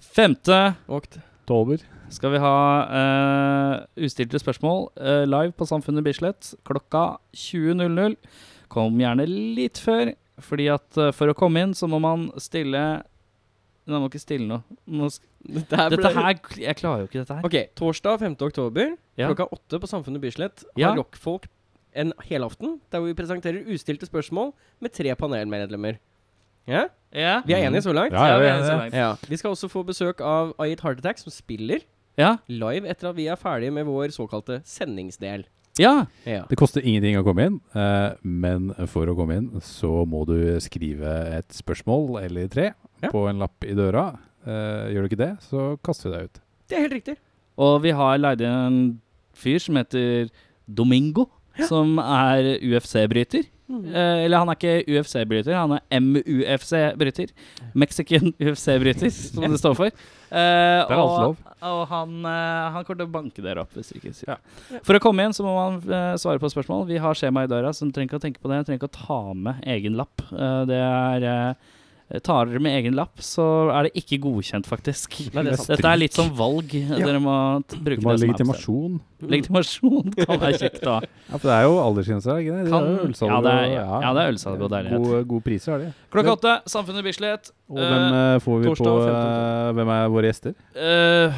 Femte Våkt. Oktober. skal vi ha eh, ustilte spørsmål eh, live på Samfunnet Bislett klokka 20.00. Kom gjerne litt før, fordi at eh, for å komme inn så må man stille Nei, man må ikke stille noe. Nå sk Dette her, dette her Jeg klarer jo ikke dette her. Ok, torsdag 5. oktober Ja. klokka åtte på Samfunnet Bislett har Ja. rockfolk en helaften der vi presenterer ustilte spørsmål med tre panelmedlemmer. Ja, Ja. Vi er enige så langt? Ja, ja, vi er så enige. langt. Ja. Vi skal også få besøk av Ait Heart Attack, som spiller ja. live etter at vi er ferdig med vår såkalte sendingsdel. ja. Ja. Det koster ingenting å komme inn, eh, men for å komme inn så må du skrive et spørsmål eller tre Ja. på en lapp i døra. Eh, gjør du ikke det, så kaster vi deg ut. Det er helt riktig. Og vi har leid inn en fyr som heter Domingo, som er UFC-bryter. Eh, eller han er ikke UFC-bryter, han er MUFC-bryter. Mexican UFC-bryter, som det står for. Eh, Det er alt lov. Og, og han, eh, han kommer til å banke dere opp. Hvis ikke, sier. Ja. For å komme inn så må man eh, svare på spørsmål. Vi har skjema i døra, så du trenger ikke å tenke på det. Du trenger ikke å ta med egen lapp. Eh, det er eh, Tar dere med egen lapp, så er det ikke godkjent, faktisk. Nei, det er sant. Dette er litt som valg. Dere må t- bruke Du må ha det som er bestemt. legitimasjon. Legitimasjon kan være kjekt, da. Ja, for det er jo aldersgrense, er det ikke det? Kan- Det er jo ølsalg ja, det er- og- ja, det er ølsalg og deilighet. Gode, gode priser er det. Klokka åtte, Samfunnet Bislett. Og hvem eh, får vi torsdag på femte eh, Hvem er våre gjester? Eh,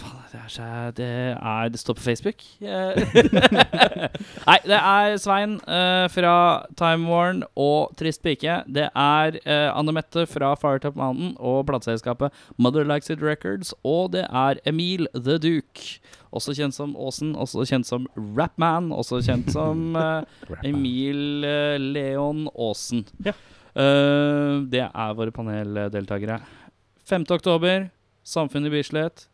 faen, det er så Det er Det står på Facebook. Eh, Nei, det er Svein eh, fra Time Warn og Trist pike. Det er eh, Anne Mette fra Firetop Mountain og plateselskapet Mother Likes It Records. Og det er Emil The Duke, også kjent som Åsen, også kjent som Rapman, også kjent som eh, Emil eh, Leon Aasen. Ja. Eh, det er våre paneldeltakere. 5. oktober, Samfunnet i Bislett.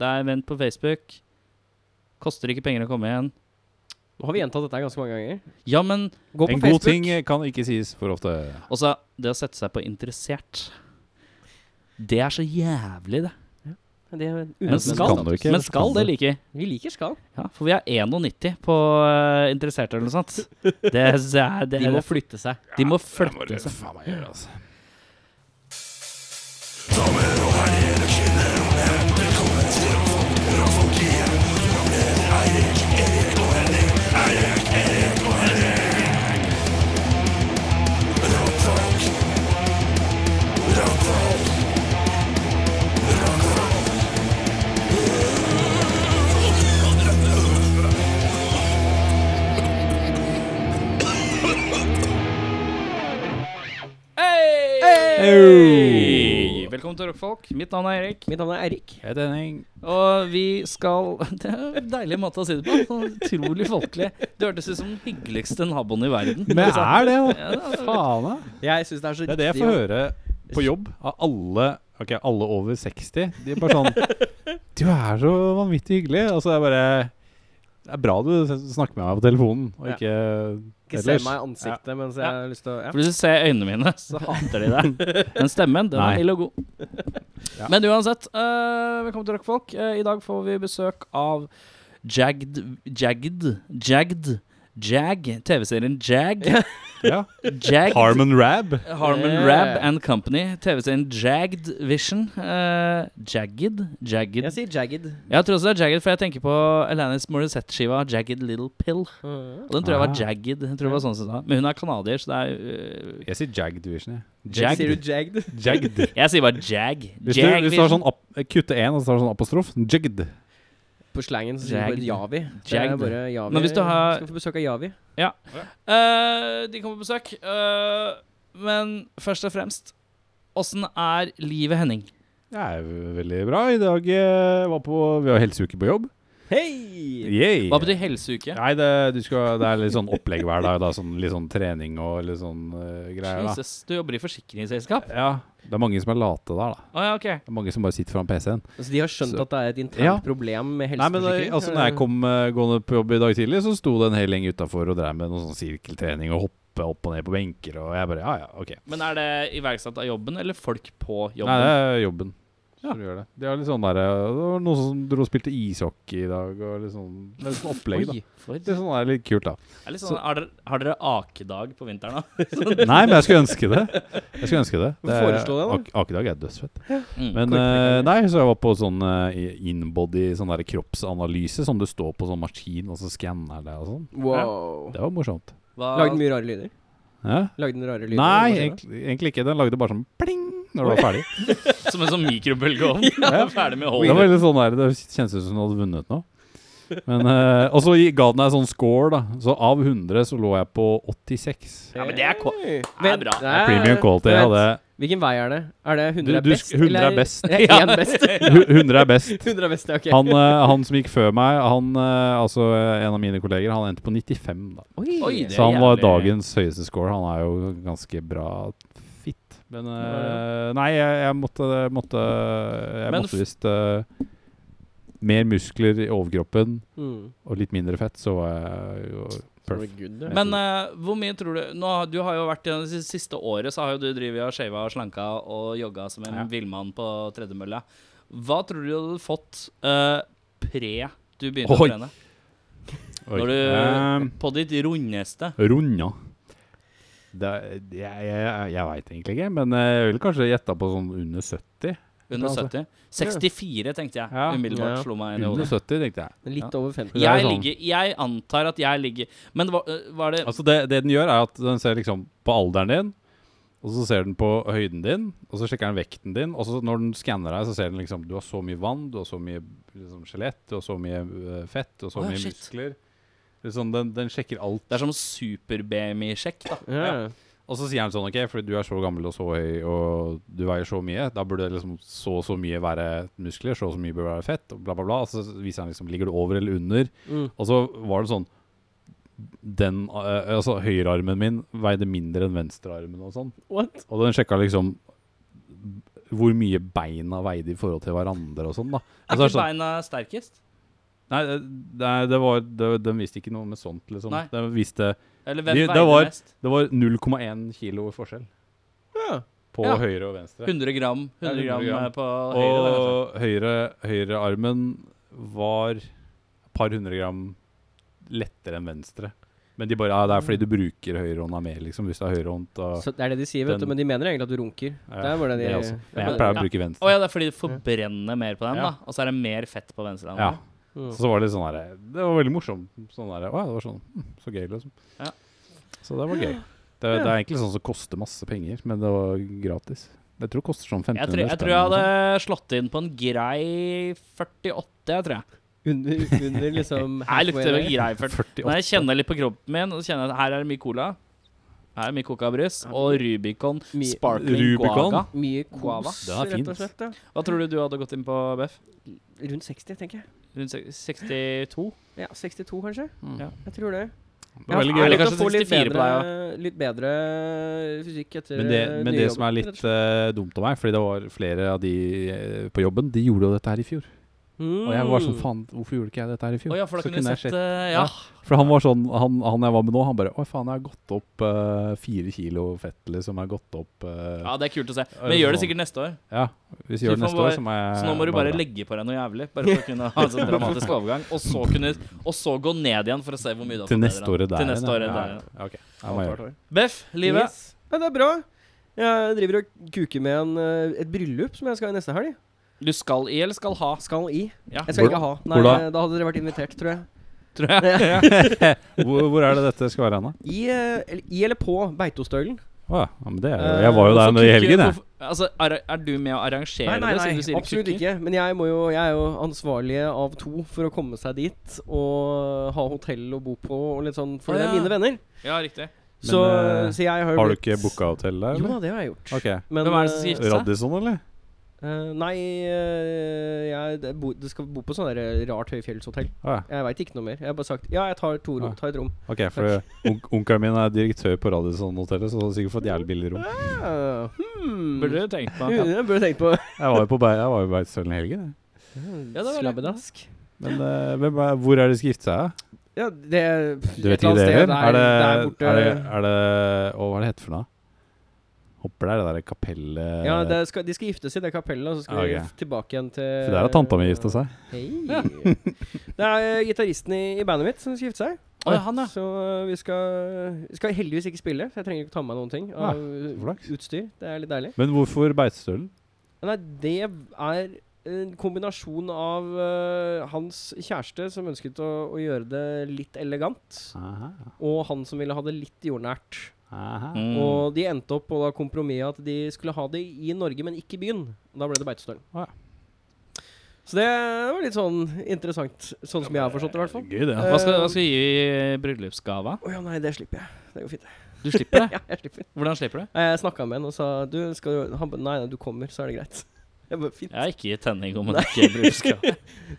Det er event på Facebook. Koster ikke penger å komme igjen. Nå har vi gjentatt dette ganske mange ganger. Ja, men Gå på En god Facebook. ting eh, kan ikke sies for ofte. også det å sette seg på interessert Det er så jævlig, det. Det er en Men uten- skal- kan du ikke. Men skal, det liker vi. Vi liker skal. Ja, for vi er 91 på eh, interesserte eller noe sånt. Det, synes jeg er- det, De må er- flytte seg. de må Det må du flytte seg. faen meg gjøre, altså. Hei! Velkommen til Rockfolk. Mitt navn er Erik. Mitt navn er Eirik. Jeg heter Henning. Og vi skal Det er en deilig måte å si det på. Sånn utrolig folkelig. Det hørtes ut som den hyggeligste naboen i verden. Men er det, da? Ja, det er- Faen, da. Jeg syns det er så Det er det jeg får høre på jobb av alle Ok, alle over 60. De er bare sånn Du er så vanvittig hyggelig. Altså, det er bare Det er bra du s- snakker med meg på telefonen, og Ja. ikke Ikke se ellers. meg i ansiktet mens jeg Ja. har lyst til å ja. For hvis du ser øynene mine, så hater de deg. Men stemmen, den Nei. er ille og god. Ja. Men uansett, eh, velkommen til Rockfolk. Eh, I dag får vi besøk av Jagged Jagged Jagged Jag. TV-serien Jag. Ja. Jagged. Harmon Rab. Harmon Yeah. Rab and Company. TV-serien Jagged Vision. Eh, jagged? Jagged Jeg sier jagged. Jeg tror også det er Jagged, for jeg tenker på Alanis Morissette-skiva Jagged Little Pill. Mm. Og den tror jeg var Ah. Jagged. Jeg tror det var sånn som sa. Men hun er canadier, så det er øh, Jeg sier Jag Division, jeg. Jagged. Sier du jagged? Jagged. Jeg sier bare Jag. Hvis du, hvis du har Vision. sånn ap kutte én, og så har du sånn apostrof Jagged. På slangen så sier du Jagged. bare javi. Det er Jagged. bare javi. Men hvis du har- Skal få besøk av javi. Eh, De kommer på besøk. eh, men først og fremst, åssen er livet Henning? Det er jo veldig bra. I dag eh, var på Vi har helseuke på jobb. Hei! Yay. Hva betyr helseuke? Nei, det, du skal, det er litt sånn opplegg hver dag. Da, sånn, litt sånn trening og litt sånn eh, greier. Da. Jesus, du jobber i forsikringsselskap? Ja, Det er mange som er late der, da. Å ja, ok. Det er mange som bare sitter foran PC-en. Så Altså, de har skjønt Så- at det er et internt Ja. problem med Nei, men helseforsikring? eh, altså, når jeg kom eh, gående på jobb i dag tidlig, så sto det en hel gjeng utafor og drev med noe sånn sirkeltrening og hoppe opp og ned på benker, og jeg bare Ja, ja, ok. Men er det iverksatt av jobben, eller folk på Nei, det jobben? er jobben. Så du gjør det. det er litt sånn der, eh, det var noen som dro og spilte ishockey i dag, og litt sånn, det er litt sånn opplegg, da. Oi. For, Det er sånn der, litt kult, da. Det er litt sånn, har, dere, har dere akedag på vinteren da? Nei, men jeg skulle ønske det. Jeg skulle ønske det. det er- Foreslå det, Ak- Akedag er dødsfett. Mm. Men Korrekt. eh, nei, så jeg var på sånn eh, i- inbody sånn der kroppsanalyse som du står på sånn maskin og så skanner det og sånn. Wow. Det var morsomt. Hva, Lagde den mye rare lyder? Hæ? Lagde den rare lyder? Nei, Maskinen? egentlig, egentlig ikke. Den lagde bare sånn pling når du var ferdig. som en sånn mikrobølgeovn. ja. Ferdig med Det var holdet. veldig sånn der, det kjennes ut som du hadde vunnet noe. Men, eh, og så gi- ga den deg sånn score, da. Så av 100 så lå jeg på 86. Ja, men det er ko- Hey. er bra. Vent, Det Det er Premium quality. Jeg vent. hadde Hvilken vei er det? Er det 100 Du- er du best? sk- 100 er eller best. Er det én best? hu- 100 er best. 100 er best, ja, ok. Han, eh, han som gikk før meg, han, eh, altså eh, en av mine kolleger, han endte på 95, da. Oi. Oi, det- Så han er var jævlig. dagens høyeste score. Han er jo ganske bra fit. Men eh, Nei, jeg, jeg måtte, måtte Jeg Men f- måtte visst eh, mer muskler i overkroppen Mm. og litt mindre fett, så var jeg jo Så perfect. det Good, det. Men eh, hvor mye tror du nå, har- Du har jo vært i det siste året Så har jo du drivet og shava og slanka og jogga som en Ja. villmann på tredemølla. Hva tror du du hadde fått eh, pre du begynte Oi. å trene? Oi. Når Eh, du, på ditt rundeste. Runda. Det, er- jeg jeg, jeg veit egentlig ikke, men eh, jeg ville kanskje gjetta på sånn under 70. Under Altså. 70. 64, tenkte jeg. Ja. Umiddelbart Ja. slo meg inn i Under hodet. 70, tenkte jeg. Litt over 50. Det er Jeg, sånn. ligger, jeg antar at jeg ligger Men var, øh, var det Altså det, det den gjør, er at den ser liksom på alderen din, og så ser den på høyden din, og så sjekker den vekten din, og så når den skanner deg, så ser den liksom Du har så mye vann, du har så mye liksom, skjelett, du har så mye øh, fett, du har så Å, ja, mye shit. muskler. Liksom, den, den sjekker alt. sånn, Det er som super-BMI-sjekk, da. Ja. Og så sier han sånn OK, fordi du er så gammel og så høy og du veier så mye, da burde det liksom så og så mye være muskler, så og så mye bør være fett, og bla, bla, bla. Og så viser han liksom Ligger du over eller under? Mm. Og så var det sånn den, eh, altså Høyrearmen min veide mindre enn venstrearmen og sånn. What? Og den sjekka liksom hvor mye beina veide i forhold til hverandre og sånn, da. Og Er så er det ikke sånn, beina sterkest? nei, nei, det var det, Den viste ikke noe med sånt, liksom. Nei. Den viste Eller hvem De- det veier var- mest? Det var 0,1 kilo i forskjell Ja. på Ja. høyre og venstre. 100 gram, 100 Ja, 100 gram, gram. eh, på høyre. da, kanskje. Og høyre høyrearmen var et par hundre gram lettere enn venstre. Men de bare, ja, det er fordi du bruker høyrehånda mer, liksom. Hvis du har høyrehånd. og- Så det er det de sier, vet du. Den- Men de mener egentlig at du runker. Ja, det er bare det det de også. Men Ja. jeg pleier Ja. å bruke venstre. Å ja, det er fordi du forbrenner mer på den, Ja. da. Og så er det mer fett på venstre. Ja. hånd. Mm. Så, så var det litt sånn der, Det var veldig morsomt. Sånn der, å, ja, det var sånn, hm, Så gøy, liksom. Ja. Så det var gøy. Det, det er egentlig sånn som koster masse penger, men det var gratis. Jeg tror det koster sånn Jeg 1500 tror, jeg tror jeg hadde slått inn på en grei 48, jeg tror jeg. Mm. Under, under liksom Jeg lukter halfway vel grei eller noe sånt. 48. 48. Når jeg kjenner litt på kroppen min, og så kjenner jeg at her er det mye cola. Her er det mye kokabrus. Og Rubicon Mye- Sparkling Rubicon? Guaga. der. Mye Guava. kos, Den er fin, rett og slett. Ja. Hva tror du du hadde gått inn på, Beff? Rundt 60, tenker jeg. Rundt sek- 62? Ja, 62 kanskje. Mm. Ja. Jeg tror det. Det var veldig Ja, gøy. eller Jeg har kanskje fått å få litt 64 på bedre, deg, litt bedre fysikk etter Men det, eh, men nye det jobben, som er rett og litt slett. eh, dumt av meg, fordi det var flere av de eh, på jobben, de gjorde jo dette her i fjor. Og jeg var sånn Mm. faen, hvorfor gjorde ikke jeg dette her i Å fjor? ja, for da Så kunne du kunne jeg sett sjekket- eh, Ja. For han var sånn, han, han jeg var med nå, han bare Å faen, jeg har gått opp eh, fire kilo fett, liksom. Jeg har gått opp eh, ja, det er kult å se. Ja, Eh, Men det er gjør det sånn. sikkert neste år. Ja, hvis vi Så vi gjør det får neste bare- år, så må jeg Så nå må du bare bla. legge på deg noe jævlig. Bare for å kunne ha en sånn dramatisk overgang. Og så kunne Og så gå ned igjen for å se hvor mye du har Til forbedret. neste året der Til neste igjen, året ja. der Ja, igjen. ja, ok. Jeg må gjøre det. Beff, livet. Yes. Ja, det er bra. Jeg driver og kuker med en, eh, et bryllup som jeg skal i neste helg. Du skal i eller skal ha, Skal i. Ja. Jeg skal Hvor- ikke ha. Nei, hvor da? da hadde dere vært invitert, tror jeg. tror jeg. hvor, hvor er det dette skal være hen, da? I, eh, eller, i eller på Beitostølen. Å ja, ja, men det Eh, er jo Jeg var jo der nå i Kukker- helgen, jeg. hvorfor- Altså, er, er du med å arrangere Nei, nei, det, siden du nei sier absolutt kukker? ikke. Men jeg, må jo, jeg er jo ansvarlig av to for å komme seg dit og ha hotell å bo på og litt sånn, for Å, det er ja. mine venner. Ja, riktig. Så, eh, så jeg har jo Har du blitt- ikke booka hotell der, Jo da, eller? det har jeg gjort. Ok. Men, Hvem er det som skal eh, gifte seg? Radisson, eller? Eh, nei, eh, jeg det bo, det skal bo på sånn der rart høyfjellshotell. Å, ja. Jeg veit ikke noe mer. Jeg har bare sagt ja, jeg tar to rom. Ja. Ta et rom. Ok, for on onkelen min er direktør på Radisson-hotellet, så han har sikkert fått jævlig billig rom. Uh, hmm. Burde du tenkt på Ja, jeg burde tenkt på Jeg var jo på, Be- jeg var jo på Beitostølen i helgen, jeg. det var litt- Slabbedask. Men eh, hvem er, hvor er det de skal gifte seg? da? Ja, det pff, Du et eller vet ikke annet det sted heller? Er det der- der borte. Er det, er det Å, hva er det hette for noe? Hopper der, det der eh, kapellet Ja, det skal, De skal giftes i det kapellet, og så skal Ah, Ok. vi tilbake igjen til For der har tanta mi gifta seg. Hei. det er eh, gitaristen i, i bandet mitt som skal gifte seg. Å, ja, han, ja. Så eh, vi skal, vi skal heldigvis ikke spille, så jeg trenger ikke ta med meg noen ting av eh, Ah, flaks. utstyr. Det er litt deilig. Men hvorfor beitestølen? Nei, det er en kombinasjon av eh, hans kjæreste, som ønsket å, å gjøre det litt elegant, Ah. og han som ville ha det litt jordnært. Mm. Og de endte opp på da kompromisset at de skulle ha det i Norge, men ikke i byen. Og Da ble det Beitostølen. Ah, Så det var litt sånn interessant, sånn som jeg har forstått det, i hvert fall. Gøy, det. Hva skal, hva skal vi gi i bryllupsgave? Å ja, nei, det slipper jeg. Det går fint. Du slipper det? Ja, jeg slipper. Hvordan slipper du? Nei, Jeg snakka med han og sa du skal du, han, ba, Nei, nei, du kommer, så er det greit. Jeg bare, fint. Jeg har ikke gitt tenning om det ikke er bryllupsgave.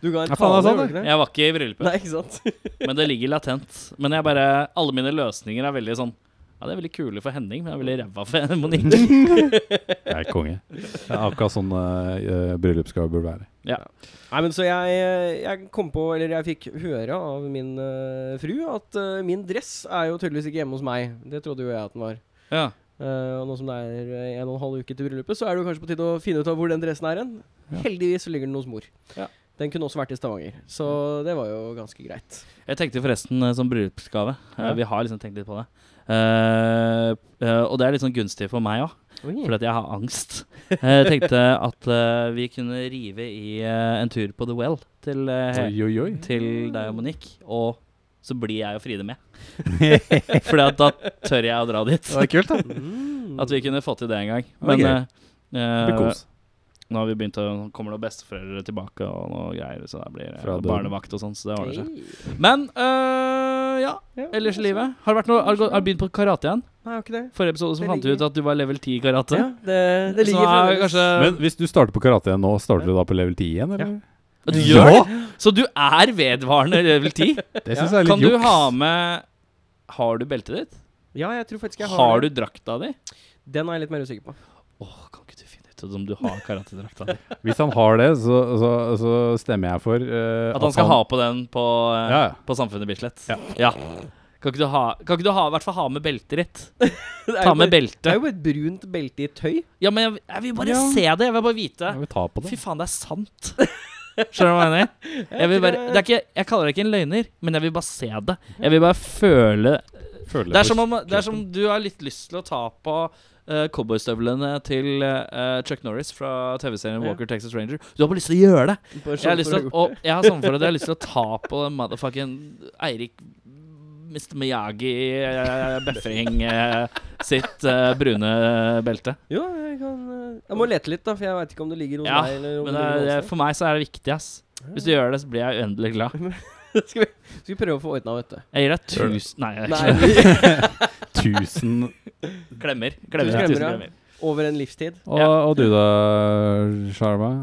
Du ga en tale, Ja, faen, det er sant, gjorde du ikke det? Jeg var ikke i bryllupet, Nei, ikke sant? men det ligger latent. Men jeg bare Alle mine løsninger er veldig sånn Ja, det er veldig kule for Henning, men jeg er veldig ræva for Monique. Jeg er konge. Det er akkurat sånn uh, bryllupsgave burde være. Nei, men så jeg, jeg kom på, eller jeg fikk høre av min eh, fru at eh, min dress er jo tydeligvis ikke hjemme hos meg. Det trodde jo jeg at den var. Ja. Eh, og nå som det er eh, en og en halv uke til bryllupet, så er det jo kanskje på tide å finne ut av hvor den dressen er hen. Ja. Heldigvis så ligger den hos mor. Ja. Den kunne også vært i Stavanger, så det var jo ganske greit. Jeg tenkte forresten eh, som bryllupsgave. Eh, Ja. Vi har liksom tenkt litt på det. Eh, eh, og det er litt sånn gunstig for meg òg, fordi Oi. at jeg har angst. Jeg tenkte at eh, vi kunne rive i eh, en tur på The Well til, eh, Oi, oi, oi. til deg og Monique, og så blir jeg og Fride med. Fordi at da tør jeg å dra dit. Det er kult, da. Mm. At vi kunne få til det en gang. var Men gøy. eh, eh, Blir kos. nå har vi begynt å, nå kommer det besteforeldre tilbake og noe greier, så da blir det Fra døden. barnevakt og sånn. Så det ordner seg. Hey. Men øh, ja, Ja, ellers i altså. livet. Har det vært noe, har, du gått- har du begynt på karate igjen? Nei, har ikke det. Forrige episode så Det fant vi ut ligger- at du var level 10 i karate. Ja, det, det så nå ligger er fremdeles. kanskje Men hvis du starter på karate igjen nå, starter du da på level 10 igjen, eller? Du gjør det? Ja! Så du er vedvarende level 10? Det syns jeg er Kan litt du juks. ha med Har du beltet ditt? Ja, jeg tror faktisk jeg har, Har du det. drakta di? Den er jeg litt mer usikker på. Åh, kan ikke du finne ut om du har karatedrakta di? Hvis han har det, så, så, så stemmer jeg for eh, At han skal ha på den på, øh, Ja, ja. på Samfunnet Bislett? Ja. Kan ikke du, ha, kan ikke du ha, i hvert fall ha med beltet ditt? Det er Ta jo med bare- Det er beltet. jo et brunt belte i tøy. Ja, men jeg, jeg vil bare Ja. se det. Jeg vil bare vite. Jeg vil ta på Fy det. faen, det er sant. Skjønner du hva jeg mener? Jeg, vil bare, det er ikke, jeg kaller det ikke en løgner, men jeg vil bare se det. Jeg vil bare føle Føler Det er på som om, det er som du har litt lyst til å ta på eh, cowboystøvlene til eh, Chuck Norris fra TV-serien Ja. Walker Texas Ranger. Du har bare lyst til å gjøre det. Bare Jeg har, sånn lyst for å til, ha å- gjort og jeg har sånn for at jeg har lyst til å ta på den motherfucking Eirik Mr. Miyagi uh, Befring eh, sitt eh, brune belte. Jo, jeg kan eh, Jeg må lete litt, da, for jeg veit ikke om det ligger hos Ja, meg. Eller om Men det, det er- ligger noe annet for meg så er det viktig, ass. sted. Hvis du gjør det, så blir jeg uendelig glad. skal, vi, skal vi prøve å få ordna, vet du. Jeg gir deg Gjør det. tusen Nei, jeg Nei, ikke. vi- Tusen Klemmer. Tusen Klemmer. klemmer, Tusen ja. klemmer. over en livstid. og, og du da, Sharma?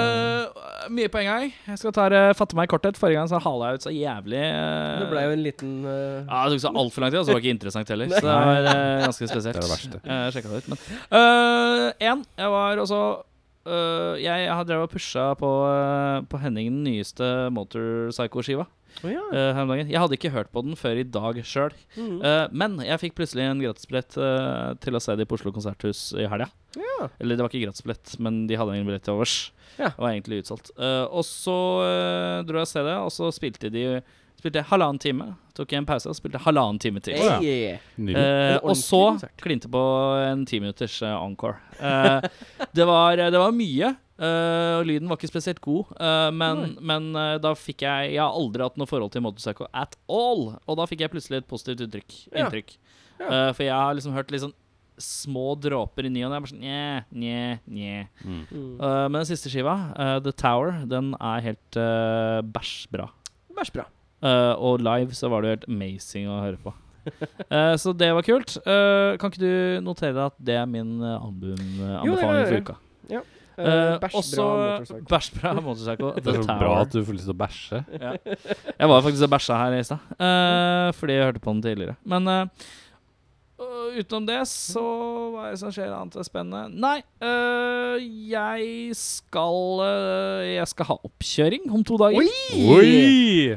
Eh, mye på en gang. Jeg skal ta, det- fatte meg i korthet. Forrige gang så hala jeg ut så jævlig eh, Det blei jo en liten eh, Ja, Det tok så altfor lang tid, og så var det ikke interessant heller. Nei. Så det var eh, ganske spesielt. Det er det verste. Jeg sjekket det ut, men Eh, En, jeg var også eh, Jeg har drevet og pusha på, eh, på Henning den nyeste Motorpsycho-skiva Å ja. eh, her om dagen. Jeg hadde ikke hørt på den før i dag sjøl. Mm. Eh, men jeg fikk plutselig en gratisbillett eh, til å se dem på Oslo Konserthus i helga. Ja. Eller det var ikke gratisbillett, men de hadde en billett til overs. Ja. Det var egentlig utsolgt. Eh, og så eh, dro jeg og se det, og så spilte de spilte jeg halvannen time. Tok jeg en pause og spilte halvannen time til. ja. Hey. Nydelig. Eh, En og så ordentlig konsert. klinte på en timinutters uh, encore. Eh, det, var, det var mye, eh, og lyden var ikke spesielt god. eh, men men eh, da fikk jeg Jeg har aldri hatt noe forhold til Motorpsycho at all. Og da fikk jeg plutselig et positivt uttrykk, Ja. inntrykk. Ja. Eh, for jeg har liksom hørt litt sånn små dråper i ny og ne. jeg er bare sånn, Nje, nje, nje. Mm. Eh, men den siste skiva, eh, The Tower, den er helt eh, bæsjbra. Vær så bra. Eh, og live så var det jo helt amazing å høre på. Eh, så det var kult. Eh, kan ikke du notere deg at det er min eh, album, eh, Jo, det kan anbefaling jeg for gjøre. uka? Eh, Eh, bæsj, også bra motorcycle. Bæsjbra Motorpsycho. Det The er så bra Tower. at du får lyst til å bæsje. Jeg var faktisk og bæsja her i stad, eh, fordi jeg hørte på den tidligere. Men eh, Og utenom det, så hva er det som skjer annet enn spennende? Nei, øh, jeg skal øh, Jeg skal ha oppkjøring om to dager. Oi!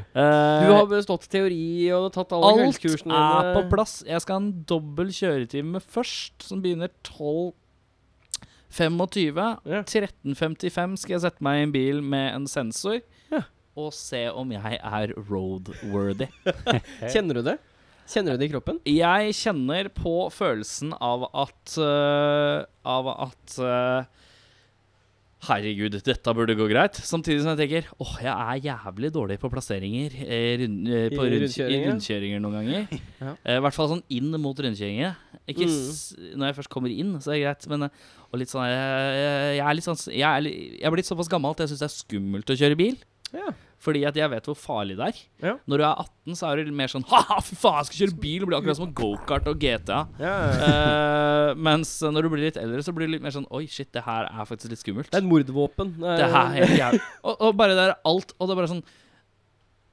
Eh, Du har bestått teori og tatt alle alt er kveldskursene dine. på plass. Jeg skal ha en dobbel kjøretime først, som begynner 12.25. Ja. 13.55 skal jeg sette meg i en bil med en sensor Ja. og se om jeg er roadworthy. Kjenner du det? Kjenner du det i kroppen? Jeg kjenner på følelsen av at øh, Av at øh, Herregud, dette burde gå greit. Samtidig som jeg tenker åh, jeg er jævlig dårlig på plasseringer eh, rund, eh, på rund, I i rundkjøringer? rundkjøringer noen ganger. Ja. Eh, I hvert fall sånn inn mot rundkjøringene. Ikke Mm. s når jeg først kommer inn, så er det greit. Men, eh, og litt sånn, eh, jeg er litt sånn Jeg er, li- jeg er blitt såpass gammel at jeg syns det er skummelt å kjøre bil. Ja. Fordi at jeg vet hvor farlig det er. Ja. Når du er 18, så er du mer sånn Ha-ha, fy faen, jeg skal kjøre bil! Det blir akkurat som gokart og GTA. ja. Eh, mens når du blir litt eldre, så blir du litt mer sånn Oi, shit, det her er faktisk litt skummelt. Det er et mordvåpen. Det her er helt jævlig. Og, og bare det er alt. Og det er bare sånn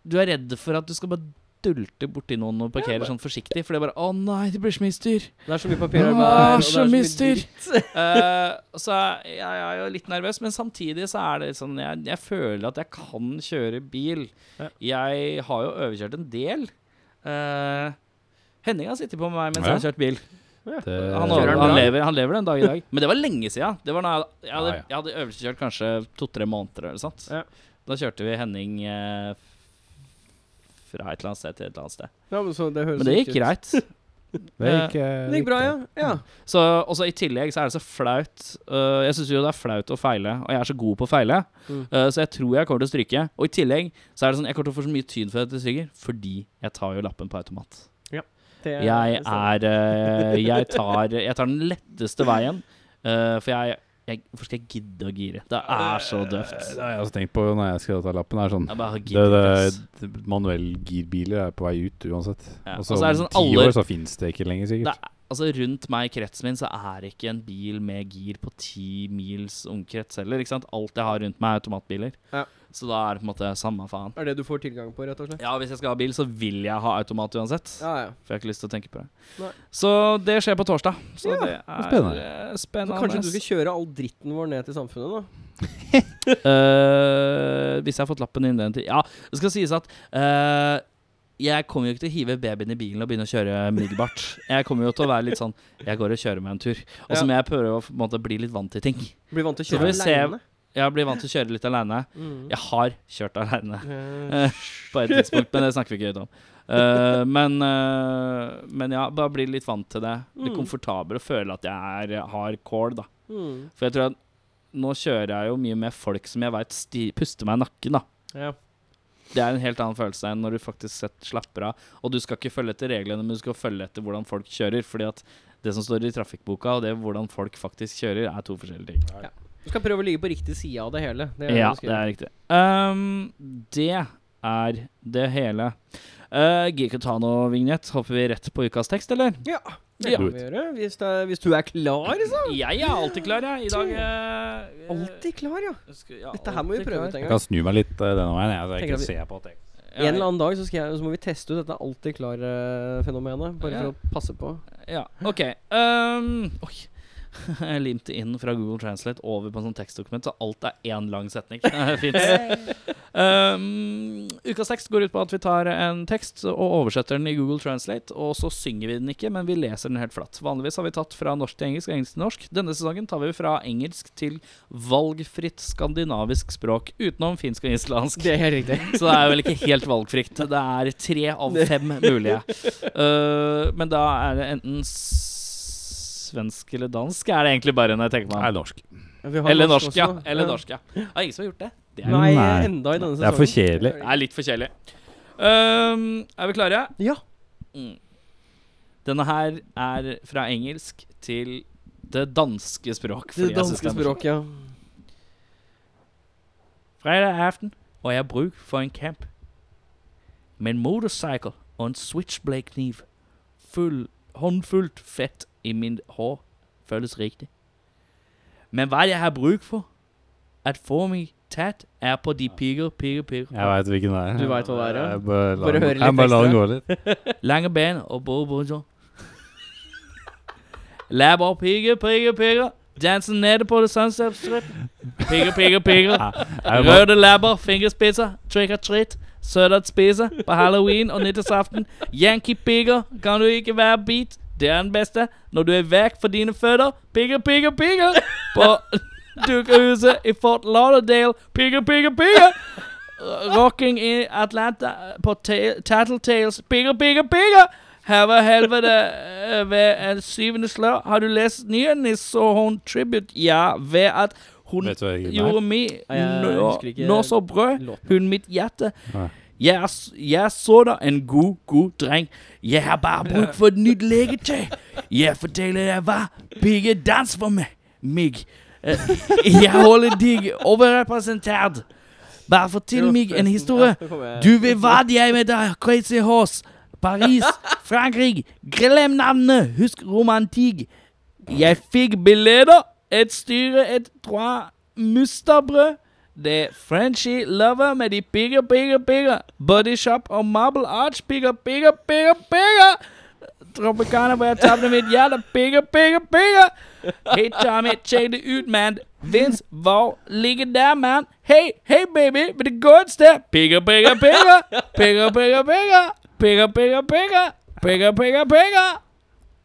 Du er redd for at du skal bare dulte borti noen og parkere sånn forsiktig, for det er bare Å nei, det blir så mye styr. Det er så mye papir Åh, og det er Ah, så mye styr. dritt. Eh, så jeg, jeg er jo litt nervøs, men samtidig så er det sånn Jeg, jeg føler at jeg kan kjøre bil. Jeg har jo overkjørt en del. Eh, Henning har sittet på med meg mens jeg har kjørt bil. Han, Det- Kjører han Eh, han, bra? lever, han lever den dag i dag. Men det var lenge siden. Det var da jeg, jeg, hadde, Ja, ja. jeg hadde øvelseskjørt kanskje to-tre måneder eller sånt. Ja. Da kjørte vi Henning eh, fra et eller annet sted til et eller annet sted. Ja, men, så det høres Men det ikke gikk ut. greit. Mm. Det gikk, eh, Det gikk bra, ja. ja. Så også I tillegg så er det så flaut. øh, jeg syns jo det er flaut å feile, og jeg er så god på å feile. Mm. øh, så jeg tror jeg kommer til å stryke. Og i tillegg så er det sånn jeg kommer til å få så mye tyn for at jeg stryker, fordi jeg tar jo lappen på automat. Det er- sånn. Jeg er øh, jeg, tar, jeg tar den letteste veien, øh, for jeg, jeg Hvorfor skal jeg gidde å gire? Det er så Eh, døvt. eh, Det har jeg også tenkt på når jeg skal ta lappen. Er sånn, Jeg bare det, gidder ikke. ass. det, manuell girbiler er på vei ut uansett. Ja, Og og så så er det om sånn altså, ti alle- år så fins det ikke lenger, Det sikkert. er, altså Rundt meg i kretsen min så er det ikke en bil med gir på ti mils omkrets heller. ikke sant? Alt jeg har rundt meg, er automatbiler. Ja. Så da er det på en måte samme faen. Er det du får tilgang på, rett og slett? Ja, hvis jeg skal ha bil, så vil jeg ha automat uansett. Ja, ja. For jeg har ikke lyst til å tenke på det. Nei. Så det skjer på torsdag. Så Ja, det er spennende. eh, Så spennende. kanskje du skal kjøre all dritten vår ned til samfunnet, da? Eh, hvis jeg har fått lappen innen den tid Ja, det skal sies at eh, jeg kommer jo ikke til å hive babyen i bilen og begynne å kjøre umiddelbart. Jeg kommer jo til å være litt sånn Jeg går og kjører meg en tur. Og så Ja. må jeg prøve å på en måte, bli litt vant til ting. Blir vant til å Så kjøre får vi se- alene. Jeg blir vant til å kjøre litt aleine. Mm. Jeg har kjørt aleine Eh, eh, på et tidspunkt, men det snakker vi ikke høyt om. Eh, men, eh, men ja, bare bli litt vant til det. Bli Mm. komfortabel og føle at jeg er, har kål, da. mm. For jeg tror at nå kjører jeg jo mye med folk som jeg veit puster meg i nakken, da. Ja. Det er en helt annen følelse enn når du faktisk sett- slapper av. Og du skal ikke følge etter reglene, men du skal følge etter hvordan folk kjører. Fordi at det som står i trafikkboka, og det hvordan folk faktisk kjører, er to forskjellige ting. Du skal prøve å ligge på riktig side av det hele. Det Ja, du det skal er riktig. Ehm, det er det hele. Uh, Gikotano-vignett, hopper vi rett på ukas tekst, eller? gjøre. Ja, det Ja. kan vi gjøre. Hvis, det er, hvis du er klar, så. Jeg er alltid klar, jeg. I dag eh, Alltid klar, ja. jeg skal- ja, Dette her må vi alltid prøve klar. ut en gang. Jeg kan snu meg litt eh, denne veien, jeg, så jeg Tenker at ikke vi- ser på at jeg En eller annen dag så, skal jeg, så må vi teste ut dette alltid klar-fenomenet. Bare Ja. for å passe på. Ja, OK. Ehm, oi. Jeg limte inn fra Google Translate over på en sånn tekstdokument, så alt er én lang setning. Det er Fint. Ehm, ukas tekst går ut på at vi tar en tekst og oversetter den i Google Translate, og så synger vi den ikke, men vi leser den helt flatt. Vanligvis har vi tatt fra norsk til engelsk og engelsk til norsk. Denne sesongen tar vi fra engelsk til valgfritt skandinavisk språk, utenom finsk og islandsk. Det er helt riktig. Så det er vel ikke helt valgfritt. Det er tre av fem mulige. Uh, men da er det enten s- svensk eller dansk, er det egentlig bare når jeg tenker er meg om. norsk. Vi har Eller norsk, ja. også. Eller norsk, ja. Det er ingen som har gjort det. Det er, Nei, Nei. enda i denne sesongen. Det er for kjedelig. det er litt for kjedelig. Um, er vi klare? Ja. Mm. Denne her er fra engelsk til det danske språk. Det fordi jeg synes er danske morsomt. språket, ja. Fredag aften, og jeg har brug for en camp. Med en motorcykel og en switchblade-kniv. Full, håndfuldt fett i min hår føles riktig. Men hva jeg har brug for at få meg tatt, er på de pigger, pigger, Jeg pigger. veit hvilken det er. Du vet hva det er, ja. Jeg bare Bare la den- høre litt jeg bare la den ekstra. gå litt. Lange ben og bobo. Lab og pigger, pigger, pigger. Danser nede på The Sunset Strip. Pigger, pigger, pigger. Røde labber, fingerspitser. Trick or treat. Sørdagspise på halloween og nyttårsaften. Yankee pigger, kan du ikke være beat? Det er den beste. Når du er vekk for dine føtter. Pigger, pigger, pigger. På dukehuset i Fort Lauderdale. Pigger, pigger, pigger. Rocking i Atlanta uh, på ta- Tattletales. Pigger, pigger, pigger! Her var helvete eh, ved en syvende slør. Har du lest nyheten i så hun tribute? Ja, ved at hun Vet du hva jeg gjorde meg Nei, jeg husker ikke- nå så brød. Låten. Hun mitt hjerte. Nei. Jeg, er s- jeg så deg en god, god dreng. Jeg har bare bruk for et nytt legetøy. Jeg forteller deg hva. Pigge, dans for meg. Mig. Eh, Jeg holder deg overrepresentert. Bare fortell meg en historie. eh, Du vil hva jeg med deg, Crazy Horse. Paris, Frankrike. Glem navnet, husk romantikk. Jeg fikk billetter, et styre, et trois musterbrød. Det Frenchy lover med de pigger, pigger, pigger. Body Shop og Marble Arch, pigger, pigger, pigger, pigger. Tropicana hvor jeg tapte mitt hjerte, pigger, pigger, pigger. Hei, Tommy, check det ut, man. Vince, hvor ligger der, man? Hei, hei, baby, vil det gå et sted? Pigger, pigger, pigger. Pigger, pigger, pigger. Pigger, pigger, pigger. Pigger, pigger, pigger.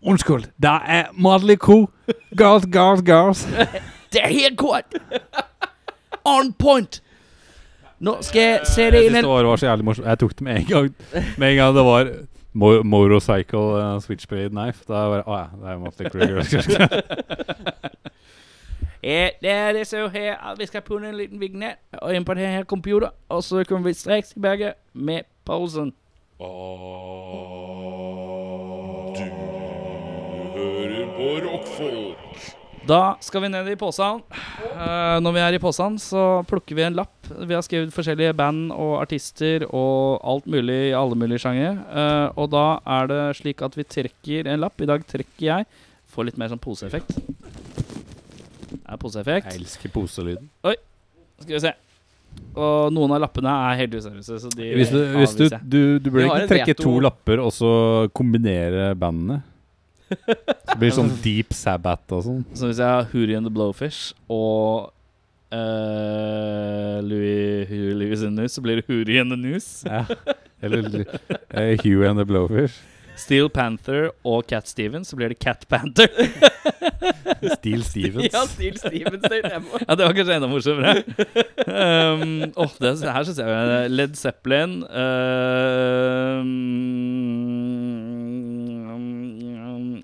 Unnskyld, det er Madelig Co. Girls, girls, girls. Det er helt kort. On point. Nå skal jeg se det Jeg inn synes en det var, var så jævlig morsomt. Jeg tok det med en gang. Med en gang det var mo Motorcycle eh, Switchblade Knife. Da var jeg bare Å ja, det er Motley Crue Girls Girls. Ja, det er det så her at vi skal putte en liten vignett og inn på den her computer, og så kommer vi straks tilbake med pausen. Da skal vi ned i påsene. Eh, når vi er i påsene, så plukker vi en lapp. Vi har skrevet forskjellige band og artister og alt mulig i alle mulige sjangere. Eh, og da er det slik at vi trekker en lapp. I dag trekker jeg. Får litt mer sånn poseeffekt. Er poseeffekt. Jeg elsker poselyden. Skal vi se. Og noen av lappene er helt useriøse, så de Hvis du, hvis du, avviser jeg. du, du Vi burde har ikke en trekke veto. to lapper og så kombinere bandene. Det blir sånn Deep Sabbath og sånn. Så hvis jeg har Hootie and the Blowfish og eh, Louis, Huey Lewis and the News, så blir det Hootie and the News. Ja. Eller eh, Hugh and the Blowfish. Steel Panther og Cat Stevens, så blir det Cat Panther. Steel Stevens. Ja, Steel Stevens. det er det jeg må- Ja, det var kanskje enda morsommere. Um, åh, det her syns jeg var- Led Zeppelin um,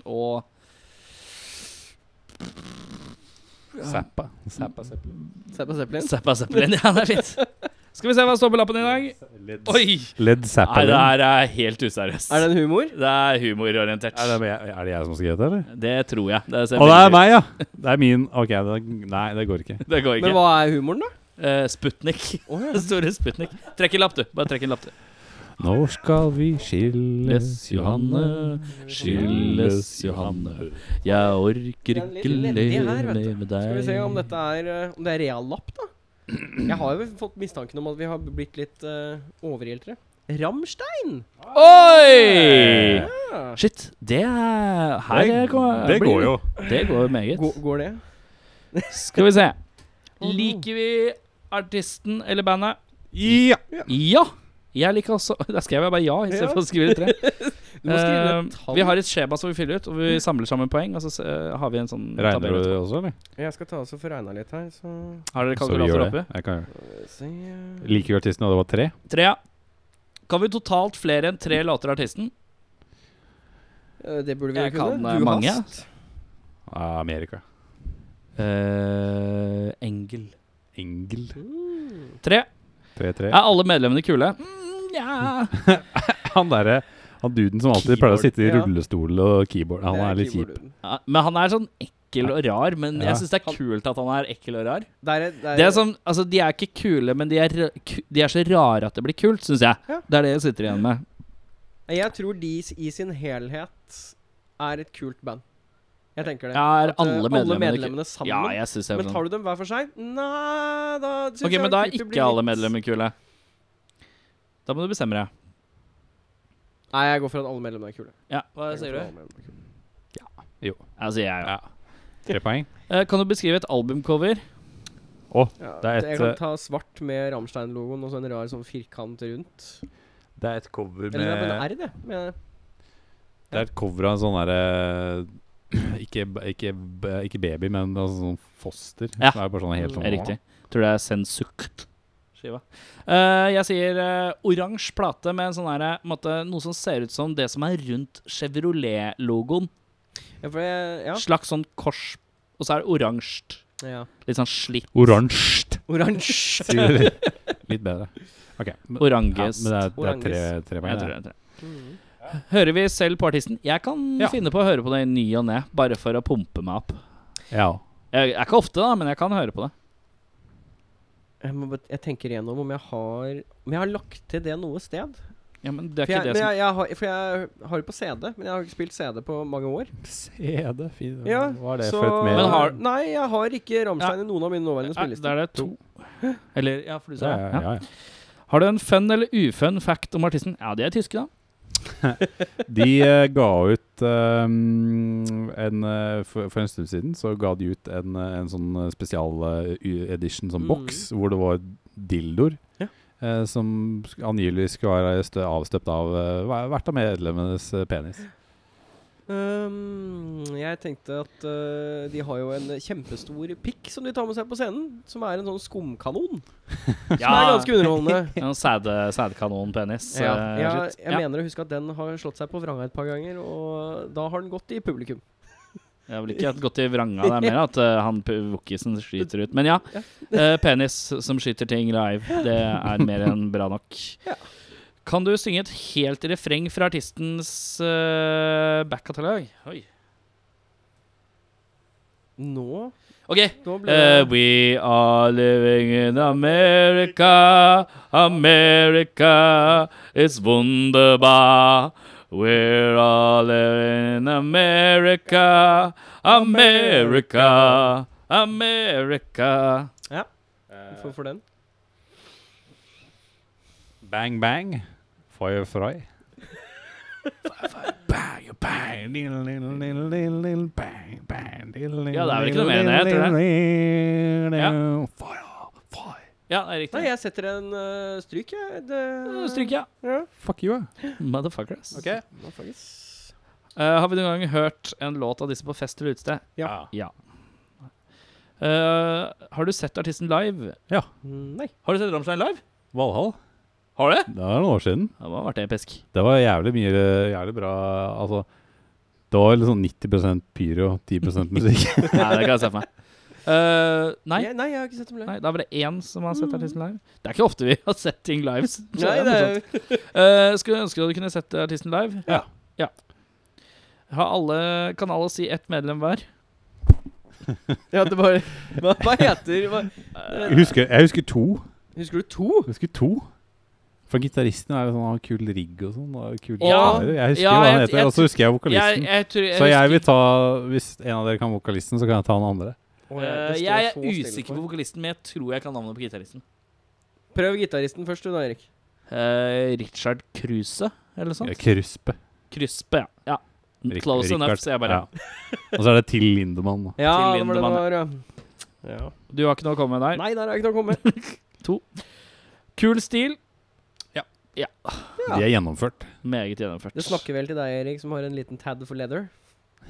Og Zappa. Zappa. Se på Zeppelin. Zappa Zeppelin. Ja, det er fint. Skal vi se hva står på lappen i dag. Oi! Led Nei, Zeppelin. det her er helt useriøst. Er det en humor? Det er humororientert. Er det, jeg, er det jeg som skal gjette, eller? Det tror jeg. Det, ser Å, det veldig- er meg, ja! Det er min. Ok, det, nei, det går ikke. Det går Men ikke. hva er humoren, da? Eh, Sputnik. Den store Sputnik. Trekk en lapp, du. Bare trekk en lapp, du. Når skal vi skilles, Johanne? skyldes Johanne. Jeg orker Den ikke lille ledig her, vet du. leve med Skal vi se om dette er eh, Om det er real lapp, da? Jeg har jo fått mistanken om at vi har blitt litt uh, overhjeltere. Ramstein! Oi! Ja. Shit. Det er Her det, kommer- det blir- går jo. Det går meget. Gå- går det? Skal vi se. Liker vi artisten eller bandet? Ja! Ja! Jeg liker også Der skrev jeg bare ja Ja. istedenfor å skrive tre. Du må skrive Eh, et tall. Mm. vi har et skjema som vi fyller ut, og vi samler sammen poeng. Og så eh, har vi en sånn Regner du tabell. det også, eller? Jeg skal ta oss og få regna litt her, så Har dere Så vi gjør kalkulator det. oppe? Jeg kan gjøre det. Skal vi se eh. Liker vi artisten, og det var tre? Tre, ja. Kan vi totalt flere enn tre låter av artisten? Eh, Det burde vi Jeg jo kunne. kan, eh, mange. hast. Ah, Amerika. Eh, engel. Engel. Mm. Tre. Tre-tre. Er alle medlemmene kule? Mm, ja. Han derre han duden som alltid pleier å sitte i Keyboard, ja. rullestol og keyboard. Han Det er litt kjip. keyboarden. Men han er sånn ekkel og rar. Men Ja. jeg syns det er kult at han er ekkel og rar. Det er, det er, Det er som, altså De er ikke kule, men de er, ra- ku- de er så rare at det blir kult, syns jeg. Ja. Det er det jeg sitter igjen med. Jeg tror de s- i sin helhet er et kult band. Jeg tenker det. Ja, er At, eh, alle medlemmene, alle kule? medlemmene sammen. Ja, jeg synes det er men tar sånn. du dem hver for seg? Nei, da synes Ok, jeg men da Creepy er blir ikke alle litt- medlemmer kule. Da må du bestemme deg. Nei, jeg går for at alle medlemmene er kule. Ja, hva Jeg går sier for du? at alle medlemmene er kule. Jo. Altså, jeg, ja. Ja. Tre poeng. Eh, kan du beskrive et albumcover? Ja, Det er et, jeg kan eh, ta svart med Rammstein-logoen og så en rar sånn firkant rundt. Det er et cover Eller det er bare en R, det. Med, Det er et cover av en sånn derre ikke, b- ikke, b- ikke baby, men altså sånn foster. Ja. Det er bare sånn helt sånn Er riktig. Tror det er Sensukt. Skiva. Eh, jeg sier eh, oransje plate med en sånn her, eh, måte, noe som ser ut som det som er rundt Chevrolet-logoen. ja, for jeg, ja. Slags sånn kors, og så er det oransje. ja. Litt sånn slitt. Oransje! Oransje. Sier det litt, litt bedre. OK. Men, ja, Orangest. men det er, det er tre, tre Jeg poeng. tror det. det, jeg tror det. Hører vi selv på artisten? Jeg kan Ja. finne på å høre på det i ny og ne, bare for å pumpe meg opp. Ja. Jeg, er ikke ofte, da, men jeg kan høre på det. Jeg, må, bare- jeg tenker igjennom om jeg har Om jeg har lagt til det noe sted. Ja, men det er For ikke jeg, det men som jeg, jeg, har, for jeg har det på CD, men jeg har ikke spilt CD på mange år. CD, fint. Ja, Hva er det så for et mer Men har- Nei, jeg har ikke Rammstein i noen av mine nåværende Nei, Da spillelister. er det to. Eller ja, for du sa ja, ja. ja, ja, ja. Har du en fun eller ufun fact om artisten? Ja, de er tyske, da. De eh, ga ut ehm, en, eh, for, for en stund siden så ga de ut en, eh, en sånn eh, spesial eh, u- edition som Mm. boks, hvor det var dildoer. Ja. eh, som sk- angivelig skulle være stø avstøpt av eh, hver- hvert av medlemmenes eh, penis. Um, jeg tenkte at øh, de har jo en kjempestor pikk som de tar med seg på scenen. Som er en sånn skumkanon. Som er ganske underholdende. En sånn sæde, sædkanon-penis. Ja, eh, jeg, shit. jeg mener å huske at den har slått seg på vranga et par ganger, og da har den gått i publikum. Det er vel ikke et godt i vranga, det er mer at eh, han p- wokkisen skyter ut. Men ja, eh, penis som skyter ting live, det er mer enn bra nok. Ja. Kan du synge et helt refreng fra artistens uh, backkatalog? Oi. Nå, OK. nå ble Eh, det we are living in America. America is wunderbar. We're all living in America. America. America. Eh, for, for den. Bang bang. Firefly. Bang, bang, diddle, diddle, diddle, diddle, bang, bang, diddle, Ja, det er vel ikke noe mer enn det, tror diddle, Ja. diddle, firefly. Ja, det er Nei, riktig. jeg setter en øh, stryk, jeg. Det- Stryk, ja. Ja. Fuck you, eh. Motherfuckers. Nå fanges. Eh, har vi noen gang hørt en låt av disse på fest eller utested? Ja. Ja. Eh, har du sett artisten live? Mm, Nei. Har du sett Rammstein live? Valhall. Har du det? Det er noen år siden. Det må ha vært episk. Det var jævlig mye jævlig bra Altså, det var liksom 90 pyro, 10 musikk. Nei, det kan jeg se for meg. Eh, nei. Jeg, nei, jeg har ikke sett dem live. Nei, da var det én som har sett artisten live. Det er ikke ofte vi har sett ting live. så det Nei, er det morsomt. er Eh, skulle du ønske at du kunne sett artisten live? Ja. ja. Har alle, kan alle si ett medlem hver? Ja, det bare Hva, hva heter hva, Jeg husker, jeg husker to. Husker du to? Jeg husker to. For gitaristen er jo sånn, har kul rigg og sånn. Og kul Ja. gitarer. Jeg husker Ja, hva han jeg- heter, jeg og så husker jeg Jeg, vokalisten. jeg, tror, jeg, så jeg husker- vil ta Hvis en av dere kan vokalisten, så kan jeg ta den andre. Eh, jeg er usikker på vokalisten, men jeg tror jeg kan navnet på gitaristen. Prøv gitaristen først, du da, Erik. Eh, Richard Kruse, eller noe sånt? Ja, Kruspe. Kruspe, ja. ja. Rik- Close enough, Richard. sier jeg bare. Ja. Og så er det Til Lindemann. da. Ja, Til det var det Lindemann, var, ja. ja. Du har ikke noe å komme med der? Nei, der er jeg ikke noe å komme. Kul stil. Ja. De er gjennomført. Meget gjennomført. Det snakker vel til deg, Erik, som har en liten tad for leather.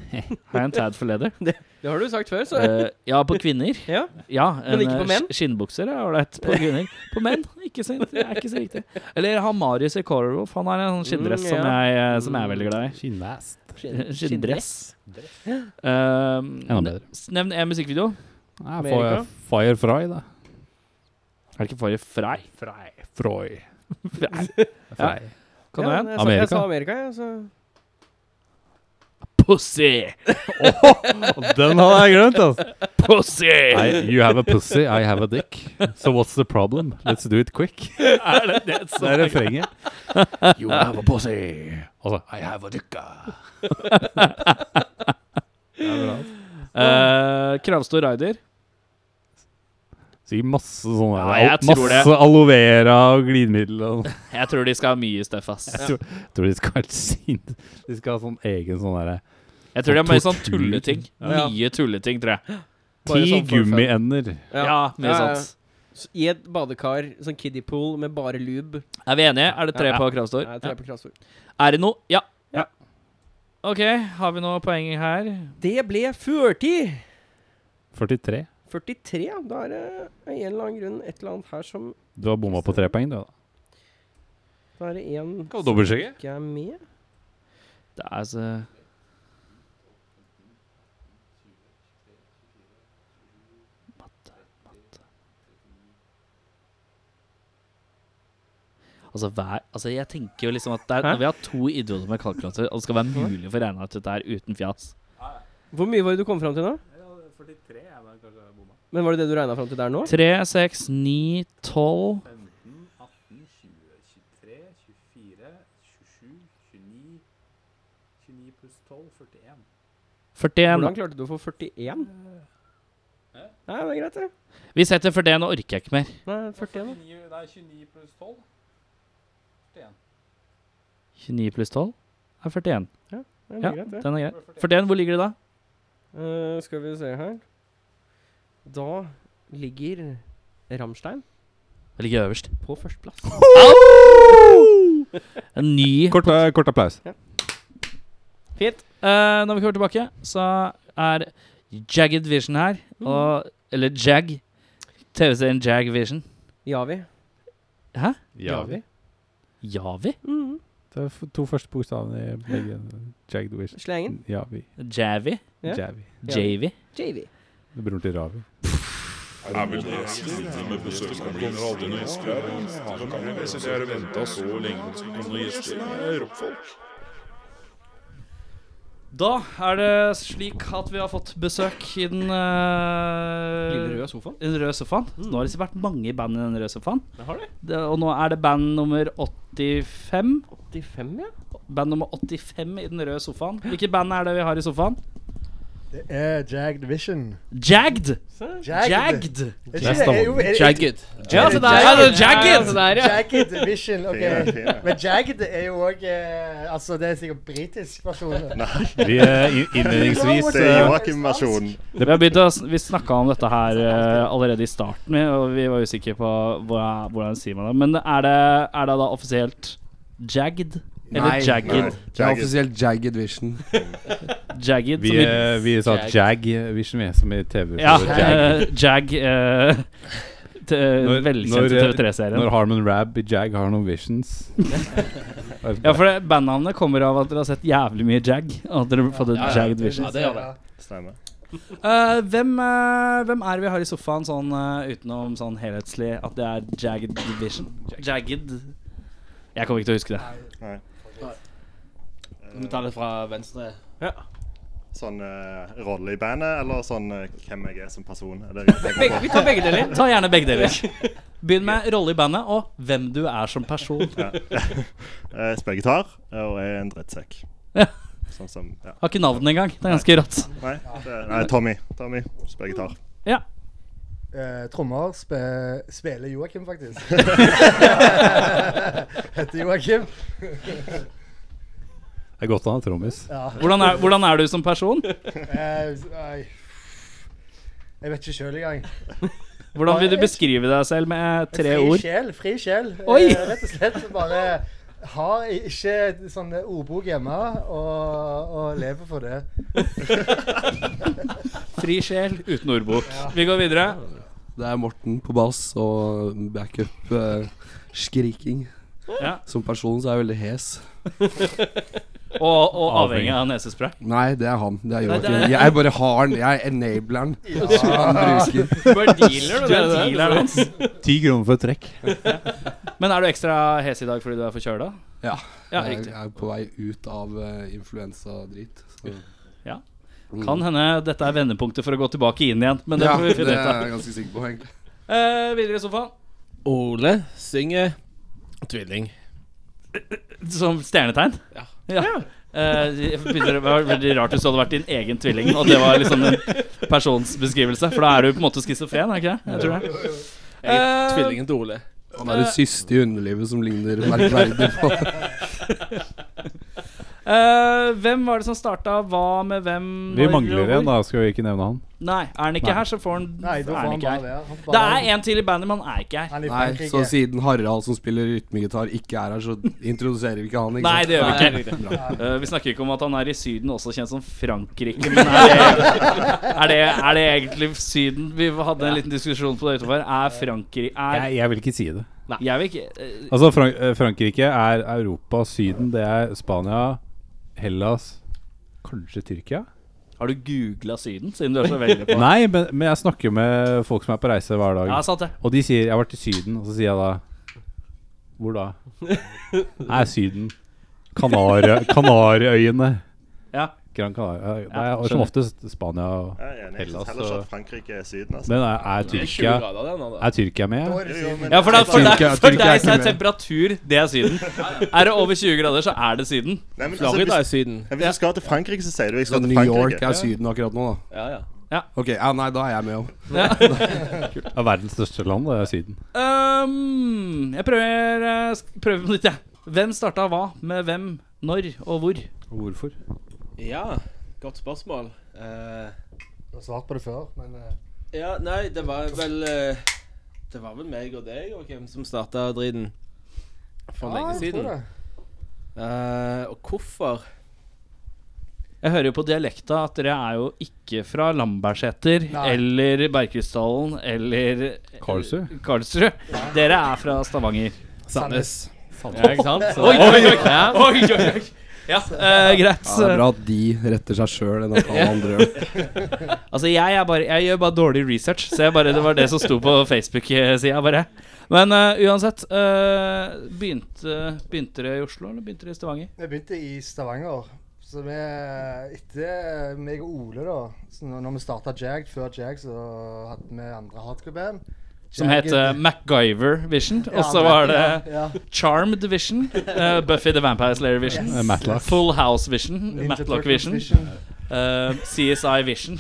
Har jeg en tad for leder? Det har du sagt før, så Eh, ja, på kvinner. Ja. Ja, Men ikke på eh, menn? sk- Skinnbukser er ålreit på kvinner. På menn ikke så, det er ikke så riktig. Eller han Marius i Coral Wolf. Han har en sånn skinndress Mm, som, ja. jeg, eh, som jeg er veldig glad i. Skinnvest. Skinn- Skinndress. Enda Um, bedre. nevn én musikkvideo. Ja, Amerika. Fire- Firefly, da. Er det ikke Fari Frei? Frei. Froy. Frei. Frei. Kan ja, du en? jeg, sa- Jeg Amerika. sa Amerika, jeg, så Pussy! Den hadde jeg glemt, altså. Pussy! I, you have a pussy, I have a dick. So what's the problem? Let's do it quick. Er det det som Det er refrenget. You have a pussy. Altså, I have a dick. Eh, Kravstor Raider. Sikkert masse sånne Ja, jeg al- tror det. Masse aloe vera og glidemiddel og sånn. Jeg tror de skal ha mye støff, ass. Jeg tror, jeg tror de skal ha et sint De skal ha sånn egen sånn derre Jeg Jeg tror det er mye sånn Tortur. tulleting. Ja. Mye tulleting, tror jeg. Bare Ti sånn for fun. gummiender. Ja, mye Ja, ja, ja. sånt. S- I et badekar, sånn kiddie pool med bare lube. Er vi enige? Er det tre Ja. på kravstor? Nei, tre på kraftfôr. Er det noe? Ja. Ja. OK, har vi noe poeng her? Det ble 40! 43. 43, ja. Da er det av en eller annen grunn et eller annet her som Du har bomma på tre poeng, du. da. Da er det en Kan du dobbeltsjekke? ikke er med. Det er altså- så Matte, matte. Altså, hver, altså jeg tenker jo liksom at det er, Hæ? Vi har to idioter med kalkulator, og det skal være mulig å få regna ut dette her uten fjas. Hvor mye var det du kom fram til nå? 43 er vel kanskje bomma. Men Var det det du regna fram til der nå? 3, 6, 9, 12 15, 18, 20, 23, 24, 27, 29 29 pluss 12, 41. 41. Hvordan klarte du å få 41? Nei, det er greit, det. Vi setter 41, nå orker jeg ikke mer. Nei, 41 da. Nei, 29 pluss 12. 41. 29 pluss 12 er 41. Det er Ja, greit, det. Den er grei. 41, hvor ligger det da? Eh, skal vi se her Da ligger Rammstein Det ligger øverst. på førsteplass. En ny Kort, eh, kort applaus. Fint. Eh, når vi kommer tilbake, så er Jagged Vision her. Og, eller Jag. TV-serien Jag Vision. Javi. Hæ? Javi. Javi? Mhm. Det er f- to første bokstavene i begge. Jagged Wish. Slengen. Javi. Javi? Ja. Javi. Javi? JV. Det er broren til Ravi. Da er det slik at vi har fått besøk i den eh, Lille røde sofaen. i den røde sofaen. Nå har det sikkert vært mange band i den røde sofaen. Det har det. Det, og nå er det band nummer 85. 85, ja. Band nummer 85 i den røde sofaen. Hvilket band er det vi har i sofaen? Det er Jagged Vision. Jagged! Se. Jagged! Er det Neste ikke det? Er jo- eh, er det- Jagged. Ja, det så altså, der, ja, altså, det er Jagged! Jagged Vision. ok. Men Jagged er jo òg eh, Altså, det er sikkert britisk versjon. Vi er i- innledningsvis Det Det er eh, Joakim-versjonen. Vi har begynt å, s- vi snakka om dette her eh, allerede i starten, vi, og vi var usikre på hva, hvordan sier man det. Men er det, er det da offisielt jagged? Eller Nei. jagged? Det er Jagged. offisielt Jagged Vision. Jagged? vi, som i- eh, vi sa Jag Vision, vi, som i TV. ja, Jag. eh, jag. eh, t- Når- når, Velkjente eh, TV3-serien. Når Harmon Rab i Jag har noen visions. Ja, for det- bandnavnet kommer av at dere har sett jævlig mye jag. Og at dere har fått et ja, jagged vision. Ja, det gjør det. Stemmer. Eh, hvem, eh, hvem er det vi har i sofaen sånn eh, utenom sånn helhetslig at det er Jagged Vision? Jagged Jeg kommer ikke til å huske det. Vi tar det fra venstre. Sånn eh, rolle i bandet, eller sånn eh, hvem jeg er som person? Er det jeg tenker Vi på? tar begge deler. Ta gjerne begge deler. Begynn med rolle i bandet og hvem du er som person. Ja. Eh, Jeg spiller gitar eh, og er en drittsekk. Ja. Sånn som ja. Har ikke navn engang. Det er ganske rått. Nei, det, nei Tommy. Tommy spiller gitar. Ja. Eh, trommer spe, spiller Joakim, faktisk. Heter Joakim. Det er godt han har trommis. Ja. Hvordan er, hvordan er du som person? Eh, nei. jeg vet ikke sjøl engang. Hvordan vil du beskrive deg selv med fri tre ord? Sjel, fri sjel. Eh, Oi! rett og slett bare har ikke sånn ordbok hjemme og, og lever for det. Fri sjel uten ordbok. Vi går videre. Det er Morten på bass og backup eh, skriking. Ja. Som person så er jeg veldig hes. Og, og avhengig av nesespray. Nei, det er han. Det Nei, er det Joakim. er- Jeg er bare har han. Jeg er enableren som han bruker. Du er dealer, Du er dealeren hans. Ti kroner for et trekk. Men er du ekstra hes i dag fordi du er forkjøla? Ja. ja. jeg, Riktig. jeg er på vei ut av eh, influensadrit. så- Ja. Mm. Kan hende dette er vendepunktet for å gå tilbake inn igjen, men det ja, får vi det finne ut er av. jeg ganske sikker på, egentlig. Eh, videre i sofaen. Ole synger tvilling. Som stjernetegn? Ja. Eh, det begynner å være veldig rart hvis du hadde vært din egen tvilling, og det var liksom en personsbeskrivelse. For da er du på en måte schizofren, er ikke det? Jeg tror det. Jeg er Eh, tvillingen til Ole. Han er det siste i underlivet som ligner merkverdig på Eh, Eh, hvem var det som starta hva med hvem? Vi når, og mangler hvor? en, da. Skal vi ikke nevne han? Nei, er han ikke Nei. her, så får han Nei, da er får han han ikke bare her. være. Han Det får bare- er en til i bandet, men han er ikke her. Han er i Nei, Frankrike. så siden Harald som spiller rytmegitar, ikke er her, så introduserer vi ikke han. Ikke Nei, sant? det gjør vi ikke. Eh, vi snakker ikke om at han er i Syden, også kjent som Frankrike. Men er det, er det, er det egentlig Syden? Vi hadde en liten diskusjon på det utenfor. Er Frankrike er, Jeg, jeg vil ikke si det. Jeg vil ikke eh, Altså, Frank eh, Frankrike er Europa, Syden, det er Spania, Hellas Kanskje Tyrkia? Har du googla Syden, siden du er så veldig på det? Nei, men, men jeg snakker med folk som er på reise hver dag. Ja, sant det. Og de sier 'jeg har vært i Syden', og så sier jeg da 'Hvor da?' Nei, Syden. Kanari- Kanariøyene. Ja. Gran Canaria. Det Ja, er som oftest Spania og Jeg er enig. Jeg Hellas, synes heller ikke så- at Frankrike er Syden. altså. Men er, er, Det er 20 Tyrkia, grader der nå. da. er Tyrkia med? Da er det Jo, jo, siden. men- Ja, for, da, for, deg, Tyrkia- for Tyrkia er deg så er ikke med. temperatur det er Syden. Er det over 20 grader, så er det Syden. Nei, men, altså, Florida hvis, er Syden. ja, hvis du skal til Frankrike, så sier du jeg Så skal til Sånn New York Frankrike. er Syden akkurat nå, da. Ja, ja. Ok, ja, nei, da er jeg med òg. Det er verdens største land, det er Syden. Øhm, Ehm, jeg prøver, eh, sk- prøver på nytt, jeg. Hvem starta hva med hvem, når og hvor? Hvorfor? ja godt spørsmål. Eh, Du har svart på det før, men eh, ja, nei, det var vel eh, Det var vel meg og deg og hvem som starta driten for ja, lenge jeg tror siden. det. Eh, og hvorfor? Jeg hører jo på dialekta at dere er jo ikke fra Lambertseter Nei. eller Bergkrystallen eller Karlsø. Karlsrud. Dere er fra Stavanger. Sandnes. Ja, ikke sant? Så, Oi, oi, oi! Ja. oi, oi, oi. Ja, eh, greit. Ja, det er bra at de retter seg sjøl enn at alle andre gjør det. Altså, jeg, er bare, jeg gjør bare dårlig research, så jeg bare, det var det som sto på Facebook-sida. bare Men eh, uansett eh, begynte, begynte dere i Oslo, eller begynte dere i Stavanger? Jeg begynte i Stavanger. Så vi, eh, etter meg og Ole, da så Når når vi starta Jag, før Jag, så hadde vi andre hardcore-band. Som het eh, MacGyver Vision. Og så var det Charmed Vision. eh, Buffy the Vampire Slayer Vision. Eh, Matlock. Full House Vision. Matlock Vision. eh, CSI Vision.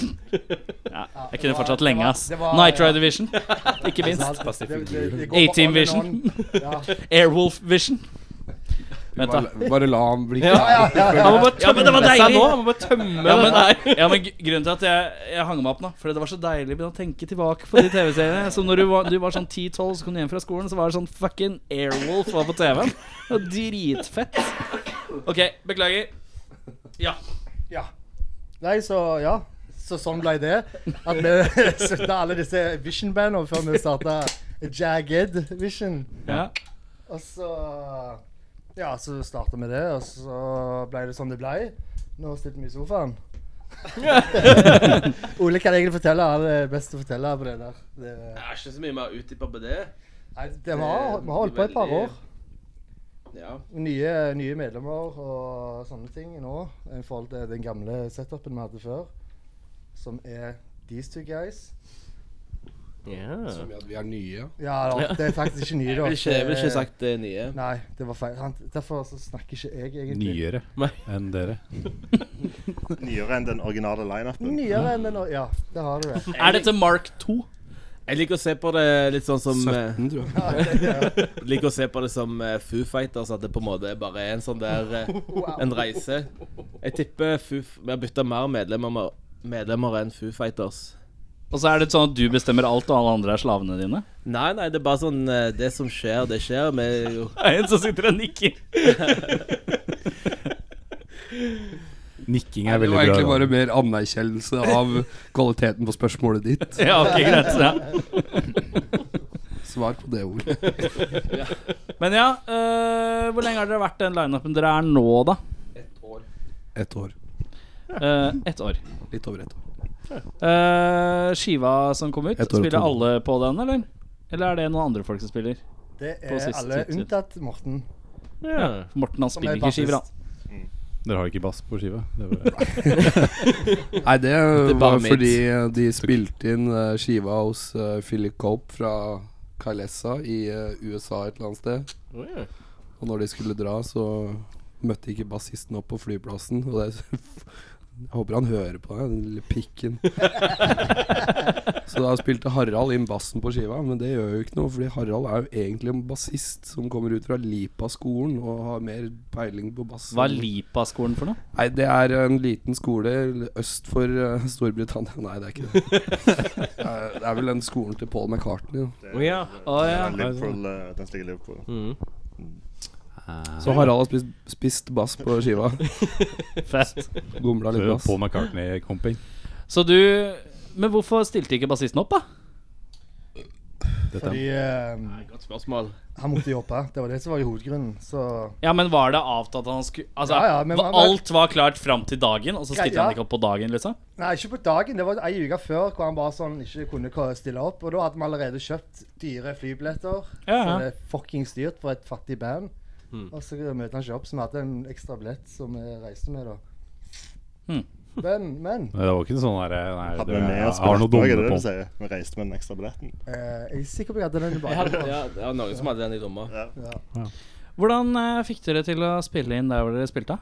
Ja, jeg kunne fortsatt lenge, ass. Det var- Night Rider Vision, ikke minst. A-Team Vision. Ja. Airwolf Vision. Vent, da. Bare, bare la han bli Ja. Ja, ja, ja. Han må bare Ja, men det var deilig! Nå, deilig! man må bare tømme Ja, men, det der. ja, men gr- Grunnen til at jeg, jeg hang meg opp nå Fordi det var så deilig å begynne å tenke tilbake på de TV-seriene. Som når du var, du var sånn 10-12, så kom du hjem fra skolen, så var det sånn fucking Airwolf var på TV-en. Det var Dritfett. OK, beklager. Ja. Nei, så ja. Så sånn ble det. At vi slutta alle disse Vision-bandene før vi starta Jagged Vision. Ja. Og så Ja, så starta vi det, og så ble det som det ble. Nå sitter vi i sofaen. Ole kan egentlig fortelle. Han er best til å fortelle på det der. Det, Det er ikke så mye mer utdypa på det. nei, det var, vi har holdt på et par år. Ja. Nye, nye medlemmer og sånne ting nå i forhold til den gamle setupen vi hadde før, som er These two guys. Ja. Som liksom, i at vi er nye. Ja, da, det er faktisk ikke nye, Jeg da. ville ikke, jeg vil ikke Det- sagt eh, det nye. Nei, det var feil. Han, derfor så snakker ikke jeg, egentlig. Nyere Nei. enn dere. Nyere enn den originale lineupen. Nyere enn den å- Ja, det har du det. Er dette Mark 2? Jeg liker å se på det litt sånn som eh, 17, tror jeg. Liker å se på det som eh, Foo Fighters, at det på en måte bare er en sånn der eh, En reise. Jeg tipper Foo F- Vi har bytta mer medlemmer, med- medlemmer enn Foo Fighters. Og så er det sånn at du bestemmer alt, og alle andre er slavene dine? Nei, nei, det er bare sånn eh, Det som skjer, det skjer. Vi er jo Det er en som sitter og nikker. Nikking er Det veldig var bra. egentlig da. bare mer anerkjennelse av kvaliteten på spørsmålet ditt. Ja, ok, greit ja. Svar på det ordet. Men ja, øh, hvor lenge har dere vært den lineupen dere er nå, da? Ett år. Uh, ett år. Litt over ett år. Eh, skiva som kom ut, Ett år og spiller to. alle på den, eller? Eller er det noen andre folk som spiller? Det På er siste alle tid. unntatt Morten. Ja. Morten han som er spiller ikke skiver, bassist. han. Dere har ikke bass på skiva? Det var, Nei, det, er bare var mitt. fordi eh, de spilte inn eh, skiva hos eh, Philip Cope fra Kalessa i eh, USA et eller annet sted. Oi. Og når de skulle dra, så møtte ikke bassisten opp på flyplassen. Og det Jeg håper han hører på det, den lille pikken. så da spilte Harald inn bassen på skiva, men det gjør jo ikke noe, fordi Harald er jo egentlig en bassist som kommer ut fra Lipa-skolen og har mer peiling på bass. Hva er Lipa-skolen for noe? Nei, det er en liten skole øst for eh, Storbritannia. Nei, det er ikke det. Det er- det er vel den skolen til Paul McCartney. da. Det, Å ja. Å ja. den Liverpool, eh, den stiger Liverpool. Så Harald har spist, spist bass på skiva. Fett. Gomla litt bass. Paul McCartney-komping. Så du Men hvorfor stilte ikke bassisten opp, da? Fordi eh, Godt spørsmål. han måtte jobbe. Det var det som var i hovedgrunnen. Så Ja, men var det avtalt at han skulle Altså, Ja, ja, men hva- man- alt var klart fram til dagen, og så stilte Ja. han ikke opp på dagen, liksom? Nei, ikke på dagen. Det var ei uke før hvor han bare sånn ikke kunne ko- stille opp. Og da hadde vi allerede kjøpt dyre flybilletter. Ja, Så ja. det er fuckings dyrt for et fattig band. Og så møter han ikke opp, så vi hadde en ekstra billett som vi reiste med, da. Hmm. Men, men Nei, Det var ikke en sånn derre Nei, Hadde du, vi med jeg oss har noe billetter, er dumme det det på. du sier? Vi reiste med den ekstra billetten. eh, jeg er sikker på at jeg hadde den i Ja, bakgrunnen. det var noen som hadde den i lomma. Ja. Hvordan eh, fikk dere til å spille inn der hvor dere spilte?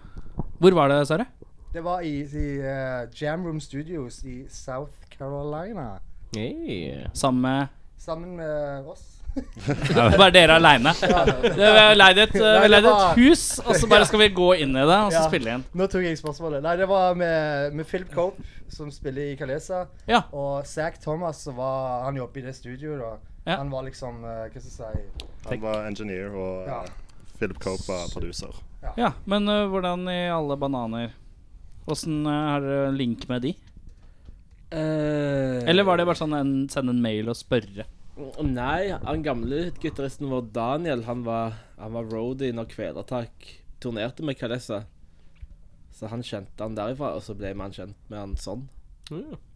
Hvor var det, Sverre? Det var i, i eh, Jam Room Studios i South Carolina. Hey. Sammen med Sammen med oss. Bare dere aleine. Vi har leid et, eh, vi leide et hus, og så bare skal vi gå inn i det og så Ja. spille inn. Nå tok jeg spørsmålet. Nei, det var med, med Philip Cope, som spiller i Kalesa. Ja. Og Zack Thomas, som var, han jobber i det studioet, da. Ja. Han var liksom eh, Hva skal jeg si Han var engineer, og Ja. eh, Philip Cope var producer. Ja, men eh, hvordan i alle bananer? Åssen har dere link med de? Eh, Eller var det bare sånn en, sende en mail og spørre? Nei, han gamle gitaristen vår Daniel, han var, han var roadie når Kvelertak turnerte med Kalessa. Så han kjente han derifra, og så ble man kjent med han sånn.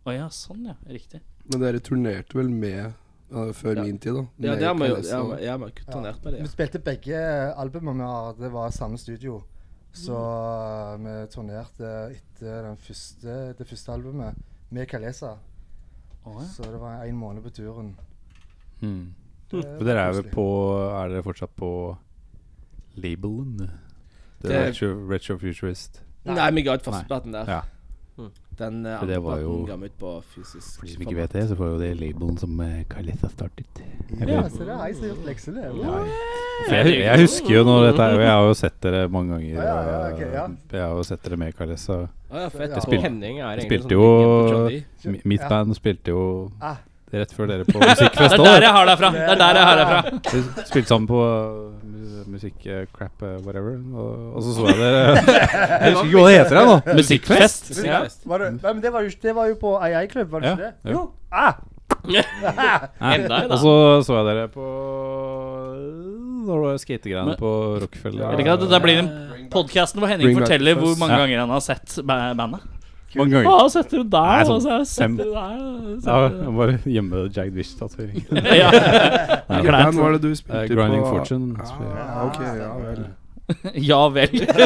Å ja, sånn ja. Riktig. Men dere turnerte vel med eh, før min tid, da? Ja, Med det har vi jo Kalesa. ja, vi- ja, vi har ikke turnert med det. Vi Ja. spilte begge albumene vi har. Det var samme studio. Så eh, vi turnerte etter den første, det første albumet med Kalesa. Å, ja. Så det var én måned på turen. Hmm. Det For dere er vel koselig. på Er dere fortsatt på labelen? Det Det- retro, retro Futurist. Nei, vi ga ut førsteplaten der. Ja. Den eh, For det andre var jo- platen ga vi ut på fysisk. For de som ikke vet det, så var jo det labelen som Carlitha startet. Ja, så det er jeg som har gjort leksene. Jeg, jeg husker jo når dette er og Jeg har jo sett dere mange ganger. Ja, ja, ja, ok, ja. og Jeg har jo sett dere med Carlitha. Å ja, fett. Ja. På- Spilte- Henning er egentlig spilte sånn jo- legend på John Dee. Mi- Mitt Ja. band spilte jo Ah. rett før dere på musikkfest Det er også. der jeg har deg fra! Det er der jeg har deg fra. Vi spilte sammen på uh, mu- musikk uh, crap uh, whatever, og, og så så jeg dere Jeg husker ikke hva det heter jeg, nå. Musikkfest. Ja. Musikkfest. Var det, nei, men det var jo, det var jo på AI-klubb, var det Ja, ikke det? jo. Ah! Nei. Enda en, da. Og så så jeg dere på Da var det skategreiene Men- på Rockefeller. Jeg liker at det der blir den podkasten hvor Henning Bring back forteller the hvor first. mange Ja. ganger han har sett ba- bandet. Mange Å, ganger. setter du Nei, der, sånn og så fem- setter du der og Ja, setter du jeg bare gjemme Jagged Wish-tatoveringen. der. Ja. Hvilket band var det du Eh, spilte Grinding på? Fortune. Ah, ok, ja vel. ja vel. Ikke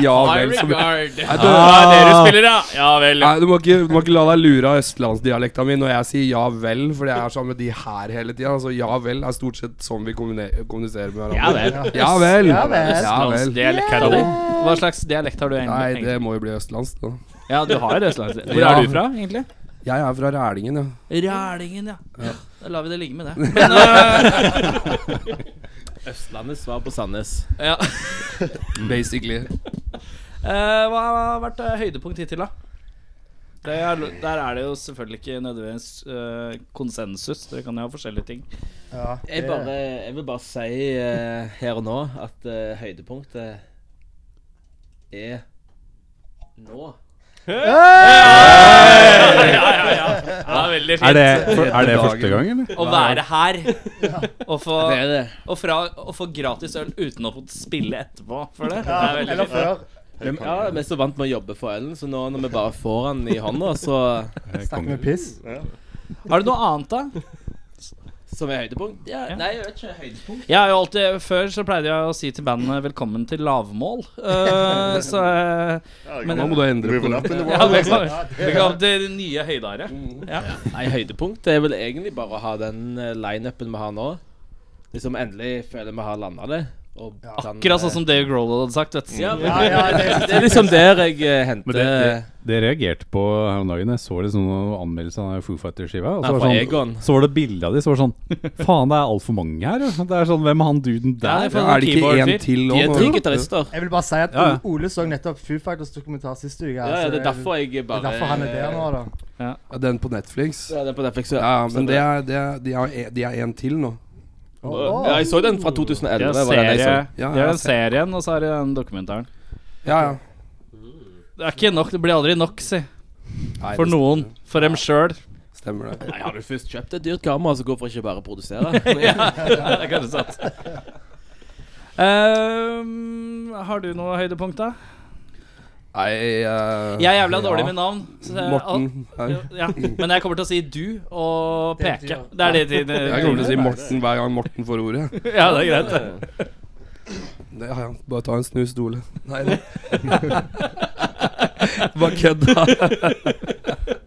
ja vel som regard. Nei, du- Ah, det du spiller, ja. Ja vel. Nei, du må, ikke, du må ikke la deg lure av østlandsdialekta mi når jeg sier ja vel, for jeg er sammen med de her hele tida. Altså, ja vel er stort sett sånn vi kommune- kommuniserer med Ja hverandre. vel. Ja vel! Ja vel. Ja vel. Østlandsdialekta di. Hva slags dialekt har du Nei, egentlig? det må jo bli østlands, da. Ja, du har østlandsdialekt. Hvor Ja. er du fra, egentlig? Jeg er fra Rælingen, ja. Rælingen, ja. ja. Da lar vi det eh, ligge med det. Østlandets svar på Sandnes. Ja. Basically. Eh, hva har vært eh, høydepunkt hittil, da? Det er, lo- der er det jo selvfølgelig ikke nødvendigvis eh, konsensus. Dere kan jo ha forskjellige ting. Ja, Jeg, det- bare, jeg vil bare si eh, her og nå at eh, høydepunktet er nå. Ja, veldig Er det, er det første gang, eller? Å være her og, få, Det er det. og, fra, og få gratis øl uten å få spille etterpå for det. det Ja, er veldig eller fint. før. Vi ja, vi er så vant med å jobbe for ølen, så nå når vi bare får den i hånda, så Eh, Snakke med kongen. piss. Har du noe annet, da? Som er høydepunkt? Ja, Ja. Nei, jeg vet ikke. Høydepunkt? Jeg har jo alltid, Før så pleide jeg å si til bandet 'velkommen til lavmål'. Eh, så eh, Men- Nå må du endre på det. ja, velkommen, velkommen til nye høyder. Ja. Nei, høydepunktet er vel egentlig bare å ha den eh, lineupen vi har nå. Liksom endelig føler vi har landa det. Og Akkurat sånn som Dave Grohl hadde sagt, vet du. ja, Ja, ja, det, det- er liksom der jeg Men eh, henter det, det, det reagerte på her om dagen. Jeg så liksom noen anmeldelser av den Foo Fighter-skiva. Og Nei, så var, fra det Egon. sånn, så var det bilde av de, så var det sånn Faen, det er altfor mange her. jo. Det er sånn, Hvem er han duden Ja, der? det er for- Er det ikke keyboard-fyr. én til nå? De er nå? tre gitarister. Jeg vil bare si at Ja, ja. Ole så nettopp Foo Fighters dokumentar sist uke. Ja, ja, det er derfor jeg bare det er derfor han er der nå, da. Ja, Den på Netflix? Ja, det er på Netflix, ja. Ja, men Stemmer det er, det er, de er en- de er én til nå. Åh. Ja, jeg så den fra 2011. Det er var den jeg så. serie. Ja, Det er ja, den serien, og så er det den dokumentaren. Ja, ja. Det er ikke nok, det blir aldri nok, si. Nei, For det noen. For dem sjøl. Stemmer det. Nei, Har du først kjøpt et dyrt kamera, så hvorfor ikke bare produsere? Det er kanskje sant. Ehm, har du noe høydepunkt, da? Nei eh, Jeg er jævla dårlig ja. med navn. så jeg- Morten. her. Ja, men jeg kommer til å si du og Det betyr- peke. Det er det tiden Jeg kommer til å si Morten hver gang Morten får ordet. Ja, det er greit. det. Det, ja, ja. Bare ta en snus, Dole. Nei da. Bare kødda.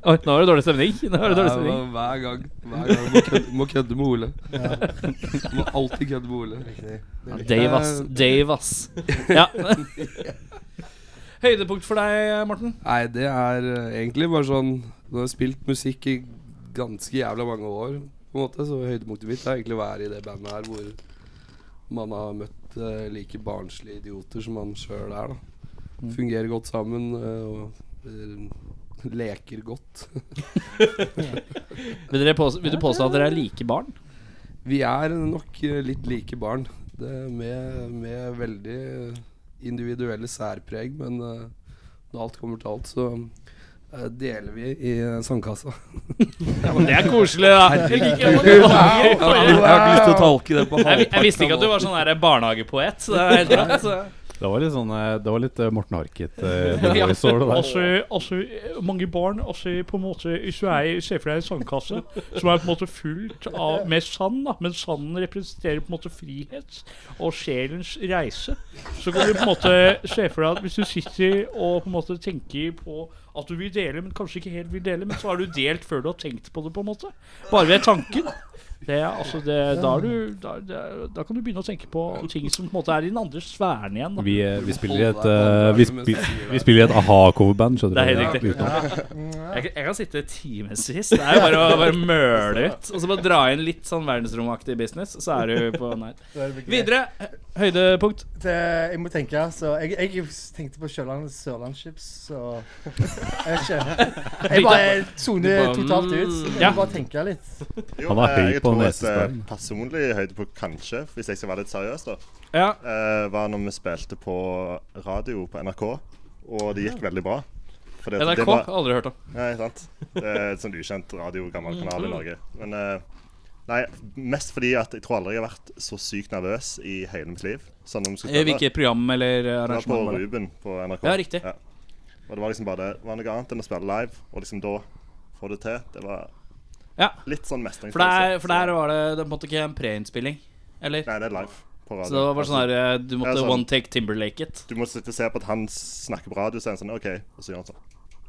Oi, nå var det dårlig stemning. Nå var det dårlig stemning. Ja, Hver gang. Hver gang må kødde, må kødde med Ole. Må alltid kødde med Ole. Ja, Dave, ass. Dave, ass. Ja. Høydepunkt for deg, Morten? Nei, det er eh, egentlig bare sånn Du har spilt musikk i ganske jævla mange år, på en måte, så høydepunktet mitt er egentlig å være i det bandet her hvor man har møtt eh, like barnslige idioter som man sjøl er, da. Mm. Fungerer godt sammen eh, og eh, leker godt. Vil, dere påstå, vil du påstå at dere er like barn? Vi er nok eh, litt like barn, det med, med veldig individuelle særpreg, men eh, når alt kommer til alt, så eh, deler vi i sandkassa. Det er koselig, da. Jeg har ikke lyst til å tolke det på Jeg, jeg visste ikke at du var sånn der barnehagepoet. Så det er helt rart. så- Det var litt, sånn, eh, det var litt eh, Morten Harket. eh, voice over det der. Altså, altså, mange barn altså, på en måte, Hvis du er, i- ser for deg en sandkasse som er på en måte fullt av, med sand, da, men sanden representerer på en måte frihet og sjelens reise, så kan du på en måte se for deg at hvis du sitter og på en måte tenker på at du vil dele, men kanskje ikke helt vil dele, men så har du delt før du har tenkt på det, på en måte. Bare ved tanken. Det er, altså, det, da, er du, da, da, da kan du begynne å tenke på ting som på en måte er i den andre sfæren igjen. Da. Vi, eh, vi spiller i et eh, vi, spi, vi spiller i et a-ha-coverband, skjønner du. Det sånn. er helt riktig. Utenom. Jeg, kan- jeg kan sitte timevis. Det er jo bare å bare møle ut. Og så bare dra inn litt sånn verdensromaktig business, så er du på nei. Da er det greit. Videre. Høydepunkt. Det, jeg må tenke, så jeg, jeg tenkte på Sørland- Sørlandschips, så Jeg vet ikke. Jeg bare soner totalt ut. så Jeg Ja. må bare tenke litt. Jo, Han var eh, høy jeg på tror et, eh, nesesprayen. Personlig høydepunkt, kanskje, hvis jeg skal være litt seriøs, da, Ja. eh, var når vi spilte på radio på NRK, og det gikk veldig bra. Fordi at NRK det var- har aldri hørt om. Nei, sant. Det er et sånn ukjent radio, gammel kanal i Norge. Men eh, nei, mest fordi at jeg tror aldri jeg har vært så sykt nervøs i hele mitt liv. Sånn om vi skulle prøve. Hvilket program eller eh, Det var på arrangement? var det? Ruben på NRK. Ja, riktig. Og det var liksom bare det. Det var noe annet enn å spille live, og liksom da få det til. Det var Ja. litt For sånn der, mestringsfølelse. for der var det Det måtte ikke en preinnspilling, eller? Nei, det er live på radio. Så det var bare sånn her eh, Du måtte Ja, sånn. one take Timberlake it. Du må sitte og se på at han snakker på radio, så er han sånn OK, og så gjør han sånn.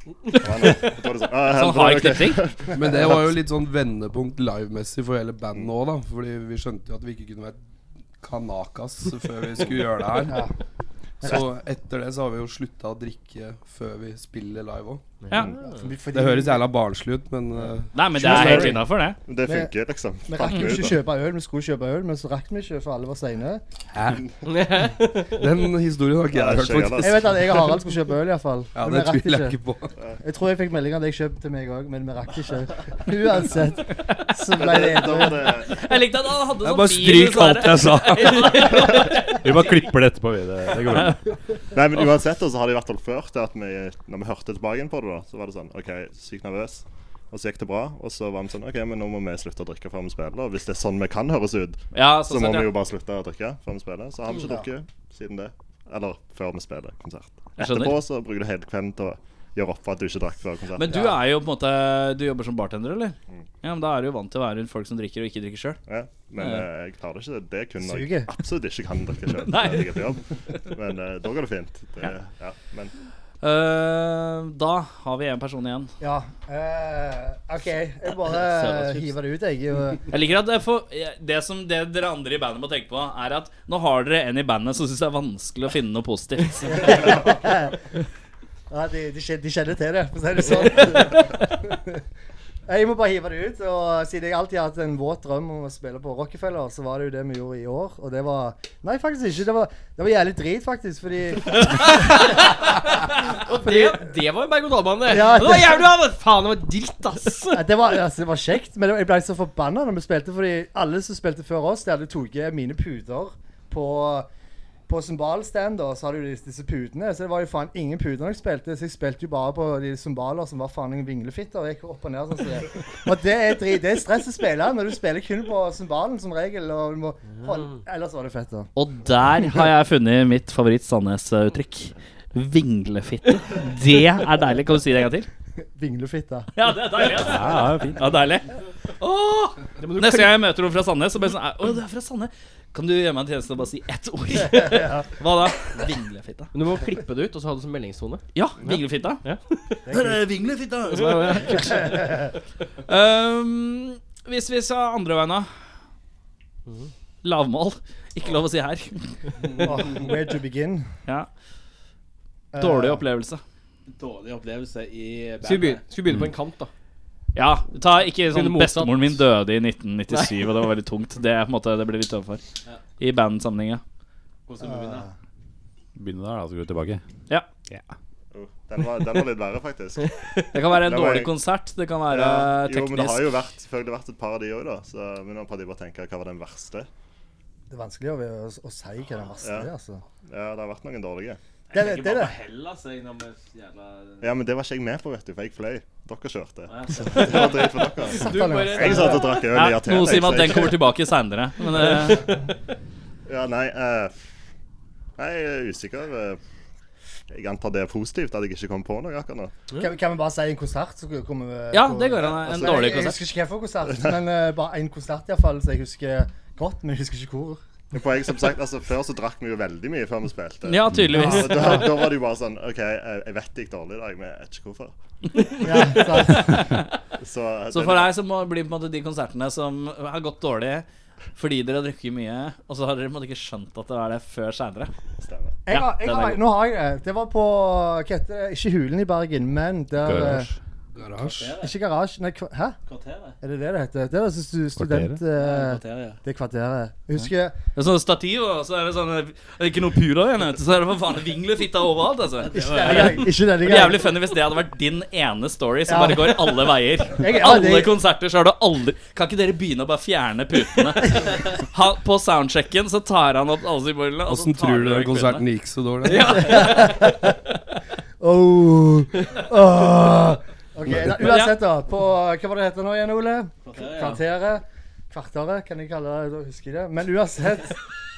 Og han- og da er det sånn, ah, Sånn helvete, hard ok. knipsing. Men det var jo litt sånn vendepunkt livemessig for hele bandet òg, da. Fordi vi skjønte jo at vi ikke kunne være kanakas før vi skulle gjøre det her. Så etter det så har vi jo slutta å drikke før vi spiller live òg. Ja. Fordi Det høres jævla barnslig ut, men eh, Nei, men det er helt innafor, det. Men Det funker, liksom. vi rakk jo Funker ikke ut, da. kjøpe øl, vi skulle kjøpe øl, men så rakk vi ikke, for alle var seine. den historien har ikke Ja, jeg hørt, skjer, da. Jeg faktisk. vet at jeg og Harald skulle kjøpe øl, iallfall. Ja, Men det vi rakk tviler jeg ikke. ikke på. Jeg tror jeg fikk melding av deg kjøpt til meg òg, men vi rakk ikke. Uansett så ble det Da edru. var det Jeg likte at han hadde Jeg sånn bare stryk alt jeg sa. Vi bare klipper det etterpå. Vi. Det, det går bra. Nei, men uansett da, så har det i hvert fall ført til at vi, når vi hørte tilbake igjen på det, da, så var det sånn OK, sykt nervøs. Og så gikk det bra. Og så var vi sånn OK, men nå må vi slutte å drikke før vi spiller. Og hvis det er sånn vi kan høres ut, Ja, så sånn må sett, vi ja. jo bare slutte å drikke før vi spiller. Så har vi ikke drukket siden det. Eller før vi spiller konsert. Jeg skjønner. Etterpå så bruker du hele kvelden til å gjøre opp for at du ikke drakk før konsert. Men du er jo på en måte Du jobber som bartender, eller? Mm. Ja, men Da er du jo vant til å være rundt folk som drikker og ikke drikker sjøl. Ja, men eh, jeg klarer ikke det. Det er kun når jeg Suger. absolutt ikke kan drikke sjøl. Nei. Men eh, da går det fint. Det, ja, men Eh, da har vi en person igjen. Ja. eh, OK, jeg bare Sørlandschips. hiver det ut, jeg. Og- Jeg liker at det, for, det som det dere andre i bandet må tenke på, er at nå har dere en i bandet som syns det er vanskelig å finne noe positivt. Ja, de, de, kjen- de kjenner til det, for å si det sånn. Jeg må bare hive det ut. og Siden jeg alltid har hatt en våt drøm om å spille på Rockefeller, så var det jo det vi gjorde i år. Og det var Nei, faktisk ikke. Det var, det var jævlig drit, faktisk, fordi Og det, det var jo berg og dal Ja, det var jævlig bra! men Faen, det var dritt, ass. Ja, det, var, altså, det var kjekt, men det var- jeg ble så forbanna når vi spilte, fordi alle som spilte før oss, de hadde tatt mine puter på på cymbalstand, da, så hadde jo disse, disse putene. Så det var jo faen ingen puter når jeg spilte, så jeg spilte jo bare på de cymbaler som var faen ingen vinglefitter. Og jeg gikk opp og ned sånn som det. Og det er, drit, det er stress å spille når du spiller kun på cymbalen som regel. Og du må holde, Ah. ellers var det fett, da. Og der har jeg funnet mitt favoritt-Sandnes-uttrykk. Vinglefitte. Det er deilig. Kan du si det en gang til? Vinglefitta. Ja, det er deilig. ass. Ja, det er fint. Ja, deilig. Åh! Det må du Neste klippe. gang jeg møter noen fra Sandnes, så blir jeg sånn Å, du er fra Sandnes. Kan du gjøre meg en tjeneste og bare si ett ord? Hva da? Vinglefitta. Men du må klippe det ut, og så ha det som meldingstone. Ja, vinglefitta. Ja. Her er vinglefitta! Så bare- um, hvis vi sa andre veien, da? Lavmål. Ikke lov å si her. Åh, where to begin? Eh, Ja. Dårlig opplevelse. Dårlig opplevelse i bandet. Skal vi begynne, skal vi begynne på en kant, da? Ja, ta ikke sånn Begynne motsatt. Bestemoren min døde i 1997, og det var veldig tungt. Det, er på en måte, det blir litt overfor. Ja. I bandsammenheng, ja. Hvordan skal vi begynne? Begynne der, da, så går vi tilbake. Ja. Oh, Den var, den var litt verre, faktisk. Det kan være en Den var dårlig jeg- konsert, det kan være Jo, men det har eh, teknisk. jo vært, selvfølgelig vært et par av de òg, da. Så, men nå prøvde jeg bare å tenke hva var den verste. Det er vanskelig å, å, å si hva den verste er, altså. Ja, det har vært noen dårlige. Det, Jeg det, tenker bare det. på Hellas, jeg, når vi jævla Ja, men det var ikke jeg med på, vet du, for jeg fløy. Dere kjørte. ja. Så det var drit for dere. Du bare- Jeg satt og drakk øl Ja, i Aten. noe sier jeg, meg at så den jeg- kommer tilbake senere, men, eh. Ja, nei eh, Nei, jeg er usikker. eh. Jeg antar det er positivt at jeg ikke kom på noe akkurat nå. Kan, vi- kan vi bare si en konsert? Så kommer vi Ja, på- det går an, en Altså, dårlig Jeg, jeg konsert. husker ikke hvilken konsert, men eh, bare en konsert iallfall, så jeg husker godt. Men jeg husker ikke hvor. Poenget som sagt, altså Før så drakk vi jo veldig mye før vi spilte. Ja, tydeligvis. Og da, da var det jo bare sånn OK, jeg jeg vet det gikk dårlig i dag, men jeg vet ikke hvorfor. så, Så for deg så må det bli på en måte de konsertene som har gått dårlig fordi dere har drukket mye, og så har dere på en måte ikke skjønt at det var det før seinere. Jeg har, jeg har, nå har jeg det. Det var på hva heter det? Ikke Hulen i Bergen, men der eh, Garasje. Garasje. Ikke garasje, nei, kva- hæ? Kvarteret. Er det det det heter? Det er altså stu- student... eh, det er kvarteret. Jeg husker Det er sånn stativ, og så er det sånn eh, er det Ikke noe puder igjen, vet du. Så er det for faen vinglefitta overalt, altså. Ikke denne gang, ikke denne Det gang. er Jævlig funny hvis det hadde vært din ene story som Ja. bare går alle veier. Jeg- ja, Alle det- konserter så har du aldri Kan ikke dere begynne å bare fjerne putene? Han, på soundchecken så tar han opp alle symbolene. og så Åssen tar tror han Altså, du den vekk konserten putene. gikk så dårlig? Åh, åh. Ok, da, Men ja. uansett da, på, hva var det heter nå igjen, Ole? Kvarteret, ja. Kvarteret. Kvarteret, kan jeg kalle det, da husker jeg det. Men uansett,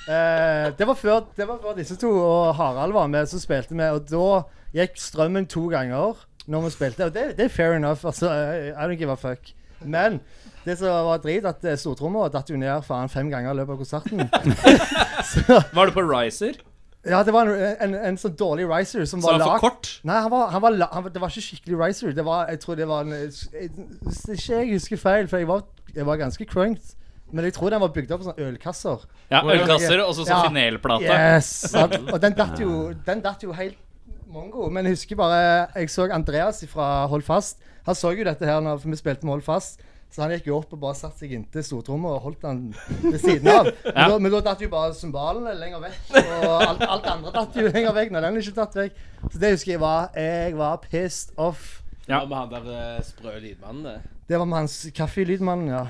eh, det, var før, det var før disse to og Harald var med, så spilte vi, og da gikk strømmen to ganger når vi spilte, og det, det er fair enough, altså, I I don't give a fuck. Men det som var drit, at eh, stortrommet datt jo ned faen fem ganger i løpet av konserten. Var du på Riser? Ja, det var en, en, en sånn dårlig riser som Så var han var lagt- for kort? Nei, han var, han var, la- han var, det var ikke skikkelig riser. Det var, jeg tror det var en jeg, Hvis ikke jeg husker feil, for jeg var, jeg var ganske crunked. Men jeg tror den var bygd opp av sånne ølkasser. Ja, ølkasser, og så sånn Ja. finelplate. Yes, sant? Og den datt jo, den datt jo helt mongo. Men jeg husker bare Jeg så Andreas fra Hold fast. Han så jo dette her når vi spilte med Hold fast. Så han gikk jo opp og bare satte seg inntil stortromma og holdt den ved siden av. Men Ja. da- Men da datt jo bare cymbalene lenger vekk. Og alt, alt andre datt jo lenger vekk. Nei, den er ikke tatt vekk. Så det husker jeg var Jeg var pissed off. Det var med han der eh, sprø lydmannen, det. Det var med hans Kaffelydmannen, ja.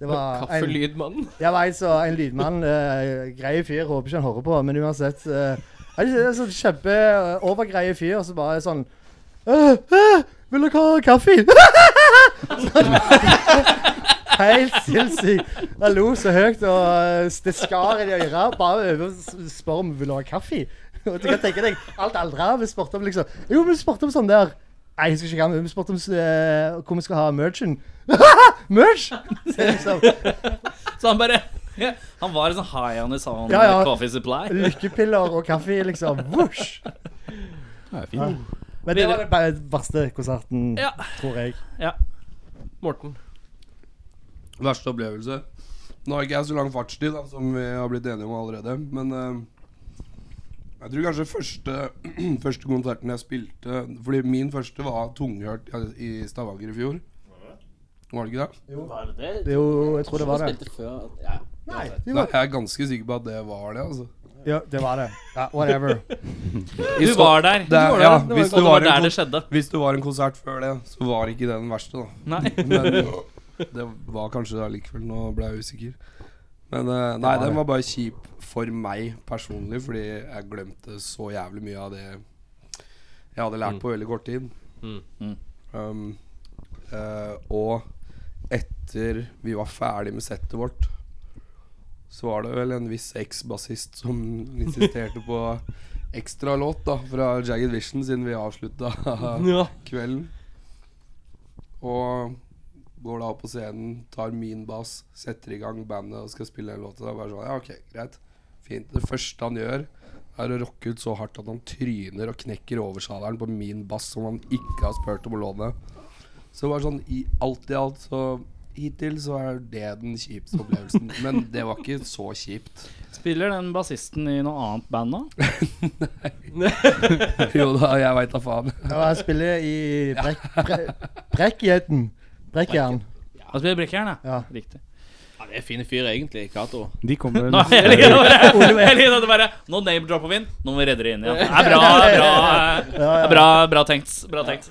Det var en- Kaffelydmannen? Jeg var altså en lydmann. Uh, grei fyr. Håper ikke han hører på, men uansett. eh, han er en sånn kjempeovergreie fyr, og så bare sånn «Øh, øh, Vil dere ha kaffe? Sånn. Helt sinnssykt. Han lo så høyt, og eh, det skar i det øret. Bare over og spør om vil du ha kaffe. Og du kan tenke deg alt aldra vi spurte om, liksom. Jo, vi spurte om sånn der. Nei, jeg husker ikke hva vi spurte om eh, hvor vi skal ha merchen. Merch! Så liksom, Så han bare Han var en sånn high on his own Ja, ja. coffee supply. Lykkepiller og kaffe, liksom. Vosj! er fint. Men det var den bare verste konserten, Ja. tror jeg. Morten. Verste opplevelse. Nå har ikke jeg så lang fartstid da, som vi har blitt enige om allerede, men eh, jeg tror kanskje første, første konserten jeg spilte Fordi min første var tunghørt i- i Stavanger i fjor. Var det ikke det? Var det det? Jo, jeg tror det var det. Spilte før ja. Nei, det Nei, var, jeg er ganske sikker på at det var det. altså ja, det var det. Ja, whatever. Du var der. Det, er- ja, Og hvis det det var var der en det skjedde. kon- Hvis det var en konsert før det, så var ikke det den verste, da. Nei. Men det var kanskje det allikevel. Nå ble jeg usikker. Men eh, nei, den var bare kjip for meg personlig, fordi jeg glemte så jævlig mye av det jeg hadde lært på veldig kort tid. Mm. Mm. Um, eh, og etter vi var ferdig med settet vårt, så var det vel en viss eks-bassist som insisterte på ekstra låt da fra Jagged Vision, siden vi avslutta kvelden. Og går da opp på scenen, tar min bass, setter i gang bandet og skal spille den låta. Det er bare sånn, ja ok, greit, fint. Det første han gjør, er å rocke ut så hardt at han tryner og knekker oversaleren på min bass som han ikke har spurt om å låne. Så bare sånn, i alt i alt, så hittil så er det den kjipeste opplevelsen. Men det var ikke så kjipt. Spiller den bassisten i noe annet band nå? Jo da, jeg veit da faen. Ja, jeg spiller i brekk... Bre, brekkjeten. Brekkjern. Han spiller Brekkjern, ja. Ja. Riktig. ja, det er fin fyr, egentlig, Cato. De kommer Nå, jeg liker det bare. Jeg liker det bare. Nå name-dropper vi inn. Nå må vi redde det inn igjen. Det er bra, det er bra, eh, det er bra, bra tenkt. Bra tenkt.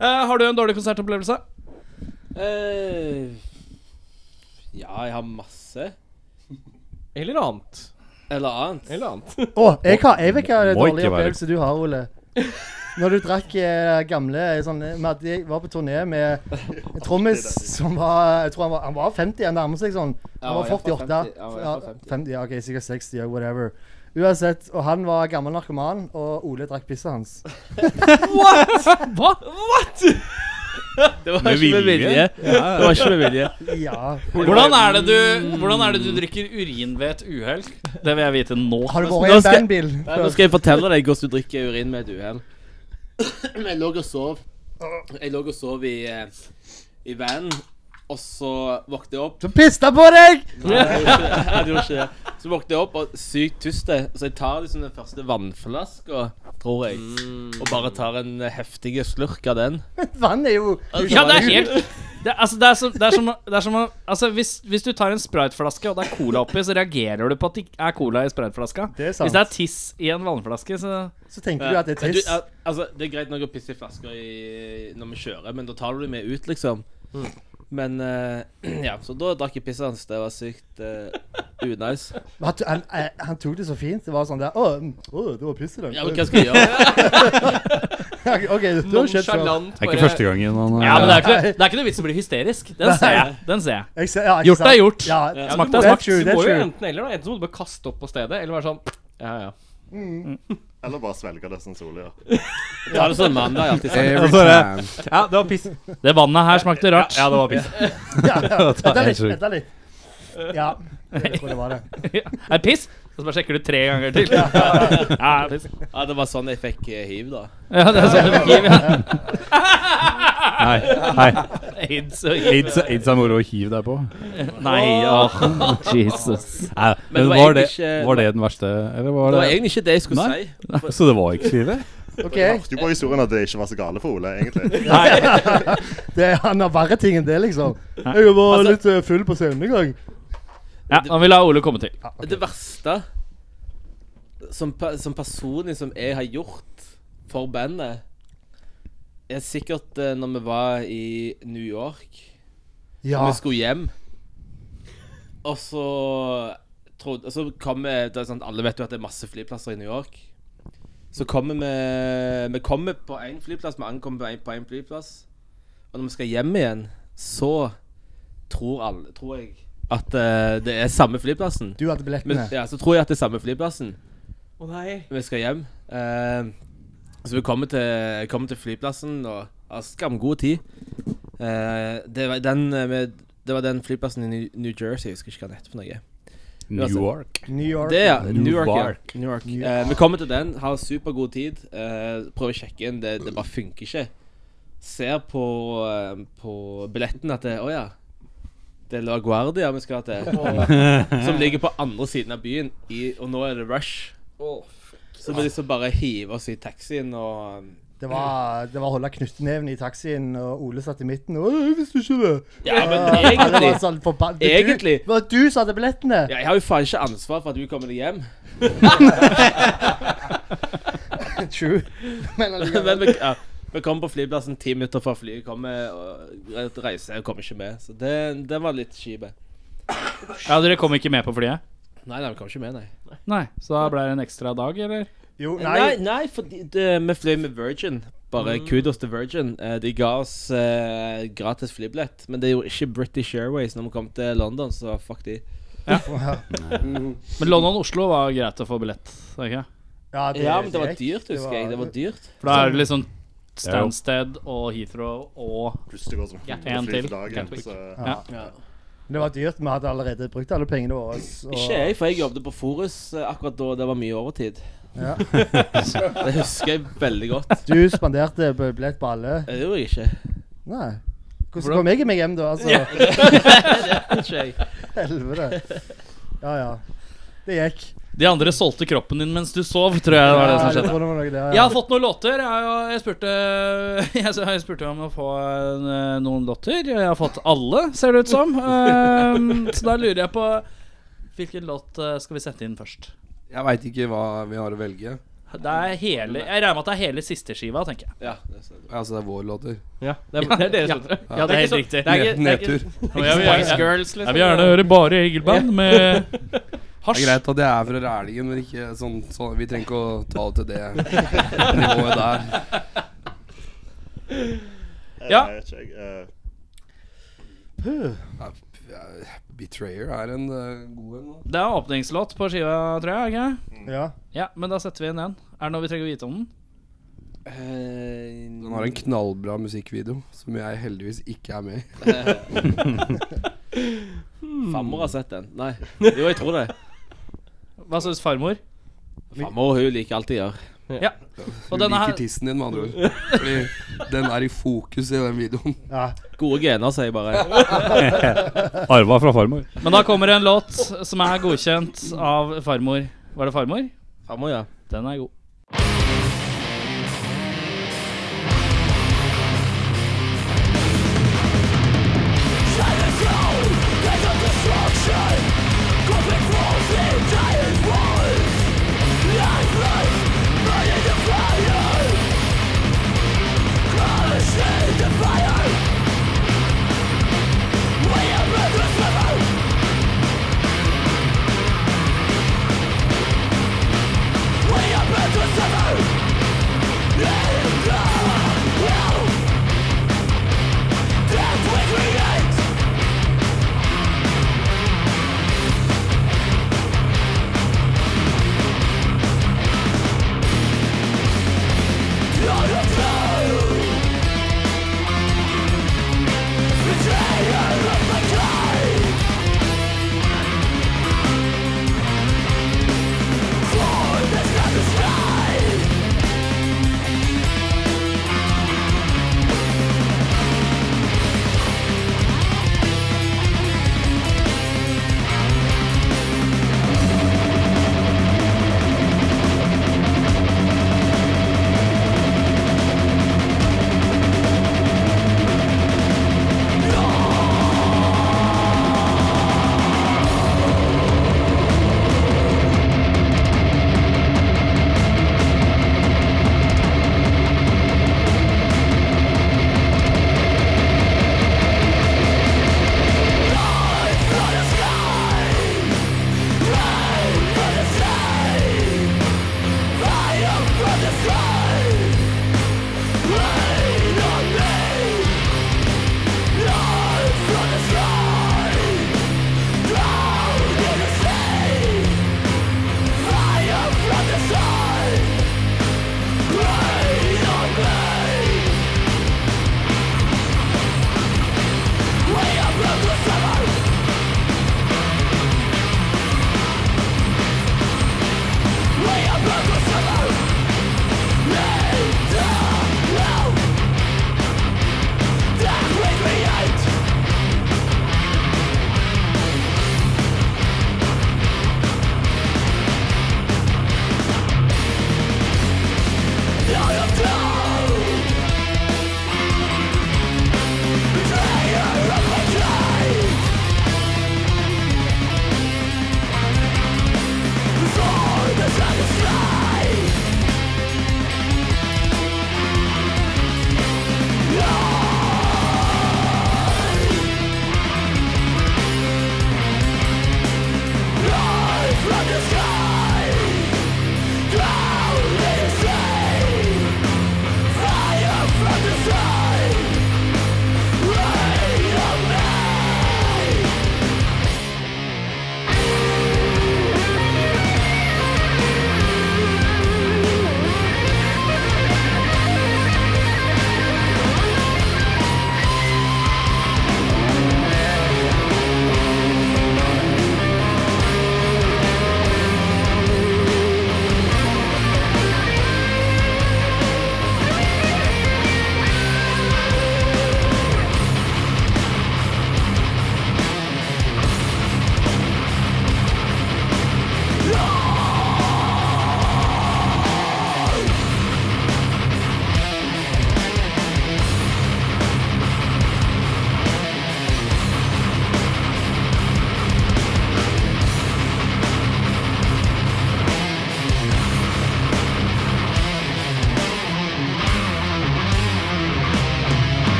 Eh, har du en dårlig konsertopplevelse? Eh, ja, jeg har masse. Eller annet. Eller annet. Eller annet. Å, jeg, har, jeg vet hva det Må ikke dårlige være- opplevelse du har, Ole. Når du drakk eh, gamle sånn, vi hadde- Jeg var på turné med en trommis som var Jeg tror han var, han var 50, han nærmer seg sånn. Ja, Han var i hvert fall 48. 50, ja, i hvert Ja, fall 50. 50, ja, OK, sikkert 60, ja, whatever. Uansett, og han var gammel narkoman, og Ole drakk pisset hans. Hva? Det var ikke med vilje. Det var ikke med vilje. Ja. Hvordan er det du, hvordan er det du drikker urin ved et uhell? Det vil jeg vite nå. Har du Nå vært i en skal- bandbil? Nei, nå skal jeg fortelle deg hvordan du drikker urin med et uhell. Jeg lå og sov. Jeg lå og sov i, eh, i vanen, og så våknet jeg opp. Så pissa på deg! Nei, jeg gjorde ikke det. Jeg gjorde ikke det. Så våknet jeg opp og sykt tyst, det. så jeg tar liksom den første vannflaska, tror jeg, og bare tar en eh, heftig slurk av den. Vann er jo Ja, det er helt det, er- altså, det, er som, det, er som, å- det er som å altså, hvis, hvis du tar en spriteflaske og det er cola oppi, så reagerer du på at det ikke er cola i spriteflaska. Det er sant. Hvis det er tiss i en vannflaske, så Så tenker du at det er Men du, tiss. al- altså, det er greit nok å pisse i flasker i, når vi kjører, men da tar du dem med ut, liksom. Men eh, Ja, så da drakk jeg pisset hans. Det var sykt eh, unice. Men Han, han, eh, han tok det så fint. Det var sånn der Å, mm, å, det var piss i den. Ja, men hva skal jeg gjøre? OK, du har skjedd før. Nonchalant. Det er ikke første gangen han eh, Ja, men det er ikke, det er ikke noe vits i å bli hysterisk. Den ser jeg. Den ser jeg. Jeg ser- ja, ikke Gjort sant? er gjort. Ja, Ja, Smakt er det er smakt. true, Du det må er jo true. enten eller. da Enten så må du bare kaste opp på stedet, eller være sånn Ja, ja. Eller bare svelge det som Soli gjør. Ta det sånn mandag jeg alltid sier. Every time. Ja, det var piss. Det vannet her smakte rart. Ja, det var piss. Ja, ja. Vent da helt litt, sjukt. vent da litt. Eh. Ja, jeg tror det var det. Er det piss? Og så bare sjekker du tre ganger til. Ja, piss. Ja, det var sånn jeg fikk eh, hiv, da. Ja, det er sånn det blir. ja. Nei, hei. Aids og Aids, aids er moro å hive deg på. Nei, åh, Jesus. Nei, Men det men var var det, egentlig ikke- var det den verste, eller var Det det var egentlig ikke det jeg skulle Nei. si. Så det var ikke så ille? OK. Du på historien at det ikke var så gale for Ole, egentlig. Det er, han har verre ting enn det, liksom. Jeg var Altså- litt eh, full på scenen en gang. Ja, nå vil jeg ha Ole komme til. Det verste som, pe- som personlig som jeg har gjort for bandet, er sikkert uh, når vi var i New York. Ja. Vi skulle hjem. Og så trodde, og så kom vi det er sånn, Alle vet jo at det er masse flyplasser i New York. Så kommer vi Vi kommer på én flyplass, vi ankommer på en- på én flyplass. Og når vi skal hjem igjen, så tror alle Tror jeg at eh, det er samme flyplassen. Du hadde Men, billettene. ja, så tror jeg at det er samme flyplassen. Å nei. Vi skal hjem. Eh, så vi kommer til, kommer til flyplassen og har skamgod tid. Ehm, Eh, det, var den, eh, med, det var den flyplassen i New, New Jersey, jeg husker ikke hva den heter for noe. Newark. Newark. Det, ja. Newark. Newark. ja. Newark. Newark. Eh, vi kommer til den. Har supergod tid. Eh, prøver å sjekke inn. Det, det bare funker ikke. Ser på, eh, på billetten at det Å ja. Det er La Guardia vi skal til. som ligger på andre siden av byen. I, og nå er det rush. Så vi liksom bare hiver oss i taxien og Det var, det var å holde knyttneven i taxien, og Ole satt i midten. Åh, hvis du ikke det. Ja, men Ja, det var egentlig sånn forbann- Det var du- Egentlig. Det var du som hadde billettene. ja, Jeg har jo faen ikke ansvar for at du kommer deg hjem. True. Men allikevel. Men vi, ja, vi kom på flyplassen ti minutter fra flyet. Kommer og reiser og kommer ikke med. Så det, det var litt kjipt. Ja, dere kom ikke med på flyet? Nei, nei, vi kom ikke med, nei. Nei, så da ble det en ekstra dag, eller? Jo, Nei, nei, Mm. nei. for vi fløy med Virgin. Bare kudos til Virgin. Eh, De ga oss eh, gratis flybillett. Men det er jo ikke British Airways når vi kom til London, så fuck de. Men London-Oslo var greit å få billett. var det Ikke? Ja, Ja, men det var dyrt, Det husker jeg. Det var dyrt. For da er det liksom Stansted og Heathrow og Plutselig går det sånn En 100 fly til. for dagen. Gatwick. Så eh, Det var dyrt. Vi hadde allerede brukt alle pengene våre. og- Ikke jeg, for jeg jobbet på Forus eh, akkurat da det var mye overtid. Ja. Det husker jeg veldig godt. Du spanderte på billett på alle. Det gjorde jeg ikke. Nei. Hvordan kom jeg meg hjem, da? Altså, ikke jeg. Helvete. Ja, ja. Det gikk. De andre solgte kroppen din mens du sov, tror jeg det var det som Ja, jeg skjedde. tror det var noe der, Jeg ja. har fått noen låter. Jeg, har- jeg, spurte, jeg, s- jeg spurte om å få eh, noen låter. Jeg har fått alle, ser det ut som. Ehm, så da lurer jeg på Hvilken låt eh, skal vi sette inn først? Jeg veit ikke hva vi har å velge. Det er hele, jeg regner med at det er hele siste skiva, tenker jeg. Ja, det stemmer. Altså, det er vår låter. Ja, det er, det er deres låter. Ja, det er helt riktig. Det er ikke, det er ikke Nedtur. Det Og jeg vil Spice gjerne- Girls, liksom. jeg vil gjerne høre bare Egilband med er hasj. greit at jeg er fra Rælingen, men ikke sånn, sånn Vi trenger ikke å ta det til det nivået der. eh, Ja. nei, jeg vet ikke, jeg, eh, Ja, ja, Betrayer er en eh, god en. da. Det er åpningslåt på skiva, tror jeg. ikke? ja. Ja, men da setter vi inn den. Er det noe vi trenger å vite om den? Den har en knallbra musikkvideo som jeg heldigvis ikke er med i. Farmor har sett den. Nei. Jo, jeg tror det. Hva syns farmor? Farmor hun liker alt de gjør. Og Du denne her- liker tissen din, med andre ord. Fordi den er i fokus i den videoen. ja. Gode gener, sier jeg bare. Arva fra farmor. Men da kommer en låt som er godkjent av farmor. Var det farmor? Farmor, ja. Den er god. We are better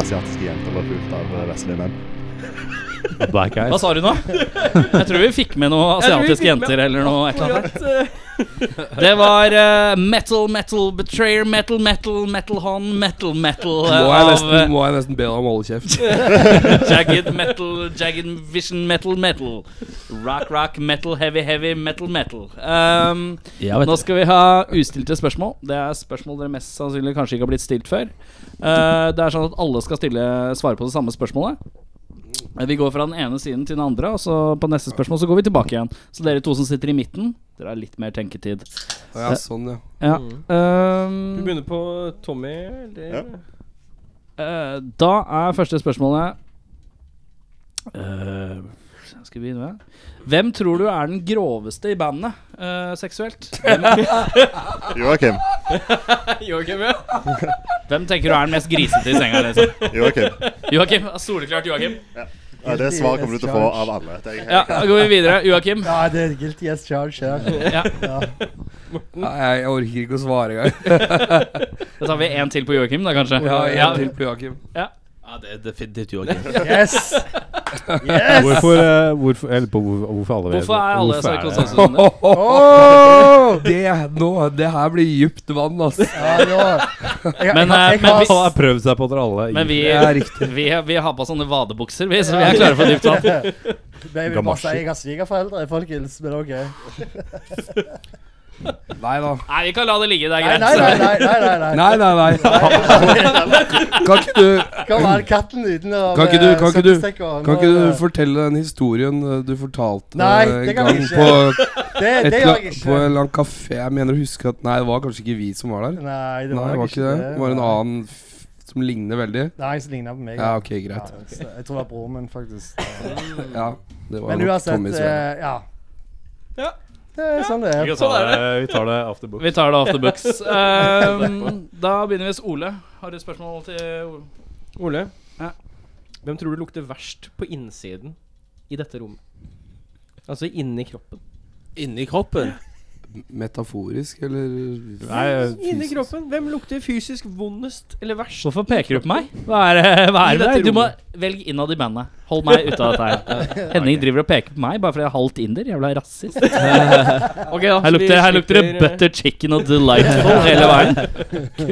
asiatiske jenter ble pult av eh, vestlige menn. Black eyes. Hva sa du nå? Jeg tror vi fikk med noe Jeg tror vi asiatiske fikk med jenter eller noe. Et eller annet. akkurat, der. Det var eh, Metal, Metal, Betrayer, Metal, Metal, Metal Hand, Metal, Metal eh, Må jeg av, nesten, eh, må jeg nesten be deg om å holde kjeft. Jagged metal, jagged vision metal, metal. Rock, rock, metal, heavy, heavy, metal, metal. Um, Ja, vet nå du. skal vi ha ustilte spørsmål. Det er spørsmål dere mest sannsynlig kanskje ikke har blitt stilt før. Eh, det er sånn at alle skal stille, svare på det samme spørsmålet. Eh, Vi går fra den ene siden til den andre, og så på neste spørsmål så går vi tilbake igjen. Så dere to som sitter i midten, dere har litt mer tenketid. Ja, sånn, ja. ja. Mm. Um, Vi begynner på Tommy, eller? Eh, da er første spørsmålet Eh, Skal vi begynne med Hvem tror du er den groveste i bandet eh, seksuelt? Hvem- Joakim. Joakim, ja. Hvem tenker du er den mest grisete i senga? Liksom? Joakim. Joakim, ja, Soleklart Joakim. Ja, det svaret kommer du til å få av alle. Det er helt Ja, da går vi videre. Joakim. Ja, det er guilty as charge her. Ja. Nei, jeg orker ikke å svare engang. Da tar vi én til på Joakim, da kanskje. Ja, en til på Joakim. Ja. Ja, det er definitivt Joakim. Yes! Hvorfor, eh, hvorfor, eller på, hvor- hvorfor alle Hvorfor er alle sånn? hvorfor det- sarkosensusene? Åh, det, nå, det her blir dypt vann, altså. Men, eh, men Han hvis- har prøvd seg på dere alle. i- Men vi, Ja, vi, vi har på sånne vadebukser, vi, så vi er klare for dypt vann. Nei, Jeg vil bare si Gamashi. jeg har svigerforeldre, folkens, men OK. Nei da. Nei, vi kan la det ligge. Det er Nei, greit. nei, nei. nei, nei, nei, nei. Nei, nei, nei. Kan ikke du Kom an, katten uten å kan ikke du, kan ikke du, søppelstekker. kan Nå, ikke du eh, fortelle den historien eh, du fortalte Nei, eh, det en kan gang jeg ikke. på Det- et det la- gjør jeg ikke. På en eller annen kafé Jeg mener å huske at Nei, det var kanskje ikke vi som var der. Nei, det var Nei, nok var ikke det. Det var en annen f som ligner veldig. Det er en som ligner på meg. Ja, ok, greit. Ja, så jeg tror det var broren min, faktisk. Ja, det var Men nok uansett, Tommys venn. eh, ja. Det er sånn det er. Vi tar det. Eh, vi tar det after book. Vi tar det off the books. Ehm, da begynner vi hos Ole. Har du et spørsmål til Ole? Ole, Ja. hvem tror du lukter verst på innsiden i dette rommet? Altså inni kroppen. Inni kroppen? Metaforisk, eller Nei, Inni kroppen. Hvem lukter fysisk vondest eller verst? Hvorfor peker du på meg? Hva er det hva I er det? dette Du må rommet. velge innad i bandet. Hold meg ute av dette her. Henning driver og peker på meg bare fordi jeg er halvt inder. Jævla rasist. Ok, Her da, så Altså, vi lukter, her lukter det slipper, eh, butter chicken og delightful hele veien.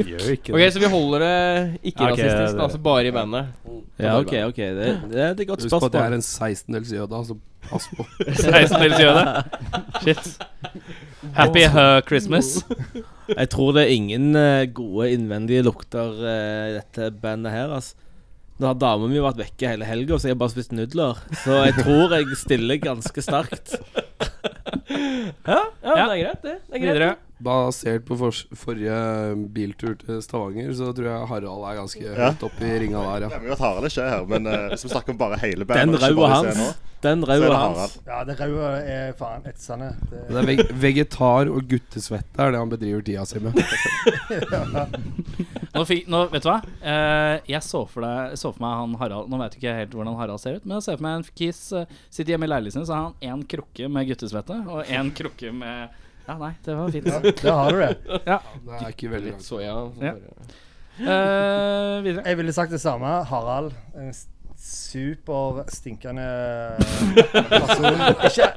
gjør ikke Ok, det. så vi holder det Ja, ok, ikke-rasistisk, det- da, altså bare i bandet. Ja, OK, ok. Det, det, er et godt Husk på at jeg er spørsmål. en 16-dels jøde, altså. Pass på. Sveisendels jøde. Shit. Happy uh, Christmas. Jeg tror det er ingen eh, gode innvendige lukter eh, i dette bandet her, altså. Nå har dama mi vært vekke hele helga, så jeg har bare spist nudler. Så jeg tror jeg stiller ganske sterkt. Ja, Ja. det er greit, det. det er greit. Videre. Basert på fors forrige biltur til Stavanger, så tror jeg Harald er ganske høyt oppe i ringa der, ja. Glemmer jo at Harald ikke er her, men eh, hvis vi snakker om bare hele Den bandet og ikke røde bare de hans. scenene, Den så er røde det hans. Harald. Ja, det røde er faen etsende. Det er veg vegetar og guttesvette er det han bedriver tida si med. Nå fikk, nå, vet du hva? Eh, jeg så for, deg, så for meg han Harald Nå vet jeg ikke helt hvordan Harald ser ut, men jeg ser for meg en kis eh, sitter hjemme i leiligheten sin, så har han én krukke med guttesvette og én krukke med Ja, nei, det var fint. Der har du det. Det er ikke veldig langt. Soya. Ja. Eh, videre. Jeg ville sagt det samme. Harald. En s- superstinkende eh, person. Ikke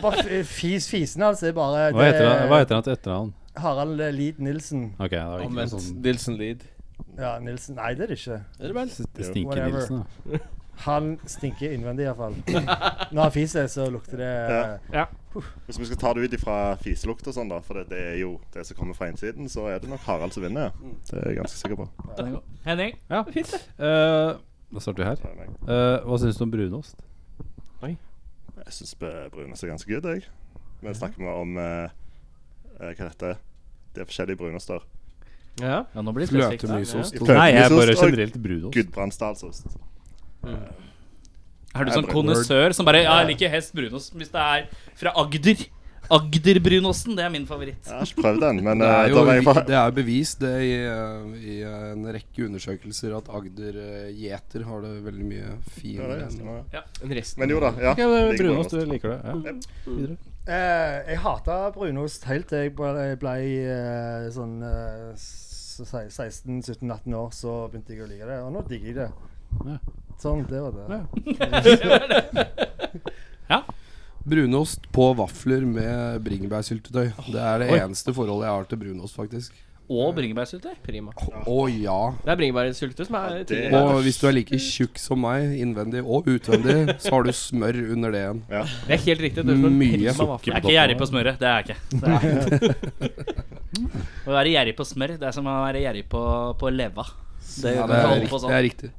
bare f- fis fisen, altså. Det er bare Hva heter han, hva heter han til etternavn? Harald Lid Nilsen. Ok, det var ikke noe Omvendt. sånn Nilsen Lid. Ja, Nilsen. Nei, det er det ikke. Er det vel? Det stinker Whatever. Nilsen, da. Han stinker innvendig, iallfall. Når han fiser, så lukter det Ja. Ja. Hvis vi skal ta det ut ifra fiselukt og sånn, da, for det, det er jo det som kommer fra innsiden, så er det nok Harald som vinner. ja. Mm. Det er jeg ganske sikker på. Den er god. Henning. Eh, Da starter vi her. Det er meg. Eh, hva syns du om brunost? Jeg syns brunost er ganske good, jeg. Men snakker vi om eh, eh, hva dette er? Det er forskjellige brunoster. Ja. Ja, nå blir det spesifikt. Fløtemysost. og- Nei, jeg er bare Fløtemysost og generelt brunost. Gudbrandsdalsost. Er du sånn kondisør som bare Ja, jeg liker hest brunost hvis det er fra Agder. Agder-brunosten, det er min favoritt. Jeg har ikke prøvd den, men Det eh, er jo da var jeg vi- bare det er bevist det i, eh, i en rekke undersøkelser at Agder eh, gjeter har det veldig mye Ja, det er finere ganske enn bra. En rest. Men jo da. Ja. Ja, det er Ligger brunost, brunost. du liker det. Ja. Eh, Jeg hata brunost helt til jeg ble, ble eh, sånn eh, s- 16-17-18 år, så begynte jeg å like det. Og nå digger jeg det. Sånn, det var det. Brunost på vafler med bringebærsyltetøy. Det er det Oi. eneste forholdet jeg har til brunost, faktisk. Og bringebærsyltetøy. Prima. Å ja. Det er bringebærsyltetøy som er Det- tingen. Og hvis du er like tjukk som meg, innvendig og utvendig, så har du smør under det igjen. Det er helt riktig. Det er som Mye prima sukker vafler. Jeg er ikke gjerrig på smøret. Det er jeg ikke. Nei. Å være gjerrig på smør, det er som å være gjerrig på, på leva. Det, Ja, kan holde på det, er riktig, sånn. det er riktig.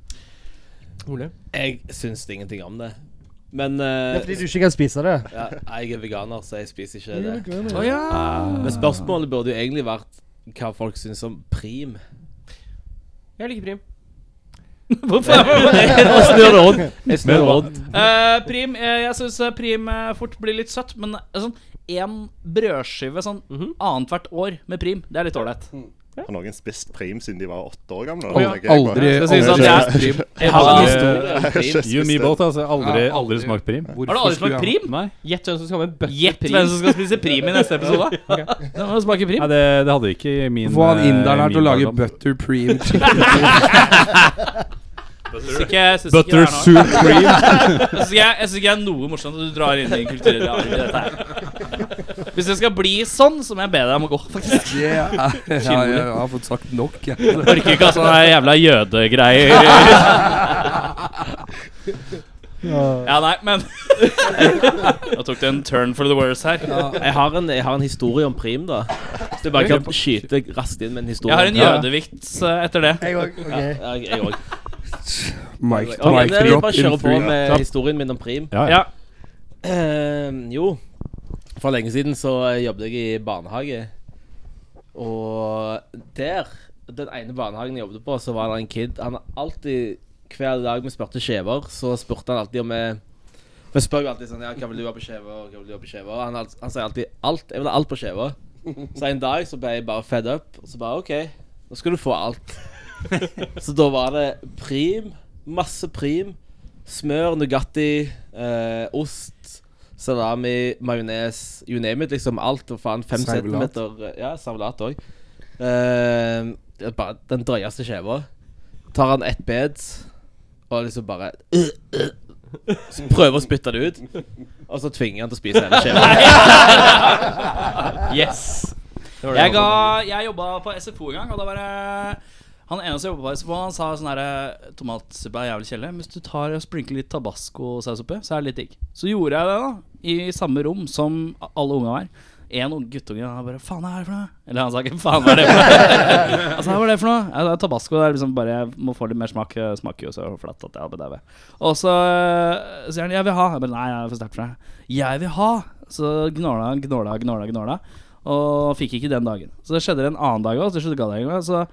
Ole? Jeg syns ingenting om det. Men Det eh, er fordi du ikke kan spise det. ja, jeg er veganer, så jeg spiser ikke det. veganer. Å ja. Men spørsmålet burde jo egentlig vært hva folk syns om prim. Jeg liker prim. Hvorfor er det Nå snur det rundt. Jeg snur det rundt. Eh, prim, eh, jeg syns prim eh, fort blir litt søtt, men eh, sånn én brødskive sånn annethvert år med prim, det er litt ålreit. Har noen spist prim siden de var åtte år gamle? Al- tenker jeg bare. aldri- Jeg skal si har sånn, ikke- jeg- jeg Jeg har har- ikke historie om prim. spist You and me det. both, altså. Aldri, Ja, aldri. aldri smakt prim. Hvorfor Har du aldri skulle smakt jeg- prim? Nei, Gjett hvem som skal ha med bøtte Gjett hvem prim. som skal spise prim i neste episode. Da må du smake prim. Nei det, det hadde ikke i min Få han eh, inderen her til å min lage barndom. butter preem. Syns ikke, jeg syns ikke det Butter er noe. soup cream. Jeg syns ikke, jeg syns ikke det er noe morsomt at du drar inn din kulturelle arv i dette her. Hvis det skal bli sånn, så må jeg be deg om å gå, faktisk. Det er, ja, jeg, jeg har fått sagt nok, jeg. Orker ikke altså, ha sånne jævla jødegreier. Ja, nei, men Nå tok det en turn for the worse her. Jeg har, en, jeg har en historie om prim, da. Så du bare kan skyte raskt inn med en historie. Jeg har en Ja. jødevits eh, etter det. Jeg òg. ok. Ja, jeg òg. Mike, Mike Ok, nei, jeg vil drop bare in kjøre på three. med historien min om prim. Ja, ja. Ja. Eh, jo, for lenge siden så eh, jobbet jeg i barnehage. Og der, den ene barnehagen jeg jobbet på, så var det en kid. Han har alltid, hver dag vi spurte skjever, så spurte han alltid om jeg Vi spør jo alltid sånn Ja, hva vil du ha på skjever? Hva vil du ha på skjever? Og han, al- han sier alltid alt. Jeg vil ha alt på skjever. Så en dag så ble jeg bare fed up, og så bare OK, nå skal du få alt. Så da var det prim, masse prim, smør, Nugatti, eh, ost, salami, majones, you name it. Liksom alt. Og faen, fem Servelat. centimeter Ja, servelat òg. Eh, bare den drøyeste skjeva. Tar han ett bed og liksom bare så Prøver å spytte det ut, og så tvinger han til å spise hele skjeva. Yes. Jeg, ga, jeg jobba på SFO en gang, og da var det han ene som jobba på SFO, han sa sånn herre Tomatsuppe er jævlig kjedelig, men hvis du tar og sprinkler litt tabascosaus oppi, så er det litt digg. Så gjorde jeg det, da. I samme rom som alle unga var. En ung guttunge han bare 'Faen, hva er det for noe?' Eller han sa ikke 'faen, hva er det for noe?' altså, hva er det for noe? Ja, det er tabasco. Det er liksom bare Jeg må få litt mer smak. Det Smaker jo så flatt at jeg har bedøvet. Og så øh, sier han 'jeg vil ha'. Jeg bare, Nei, det er for sterkt for deg. 'Jeg vil ha'. Så gnåla han, gnåla, gnåla, gnåla. Og fikk ikke den dagen. Så det skjedde en annen dag òg. Så gadd jeg ikke mer. Så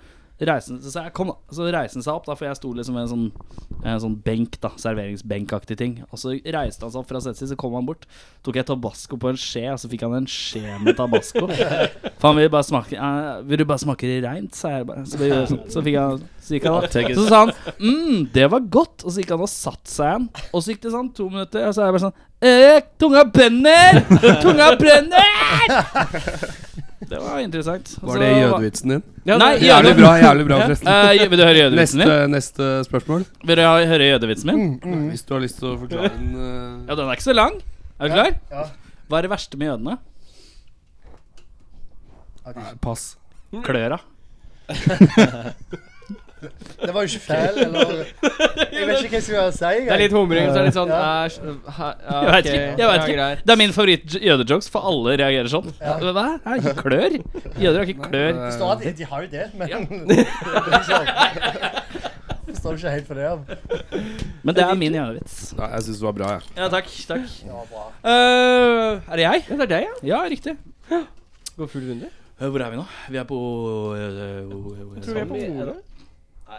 reiste han- så jeg kom da. Så reiste han seg opp, da, for jeg sto liksom ved en sånn, en sånn benk, da serveringsbenkaktig ting. Og så reiste han seg opp fra setet sitt, så kom han bort. Tok jeg tabasco på en skje, og så fikk han en skje med tabasco. For han ville bare smake eh, Vil du bare smake det reint, sa jeg bare. Så, det gjorde jeg sånn. så fikk han Så gikk han da. Så sa han mm, det var godt. Og så gikk han og satte seg igjen. Og så gikk det sånn to minutter, og så er jeg bare sånn eh, Tunga brenner! Tunga brenner! Det var interessant. Og Var så det jødevitsen din? Nei, Jævlig bra, jævlig bra, forresten. Eh, vil du høre jødevitsen Neste, min? neste spørsmål. Vil du ha- høre jødevitsen min? Hvis du har lyst til å forklare den eh, Ja, den er ikke så lang. Er du klar? Ja. Hva er det verste med jødene? nei, Pass. Kløra. Det var jo ikke feil, eller Jeg vet ikke hva jeg skulle si. Jeg. Det er litt humring, så er det litt sånn eh, Ja. æsj, hæ- ja, Jeg ok, vet ikke. Jeg vet ja, ikke. greit. Det er min favoritt-jødejokes, for alle reagerer sånn. Ja. Hva? Er det ikke klør? Jøder har ikke klør. Det Eh, står at de- de har jo det, men Ja. Jeg står ikke helt for det. ja. Men det er min jødevits. Nei, jeg syns det var bra, jeg. Ja, takk. takk Det var bra. Øh, er det jeg? Ja, det er deg, ja. Ja, riktig. Går full runde. Hvor er vi nå? Vi er på Tror vi er på Ole.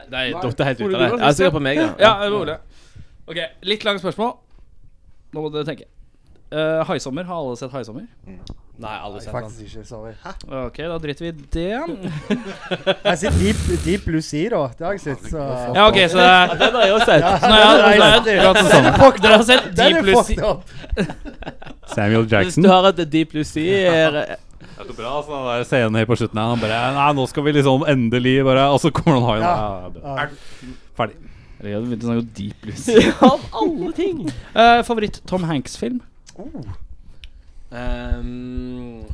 Nei, Datt det helt ut Ole av det. Gunnar, Jeg er sikker på meg, da. Ja, det var Ole. Ok, litt langt spørsmål. Nå må dere tenke. Eh, haisommer. Har alle sett Haisommer? Nei, aldri Nei, sett han. Faktisk ikke. Sorry. Ok, da driter vi i det. Jeg har sett Deep, Deep Blue Sea, da. Det har jeg sett. Så Ja, ok, så det er Den har jeg også sett. Nå er jeg- nå er jeg dratt den sammen. Dere har sett Den Deep er Blue Sea fucked up. Samuel Hvis Jackson. du har et Deep Blue Sea startet bra, så den der scenen helt på slutten her, Han bare Nei, nå skal vi liksom endelig bare Og så kommer han haien. Ja. Ja, Ja. Ferdig. Jeg hadde begynt å snakke om Deep Blues. Av alle ting! Eh, favoritt Tom Hanks-film? Oh. Ehm,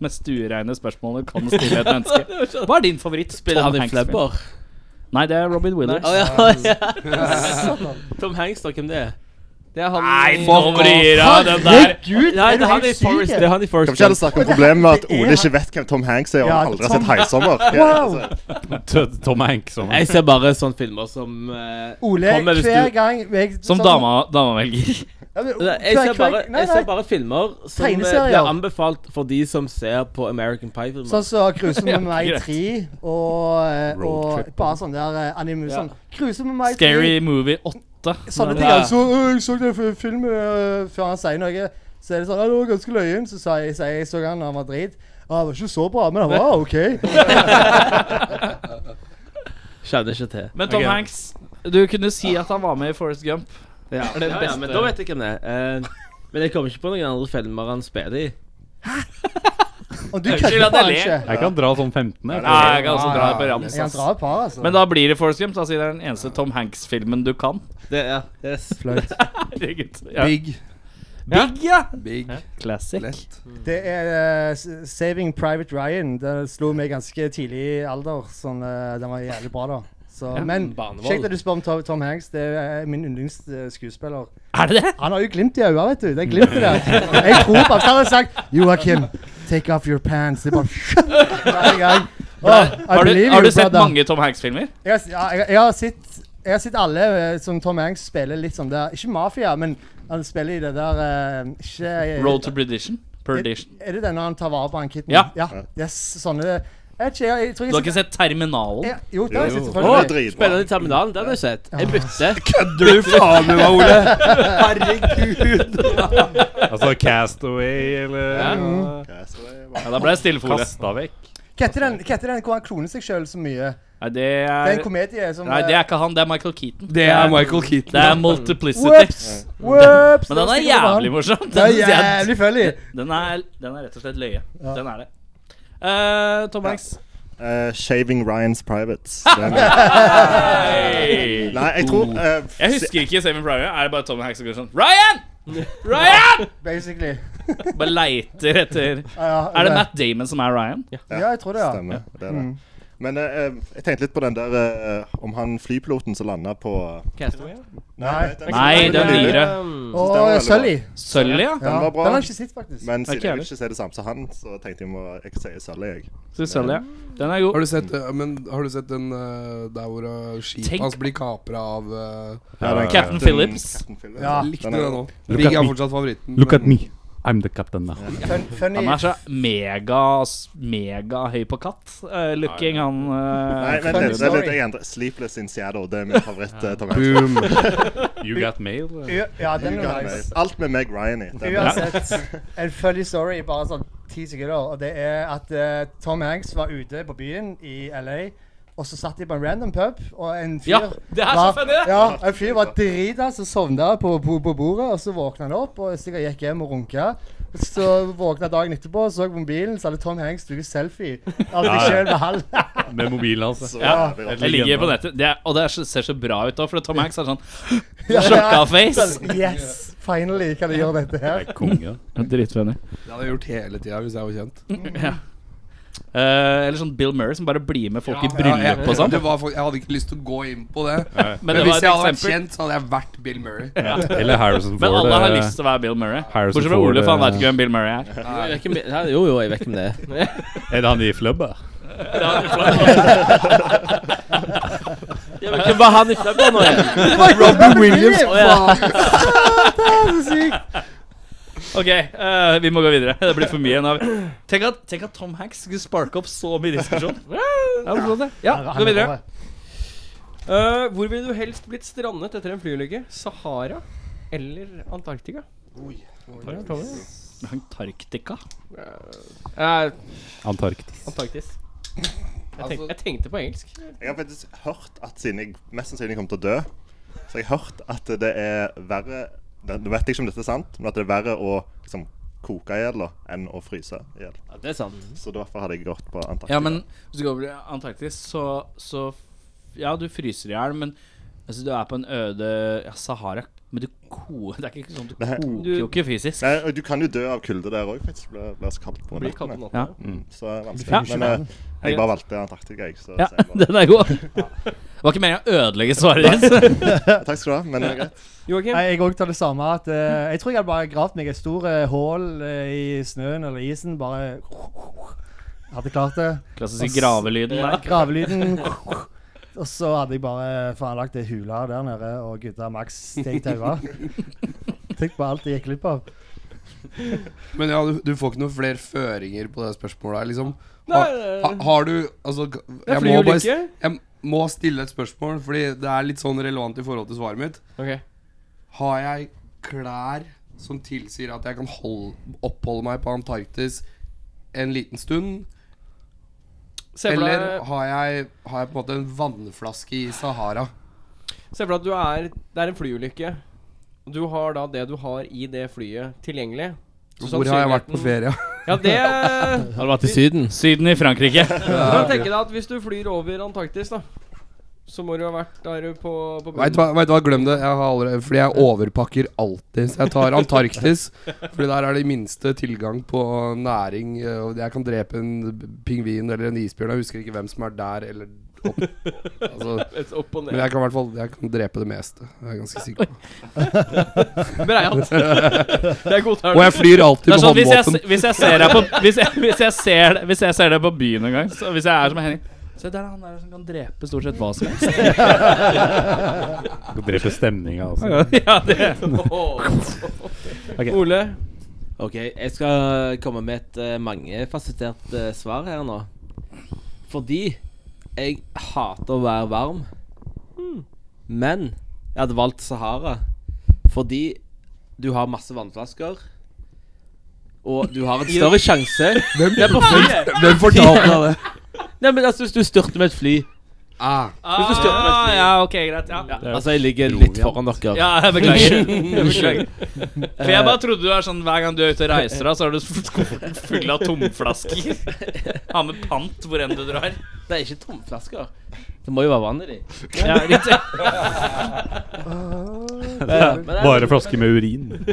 Mest ureine spørsmålet kan stille et menneske. Hva er din favoritt? spiller han Tom i Hanks-film? Flebber? Nei, det er Robin Williams. Å ja, ja. Tom Hanks, da. Hvem det er? Det er han Nei, nå vrir jeg den der. Herregud, Nei, er det du er han i helt syk? Forest. Det er han Kan i vi Forest ikke heller Gump. snakke om problemet med at det er- Ole ikke vet hvem Tom Hanks er, og Ja, han aldri har sett Tom- Heisommer? altså, Wow. Tø- Tom Hanks. sånn. Som Jeg ser bare sånne filmer som eh, Ole, kommer hvis hver du gang jeg, Som sånn- dama, dama velger. Ja, men, Nei, jeg hver- ser, hver- bare, nei, jeg ser nei. bare filmer som eh, Tegneserier. blir anbefalt for de som ser på American Sånn Pie-filmer. som Cruise med meg greit. 3 og, eh, og Roadtrip. bare sånn der eh, anime Ja. sånn, Cruise med meg 3. Scary Movie 8. Sånn. Sånne ting. Ja. Jeg så, «Å, jeg så den f- filmen eh, før han sier noe. Så er det sånn «Ja, Det var ganske løyen. Så sa jeg, sa jeg så han da han var drit. Ja, det var ikke så bra, men det var OK. Kjenner ikke til. Men Tom Ok. Hanks, du kunne si at han var med i Forest Gump. Ja, det ja, beste. men da vet jeg hvem det er. Eh, men jeg kommer ikke på noen andre filmer han spiller i. Og du Unnskyld kødder at jeg faen ler. ikke. Jeg kan dra sånn 15. Jeg. Nei, jeg kan også dra på Jeg rams. kan dra ass. et par, altså. Men da blir det Forest Gump, da, siden det er den eneste Tom Hanks-filmen du kan. Det, ja, yes. Flaut. Herregud. Ja. Big. Big, ja. Big. Classic. Lett. Det er eh, S- 'Saving Private Ryan'. Den slo meg ganske tidlig i alder. Sånn, eh, den var jævlig bra, da. Så, men barnevold. kjekt at du spør om Tom, Tom Hanks. Det er min yndlingsskuespiller. Er det det? Han har jo glimt i øynene, vet du. Det er glimt i det. Jeg tror på at han hadde sagt Joakim, take off your pants. Det er bare hver gang. Åh, I Har du, believe har you, du sett brother. mange Tom Hanks-filmer? Jeg, har s- ja, jeg, jeg, har sett, jeg har sett alle eh, som Tom Hanks spiller litt sånn der Ikke mafia, men han spiller i det der eh, ikke, Road to Perdition. Perdition. Er det denne han tar vare på han kitten? Ja. Yes, sånne Jeg vet ikke, jeg, jeg tror Du jeg har ikke sett Terminalen? jeg, Jo, det har jeg sett. Jo. Å, Det er selvfølgelig. dritbra. spiller han i Terminalen? Det hadde jeg sett. Jeg bytter. Kødder du faen med meg, Ole? Herregud. Altså Castaway eller Ja. ja. Castaway, Ja, hva- Da ble jeg stille for ordet. Kasta vekk. Mm. Hva heter den- hva heter den hvor han kloner seg sjøl så mye? Nei, det Det er en er komedie som Nei, det er ikke han. Det er Michael Keaton. Det er Michael Keaton. Det er Multiplicity. Whoops! Whoops! Men den er jævlig morsom. Det er Den- jævlig funny. Den er, den er rett og slett løye. Den er det. Eh, Tom Hanks. Eh, Shaving Ryan's Privates. Det er min- Hei! Nei, jeg tror eh, Jeg husker ikke Saving Private. Er det bare Tom Hanks som går sånn Ryan! Ryan! Basically. Bare leiter etter Ja, ja, Er det Matt Damon som er Ryan? Ja, jeg tror det, ja. Stemmer. Det er det. Men eh, eh, jeg tenkte litt på den der eh, om han flypiloten som landa på Castaway? Nei. den- Nei, den lille. nyere. Og den var veldig Sully. Sølv, ja. Ja, Den var bra. Den har jeg ikke sett, faktisk. Men siden jeg heller. ikke sier det samme som han, så tenkte jeg må jeg sier Sølv, jeg. Så Sølv, ja. Den er god. Har du sett, eh, men, har du sett den eh, der hvor eh, skipet Tenk- hans blir kapra av eh, Ja, den Captain Phillips. Captain Phillips. Ah. Ja. Likte Den er- den nå. Look Big at er me. fortsatt favoritten. Look at men- me. I'm the captain now. Fun, funny. Han er så mega, mega høy på katt. eh, looking, han Nei, eh, vent litt. Det er litt story. jeg endrer. Sleepless in Seattle. Det er min favoritt. eh, Tom Hanks. Boom. You got mail? eh? eller? Ja, Ja, den You er got nice. me. Alt med Meg Ryan i. Det er bra. Uansett, en funny story i bare sånn ti sekunder, og det er at eh, Tom Hanks var ute på byen i LA, og så satt de på en random pub, og en fyr Ja, det er så var- funny, det! Ja, en fyr var drita, så sovna på, på, på bordet, og så våkna han opp, og sikkert gikk hjem og runka. Så våkna dagen etterpå, så på mobilen, så hadde Tom Hanks tatt selfie av seg Ja, ja. sjøl med halv. Med mobilen hans. Så Altså. Ja, jævlig rått. Jeg ligger på nettet, det er, og det er, så- ser så bra ut òg, for Tom Hanks er sånn Ja. sjokka face. Yes! Finally kan jeg gjøre dette her. Konge. Dritfunny. Det hadde jeg gjort hele tida hvis jeg var kjent. Eh, eller sånn Bill Murray som bare blir med folk i Ja, bryllup jeg- og sånn. det var fakt- jeg hadde ikke lyst til å gå inn på det. Men Men, det var hvis et jeg hadde vært eksempel. kjent, så hadde jeg vært Bill Murray. Eller Harrison Men Ford. alle har eh, lyst til å være Bill Murray. Harrison Bortsett fra Ford, Ole, for han eh, veit ikke hvem Bill Murray er. Jeg vet ikke om- ja, Jo, jo, jeg vet hvem det er. eh, Er det han i Flubber? Jeg vet ikke hva han i Flubber nå er. Robin Williams! Å, ja. Ok, eh, vi må gå videre. Det blir for mye. Nå. har vi- Tenk at, tenk at Tom Hanks skulle sparke opp så mye diskusjon. Ja, det er sånn det. Ja, Han gå er videre. bra. Eh, hvor ville du helst blitt strandet etter en flyulykke? Sahara eller Antarktika? Antarktika. Eh, Antarktis. Antarktis. Jeg, tenk, Altså- jeg tenkte på engelsk. Jeg har faktisk hørt at siden jeg mest sannsynlig kommer til å dø, så har jeg hørt at det er verre Nå vet jeg ikke om dette er sant, men at det er verre å liksom koke i hjel da, enn å fryse i hjel. Ja, det er sånn- sant. Så derfor hadde jeg gått på Antarktis. Ja, men hvis du går over til Antarktis, så, så f- Ja, du fryser i hjel, men altså, du er på en øde ja, Sahara. Men du ko... Det er ikke sånn at du Nei. koker jo ikke fysisk. Nei, og du kan jo dø av kulde der òg, faktisk. Det blir- blir så kaldt på blir kaldt nattene. på natten, Mm, Så det er Ja. vanskelig. Men eh, jeg bare valgte Antarktika, jeg. Så, Ja, så jeg bare- den er god. Det var ikke meningen å ødelegge svaret ditt. Takk skal du ha, men det er greit. Joakim? Nei, Jeg òg tar det samme. At, eh, jeg tror jeg hadde bare gravd meg et stort eh, hull eh, i snøen eller isen. Bare Hadde klart det. Klassisk Og s- gravelyden der. Ja, gravelyden. Og så hadde jeg bare faen lagt ei hule der nede og gutta maks steg taua. Tenk på alt jeg gikk glipp av. Men ja, du, du får ikke noen flere føringer på det spørsmålet her, liksom. Ha, Nei, ha, har du Altså, g- er jeg må, bare, s- flyulykke. jeg må stille et spørsmål, fordi det er litt sånn relevant i forhold til svaret mitt. Ok. Har jeg klær som tilsier at jeg kan hold, oppholde meg på Antarktis en liten stund? Se for deg- Eller har jeg, har jeg på en måte en vannflaske i Sahara? Se for deg at du er Det er en flyulykke. Du har da det du har i det flyet, tilgjengelig. Så Hvor har jeg vært på sannsynligheten- ferie? Ja, det Har du vært i Syden? Syden i Frankrike. Du kan tenke deg at hvis du flyr over Antarktis, da så må du ha vært der på, på Vet du hva, vet du hva, glem det. Jeg har allerede, fordi jeg overpakker alltid. Så jeg tar Antarktis. Fordi der er det minste tilgang på næring. eh, Og jeg kan drepe en pingvin eller en isbjørn. Jeg husker ikke hvem som er der eller opp. Altså, Et opp og ned. men jeg kan i hvert fall jeg kan drepe det meste. Det er jeg ganske sikker på. Breialt. Det er godtalt. Og jeg flyr alltid Det er med sånn, hvis, jeg, håndvåpen. s- hvis jeg ser deg på Hvis jeg, hvis jeg, ser, hvis jeg ser deg på byen en gang så Hvis jeg er som Henning Se der er han der som kan drepe stort sett hva som helst. Skal drepe stemninga, altså. ja, det Ole? Ok, jeg skal komme med et eh, mangefasettert eh, svar her nå. Fordi jeg hater å være varm. Hmm. Men jeg hadde valgt Sahara fordi du har masse vannflasker. Og du har en større sjanse Hvem, Hvem fortalte deg det? Nei, men altså, hvis du styrter med et fly Ah, Hvis du styrter med et ah, fly ja, ok, greit. Ja, ja. Altså, jeg ligger litt foran dere. jeg beklager. Jeg beklager. For jeg bare trodde du er sånn hver gang du er ute og reiser, da, så har du skufferten full av tomflasker. Ha med pant hvor enn du drar. Det er ikke tomflasker. Det må jo være vann i de. Ja, riktig. Bare flasker med urin.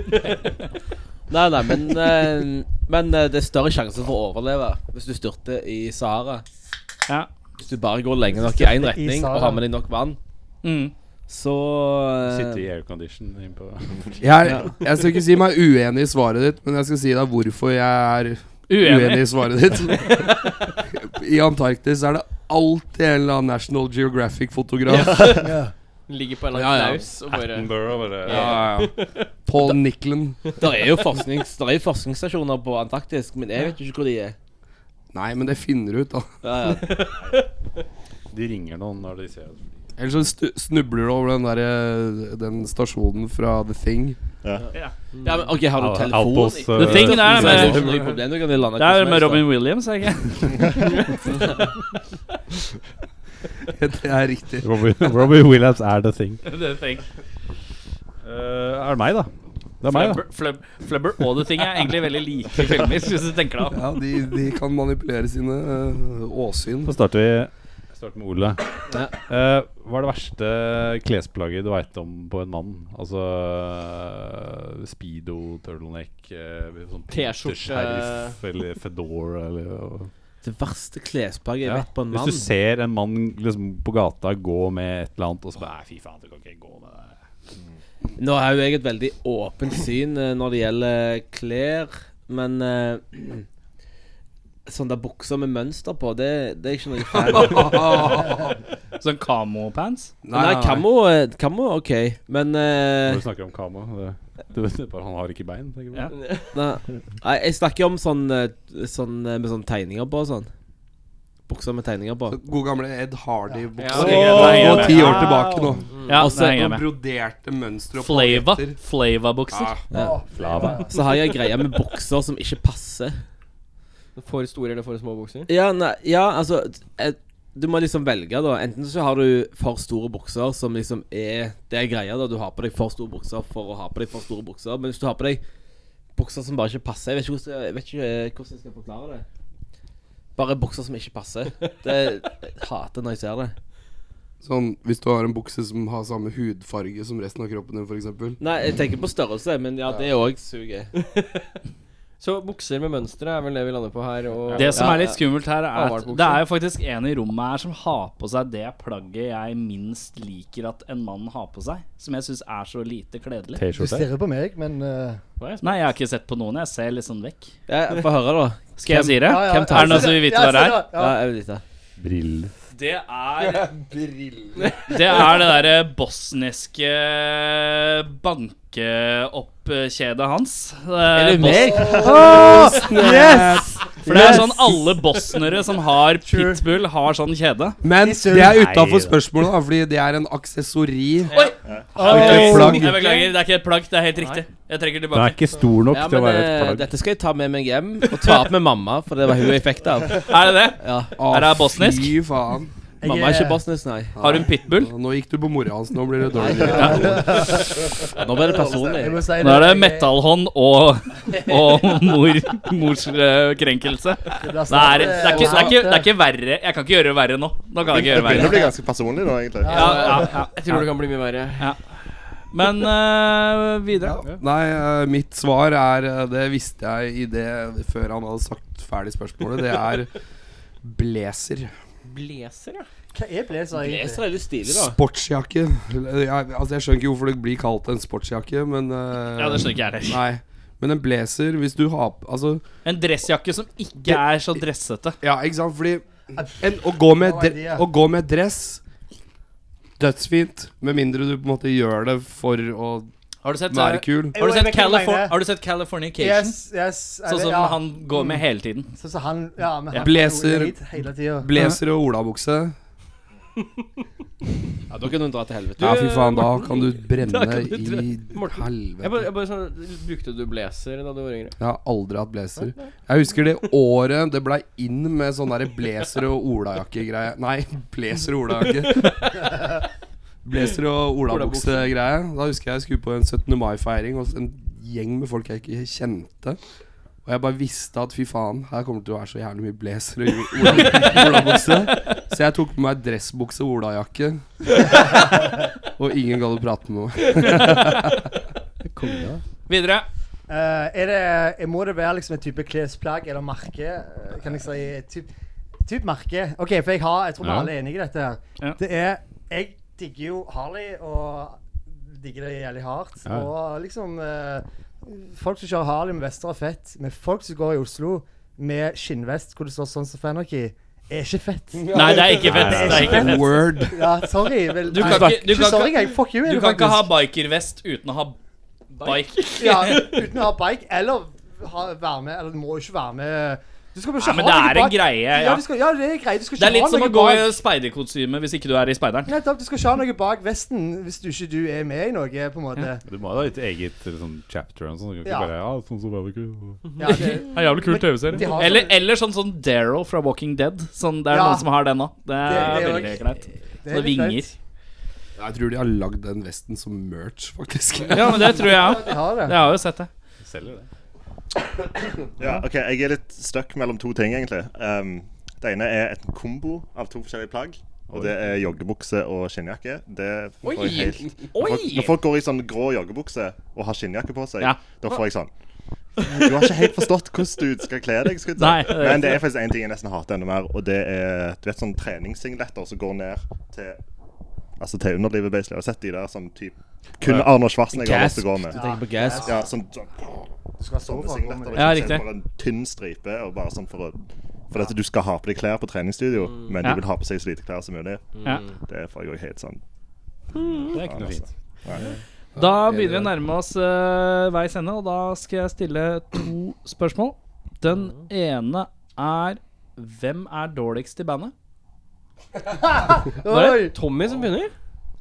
Nei, nei, men, eh, men eh, det er større sjanse for å overleve hvis du styrter i Sahara. Ja. Hvis du bare går lenge nok i én Styrter i retning og Sahara. har med deg nok vann, Mm. så eh, Sitte i aircondition innpå jeg, jeg skal ikke si meg uenig i svaret ditt, men jeg skal si deg hvorfor jeg er uenig Uenig. i svaret ditt. I Antarktis er det alltid en eller annen National Geographic-fotograf. Ligger på en Ja, lang ja. knaus og bare Ja, ja. Paul Nicklen. Der er jo forsknings, der er jo forskningsstasjoner på Antarktis, men jeg vet jo ikke hvor de er. Nei, men det finner du ut, da. Ja, ja. De ringer noen når de ser det. Ellers så stu- snubler du over den, der, eh, den stasjonen fra The Thing. ja, men OK, har du Out- telefon? Outpost, i- The thing Så der er det jo med ikke noe problem, du kan jo lande Det hvor er som med helst, da. Robin Williams, er det ikke? Det er riktig. Robbie, Robbie Williams er the thing. eh, The thing. Eh, er det meg, da? Det er meg, da. Flubber, flub, flubber og The Thing er egentlig veldig like filmer, hvis du tenker deg om. Ja, de, de kan manipulere sine eh, åsyn. Så starter vi jeg starter med Ole. Eh, hva er det verste klesplagget du veit om på en mann? Altså eh, speedo, turtleneck eh, sånn T-skjorte. skjerf eller fedora eller Det verste klesplagget jeg Ja. vet på en mann. Hvis du ser en mann liksom, på gata gå med et eller annet, og så bare "Nei, Fy faen, du kan ikke gå med det. Nå har jo jeg et veldig åpent syn eh, når det gjelder klær, men eh, Sånne der bukser med mønster på, det, det er ikke noe fan av. Sånn camo-pants. Nei, Kammo, eh, kammo ok, men eh, Når du snakker om kama det, det, det, er bare, Han har ikke bein. tenker du? Ja. nei, nei, Jeg snakker om sånn, eh, sånn eh, med sånne tegninger på og sånn. Bukser med tegninger på. God gamle Ed Hardy-bukser. Ja, det henger jeg Gå med. ti år tilbake nå. Ja, Altså, det henger jeg Noen med. broderte mønstre og Flava. paljetter. Flava-bukser. Ja. Flava. Så har jeg greia med bukser som ikke passer. For store eller for små bukser? Ja, nei, ja altså eh, Du må liksom velge, da. Enten så har du for store bukser, som liksom er Det er greia, da. Du har på deg for store bukser for å ha på deg for store bukser. Men hvis du har på deg bukser som bare ikke passer. Jeg vet ikke hvordan jeg, vet ikke eh, hvordan jeg skal forklare det. Bare bukser som ikke passer. Det jeg hater når jeg ser det. Sånn, Hvis du har en bukse som har samme hudfarge som resten av kroppen din, f.eks. Nei, jeg tenker på størrelse, men ja, det òg suger. Så bukser med mønstre er vel det vi lander på her. Og Det som Ja, er litt ja. skummelt her, er at Avarbukser. det er jo faktisk en i rommet her som har på seg det plagget jeg minst liker at en mann har på seg. Som jeg syns er så lite kledelig. Du T-skjorte. stirrer på meg, men eh, Nei, jeg har ikke sett på noen. Jeg ser litt sånn vekk. Ja, Få høre, da. Skal jeg si det? ja, ja, Er det noen som vil vite hva det er? Ja, Ja, jeg vil vite. Briller. Det er Det er det derre bosniske bankeoppkjedet hans. Eh, Er det meg? Yes! For det er sånn alle bosnere som har pitbull, har sånn kjede. Men det er utafor spørsmålet, da, fordi det er en aksessori. Jeg plagg. beklager, det er ikke et plagg. Det er helt riktig. Jeg trekker Den er tilbake. ikke stor nok Ja, til å men være et eh, plagg. dette skal jeg ta med meg hjem og ta opp med mamma, for det var hun jeg fikk det av. Er det det? Ja. Ah, Er det bosnisk? Fy faen. Mamma er ikke bosnisk, nei. Har hun pitbull? Nå gikk du på mora hans. Nå blir det dårlig. Nå ble Jeg det personlig. må si Nå er det jeg- metallhånd og, og mor, mors eh, krenkelse. Det det blir er, snart, det, er ikke, det, er ikke, det er ikke verre. Jeg kan ikke gjøre det verre nå. Nå kan jeg ikke Det gjøre det begynner å verre. bli ganske personlig nå, egentlig. Ja, ja, ja. Jeg tror det kan bli mye verre. Men eh, videre. Nei, eh, mitt svar er eh, Det visste jeg i det før han hadde sagt ferdig spørsmålet. Det er blazer. Blazer, ja. Hva er blazer egentlig? Leser er litt stilig, da. Sportsjakke. Jeg, altså, jeg skjønner ikke hvorfor det blir kalt en sportsjakke, men eh, Ja, det skjønner ikke jeg heller. Nei. Men en blazer, hvis du har p- Altså, En dressjakke som ikke er så dressete. ja, ikke sant? Fordi en, å, gå med No dre- idea. å gå med dress Dødsfint. Med mindre du på en måte gjør det for å Har du sett, eh, være kul. har du Jeg sett, vet ikke hva jeg Californ mener. har du sett Californication? Yes, yes. Sånn som ja. han går med hele tiden. Sånn som han Ja, men han Blazer. Mm. hit hele tida. Blazer og olabukse. Ja, Da kan hun dra til helvete. Ja, fy faen, da kan du Da brenne kan du dra- i Morten, Jeg helvete. bare, jeg bare sånn, Brukte du blazer da du var yngre? Jeg har aldri hatt blazer. Jeg husker det året det blei inn med sånn derre blazer og olajakke-greie. Nei, blazer og olajakke. Blazer og olabukse-greie. Da husker jeg jeg skulle på en 17. mai-feiring hos en gjeng med folk jeg ikke kjente. Og jeg bare visste at fy faen, her kommer det til å være så jævlig mye blazer og ola- olabukse. Så jeg tok på meg dressbukse og olajakke. Og ingen gadd å prate med meg. Videre. Eh, er det, eh, må det være liksom en type klesplagg eller merke? Eh, Kan jeg si et typ, typ merke? OK, for jeg har Jeg tror vi Ja. alle er enige i dette her. Ja. Det er Jeg digger jo Harley, og digger det jævlig hardt. Ja. Og liksom eh, Folk som kjører Harley med vester og fett, men folk som går i Oslo med skinnvest hvor det står sånn som Fanerky, er ikke fett. Nei, det er ikke fett. Nei, Det er ikke fett. Word. Ja, sorry. Vel, Du kan ikke- du kan sorry, ikke- jeg. Fuck you. er Du det kan ikke faktisk. ha bikervest uten å ha bike. Ja, uten å ha bike, eller ha, være med Eller du må jo ikke være med Du skal jo ikke Nei, men det ha er noe en bak- greie. Ja, Ja. du skal, ja, det er greit. Du skal ikke Det er litt ha som å noe gå i bak. speiderkostyme hvis ikke du er i speideren. Nettopp. Du skal ikke ha noe bak vesten hvis du ikke du er med i noe, på en måte. Du må ha et eget liksom, chapter. eller noe sånt. Du kan ikke Ja. bare ja, sånn som var det ikke. Ja, det, Det er jævlig kul de TV-serie. har Eller, sånn- eller sånn, sånn Darrow fra Walking Dead. Sånn, det er Ja. noen som har den òg. Det er Det- veldig det er greit. det er Sånne litt greit. vinger. Jeg tror de har lagd den vesten som merch, faktisk. Ja, men det tror jeg Ja, òg. de har Jeg det. har jo sett det. Selger det. Ja, ok, Jeg er litt stuck mellom to ting, egentlig. Ehm, det ene er et kombo av to forskjellige plagg. Og det er joggebukse og skinnjakke. Det får jeg helt Når folk- Når folk går i sånn grå joggebukse og har skinnjakke på seg, Ja. da får jeg sånn Du har ikke helt forstått hvordan du skal kle deg. skulle jeg si. Nei, det er Men det er faktisk én ting jeg nesten hater enda mer, og det er du vet, sånn treningssingletter som går ned til Altså til underlivet, basically. Jeg har sett de der som typ kun Arnold Schwarzenegger har lyst til å gå med. Du tenker på gas. Ja, sånn, sånn Du skal ha sånn Sånne for å gå med. singletter liksom, Ja, så er riktig. det Bare en tynn stripe og bare sånn for å For at du skal ha på deg klær på treningsstudio, Mm. men Ja. du vil ha på seg så lite klær som mulig. Ja. Det får jeg òg helt sånn. Det er ikke noe fint. Da begynner vi å nærme oss eh, veis ende, og da skal jeg stille to spørsmål. Den ene er Hvem er dårligst i bandet? Var Oi, det Tommy som begynner?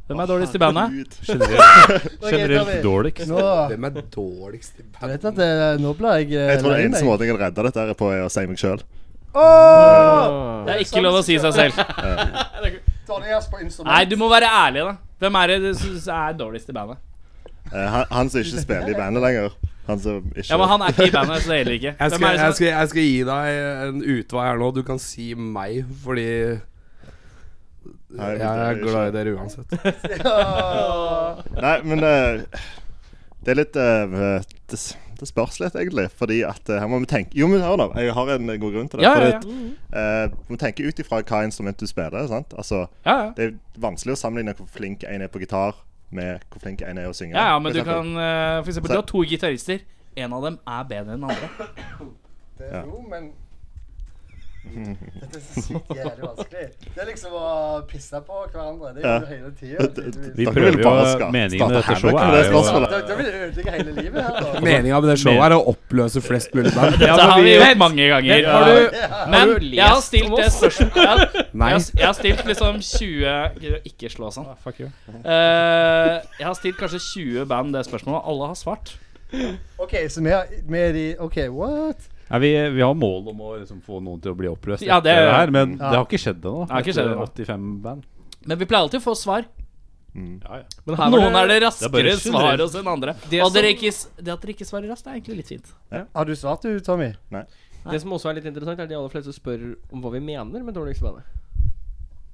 Hvem er dårligst i bandet? Generelt Generelt dårligst. nå Hvem er dårligst i Du bandet? vet at det, nå ble jeg eh, Jeg tror det lei eneste meg. måten jeg kan redde dette, her er på er å si meg sjøl. Åh! Det er ikke lov å si seg selv. Dårligst på instrument. Nei, du må være ærlig, da. Hvem er det du syns er dårligst i bandet? Eh, han, han som ikke spiller i bandet lenger. Han som ikke Ja, men han er ikke i bandet, så det gjelder ikke. Jeg Hvem skal, er det som- jeg, skal, jeg skal gi deg en utvei her nå. Du kan si meg, fordi Nei, jeg er glad i dere uansett. Nei, men eh, det er litt eh, det, det spørs litt, egentlig. Fordi at eh, her må vi tenke Jo, men hør nå. Jeg har en god grunn til det. Ja, ja, fordi at, eh, vi må tenke ut ifra hva instrument du spiller. sant? Altså, Ja, ja. Det er vanskelig å sammenligne hvor flink en er på gitar, med hvor flink en er å synge. Ja, ja, men for du eksempel. kan eh, For eksempel, Så- du har to gitarister. En av dem er bedre enn den andre. Det Ja. er jo, men Dette er så sykt jævlig vanskelig. Det er liksom å pisse på hverandre. Det Ja. gjør du hele tida. Vi Dere prøver vil bare jo- ska- meningen med starte dette havoc showet med det er jo- spørsmålet. Da vil du ødelegge hele livet her, da. Meninga med det showet er å oppløse flest mulig band. Det har vi gjort mange ganger. Har og- du, Men du jeg har lest stilt om det oss? spørsmålet jeg, Nei. har- jeg har stilt liksom 20 Gidder å Ikke slå sånn. Fuck you. Eh, jeg har stilt kanskje 20 band det spørsmålet, og alle har svart. OK, så vi er, vi er i OK, what? Nei, vi, vi har mål om å liksom få noen til å bli oppløst, Ja, det- etter det her, men Ja. det har ikke skjedd ennå. har ikke skjedd ennå. 85 band. Men vi pleier alltid å få svar. Ja, ja. Noen er det er bare raskere svar generelt. hos enn andre. Og at dere ikke, s- det at dere ikke svarer raskt, er egentlig litt fint. Har du svart, du, Tommy? Det som også er litt interessant, er at de aller fleste spør om hva vi mener med dårligste bandet.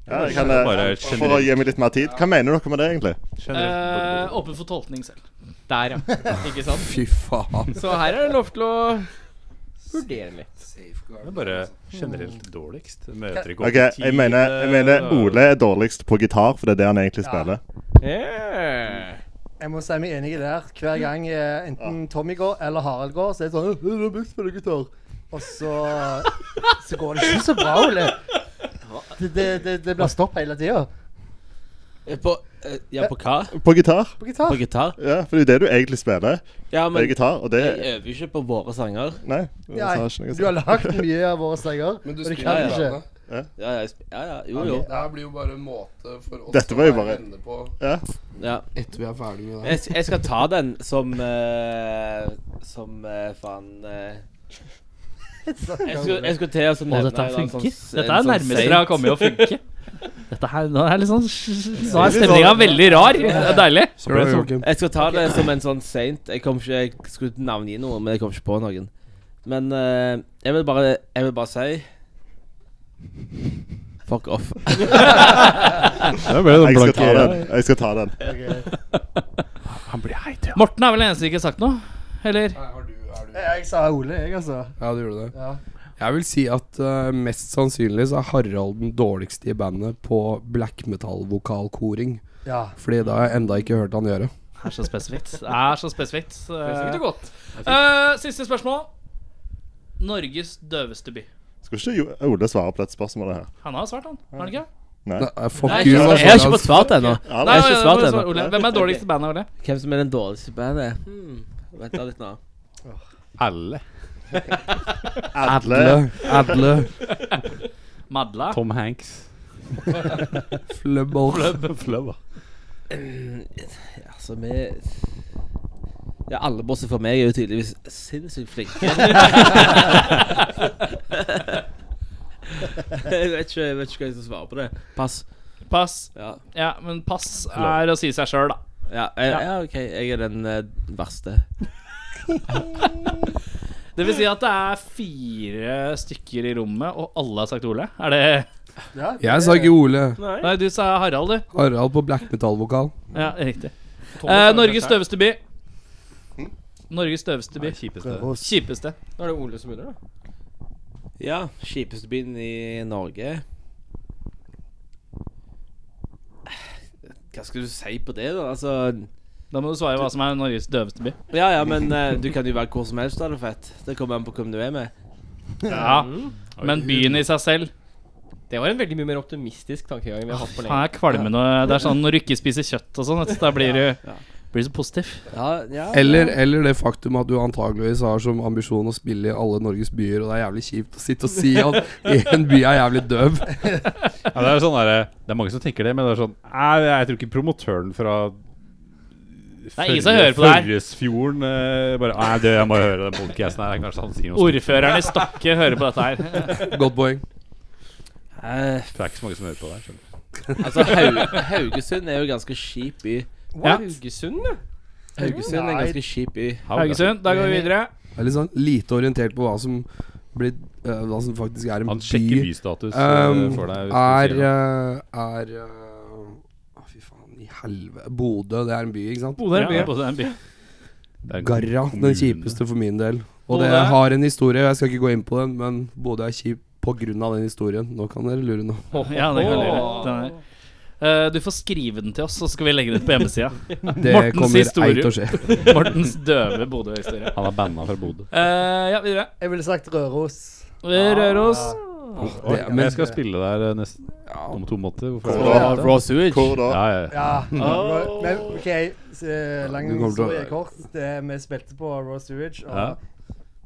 Ja, jeg kan, eh, Bare for å generelt. gi meg litt mer tid. Hva mener dere med det, egentlig? Eh, generelt. åpen for tolkning selv. Der, ja. Ikke sant? Fy faen. Så her er det lov til å vurdere litt. Det er bare generelt dårligst. Det Møter ikke Ok, jeg mener, jeg mener øh. Ole er dårligst på gitar, for det er det han egentlig spiller. Yeah. Jeg må si meg enig i det her. Hver gang eh, enten Tommy går eller Harald går, så er det sånn «Øh, Du har best spille gitar. Og så Så går det ikke så bra, Ole. Det, det, det, det blir stopp hele tida. På, eh, ja, på hva? På gitar? På gitar. På gitar? Ja, for det er jo det du egentlig spiller. Ja, Det men er gitar, og det jeg øver jo ikke på våre sanger. Nei. det Ja, sa jeg ikke noe du har lagd mye av våre sanger, men du kan jo ikke. Ja, ja, jeg sp- ja, ja jo, jo. Det her blir jo bare en måte for oss Dette var jo bare- venner på Ja. Ja. etter vi er ferdig med det. Jeg, jeg skal ta den som eh, Som eh, faen eh, jeg skulle, jeg skulle til å så Og nevne dette her en eller annen funker. sånn- Dette en er sånn nærmest saint. dere har kommet i å funke. Dette her, nå er, litt sånn, nå er stemninga veldig rar. Det er deilig. Så ble det sånn. Jeg skal ta det som en sånn saint. Jeg, kom ikke, jeg skulle navngi noe, men jeg kom ikke på noen. Men eh, jeg, vil bare, jeg vil bare si Fuck off. Det ble det Jeg skal blanke ta den. Jeg skal ta den. Morten er vel den eneste som ikke har sagt noe? Eller? Jeg sa Ole, jeg, altså. Ja, du gjorde det. Ja. Jeg vil si at eh, mest sannsynlig så er Harald den dårligste i bandet på black metal-vokalkoring. ja. Fordi det har jeg enda ikke hørt han gjøre. Det er så spesifikt. Det er så spesifikt. Spesifikt og godt. Eh, siste spørsmål. Norges døveste by. Skulle ikke Jo- Ole svare på dette spørsmålet her? Han har svart, han. Har han ikke? Nei. Nei, eh, fuck Nei, you, jeg- hva Jeg har faen, ikke fått svart ennå. Ja, Nei, Jeg har nei, ikke svart nei, ennå. svar, Ole. Hvem er dårligst i bandet, Ole? Hvem som er den dårligste i bandet? Hmm. Vent da litt nå. Alle. Adle. Adle, Madla. Tom Hanks. Flubber Flubber. Altså, vi Ja, alle bortsett fra meg er jo tydeligvis sinnssykt flinke. jeg, vet ikke, jeg vet ikke hva jeg skal svare på det. Pass. Pass. Ja. Ja, men pass er å si seg sjøl, da. Ja, jeg, ja, ok, jeg er den eh, verste. Det vil si at det er fire stykker i rommet, og alle har sagt Ole? Er det ja det- Jeg sa ikke Ole. Nei, du sa Harald, du. Harald på black metal-vokal. Ja, riktig. Eh, Norges døveste by. Norges døveste by. Kjipeste. Prøv å- Kjipeste. Da er det Ole som begynner, da. Ja, kjipeste byen i Norge. Hva skal du si på det, da? Altså Da må du svare hva som er Norges døveste by. Ja ja, men eh, du kan jo være hvor som helst, da er det fett. Det kommer an på hvem du er med. Ja, Men byen i seg selv Det var en veldig mye mer optimistisk tankegang vi har hatt på lenge. Han er kvalmende. og Det er sånn når du ikke spiser kjøtt og sånn, vet du, da blir du blir du så positiv. Ja, ja Eller, eller det faktum at du antageligvis har som ambisjon å spille i alle Norges byer, og det er jævlig kjipt å sitte og si at én by er jævlig døv. Ja, det, er sånn der, det er mange som tenker det, men det er sånn Nei, jeg tror ikke promotøren fra er ingen som hører på det her. Førresfjorden eh, bare Nei, du, jeg må høre den podcasten her. Kanskje han sier noe stort. Ordføreren i Stokke hører på dette her. Godt poeng. Eh, Det er ikke så mange som hører på det her. skjønner du. altså, Hau Haugesund er jo ganske kjip by. Haugesund, ja. Haugesund er en ganske kjip by. Haugesund, da går vi videre. Jeg er litt sånn lite orientert på hva som blir eh, Hva som faktisk er en Han by. sjekker bystatus Um, eh, for deg. hvis er du sier noe. eh, er eh, å, Fy faen, i helvete Bodø, det er en by, ikke sant? Bodø er en by. Ja, Bodø er en by. Det er en Garra, kommune. eh, den kjipeste for min del. Og Bodø. det har en historie, og jeg skal ikke gå inn på den, men Bodø er kjip pga. den historien. Nå kan dere lure nå. Ja, det kan lure. Den er. Eh, du får skrive den til oss, så skal vi legge den ut på hjemmesida. Det Mortens kommer ei historie. til å skje. Mortens døve Bodø-historie. Han er banna fra Bodø. Eh, ja, videre. Jeg ville sagt Røros. Røros. Det, Oi, men jeg skal spille der eh, nest, om to måneder. Hvorfor Hvor er da? det? Raw sewage. Hvor da? Ja, ja, ja. Ja. Rø- Men OK, så lang Du kommer til å- historie kort. Det, vi spilte på Raw Sewage, og Ja.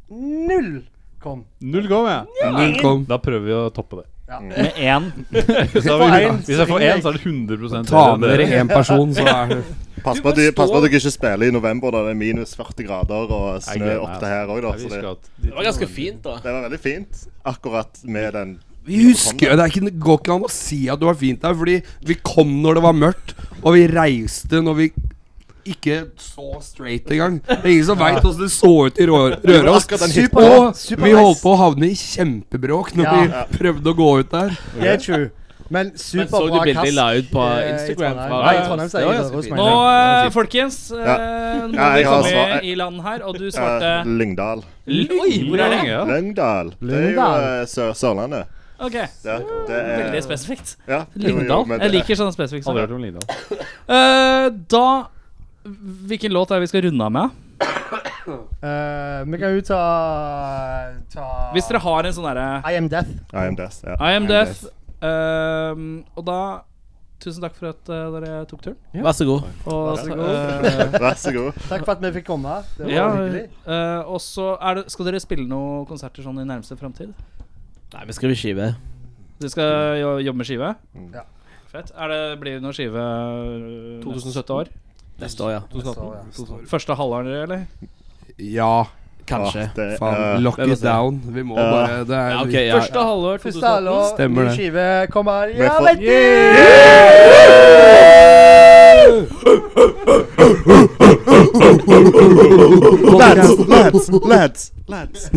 null kom. Null kom, jeg. null kom. Da prøver vi å toppe det. Med én. Hvis jeg, får en, hvis jeg så får én, ringer så er det 100 bedre Ta enn med dere én person, så er det Pass på at du- pass på at dere ikke spiller i november da det er minus 40 grader og Jeg snø gleder opp meg, til her òg, da. Nei, Så vi det, skal til- Det var ganske fint, da. det var veldig fint akkurat med den Vi husker jo, Det er ikke, det går ikke an å si at det var fint der, fordi vi kom når det var mørkt, og vi reiste når vi ikke så straight engang. Det er ingen som veit åssen det så ut i Rå- Røros. Og vi holdt på å havne i kjempebråk når Ja. vi prøvde å gå ut der. Det er true. Men Men så du superbra bildet de la kast. ut på eh, i Instagram? Trondheim. fra- Nei, i Trondheim sier Det var jeg ganske Røros, fint. mener Nå, jeg. eh, folkens, eh, nå må Ja, vi jeg har komme svar- i land her, og du eh, svarte Lyngdal. Oi, hvor er det? Lyngdal. Det er jo Lyngdal. eh, Sør Sørlandet. Ok, Ja, det er, Veldig spesifikt. Ja, jo, jo, Lyngdal. men Jeg det- liker sånne spesifikke saker. Aldri hørt om Lyngdal. Eh, da Hvilken låt er det vi skal runde av med? Eh, vi kan jo ta, ta Hvis dere har en sånn derre I am death. I am death. Ja. I am death. Death. Ehm, og da Tusen takk for at eh, dere tok turen. Vær så god. Og, Vær så så- god. Vær så god. Takk for at vi fikk komme. Det var eh, ja, hyggelig. eh, og så er det, skal dere spille noen konserter sånn i nærmeste framtid? Nei, vi skriver skive. Dere skal jo, jobbe med skive? Ja. Fett. Er det, blir det noen skive eh, 2017 år? Neste år, ja. Så, ja. Første halvår, eller? Ja, Kanskje. Åh, det, faen. eh, Lock det må it jeg si. down. Vi må Ja. bare Det Ja, ok, er ja. Første halvår Første halvår, ny Stemmer det. skive kommer. Ja, får- vet du! Lads, lads, lads, lads.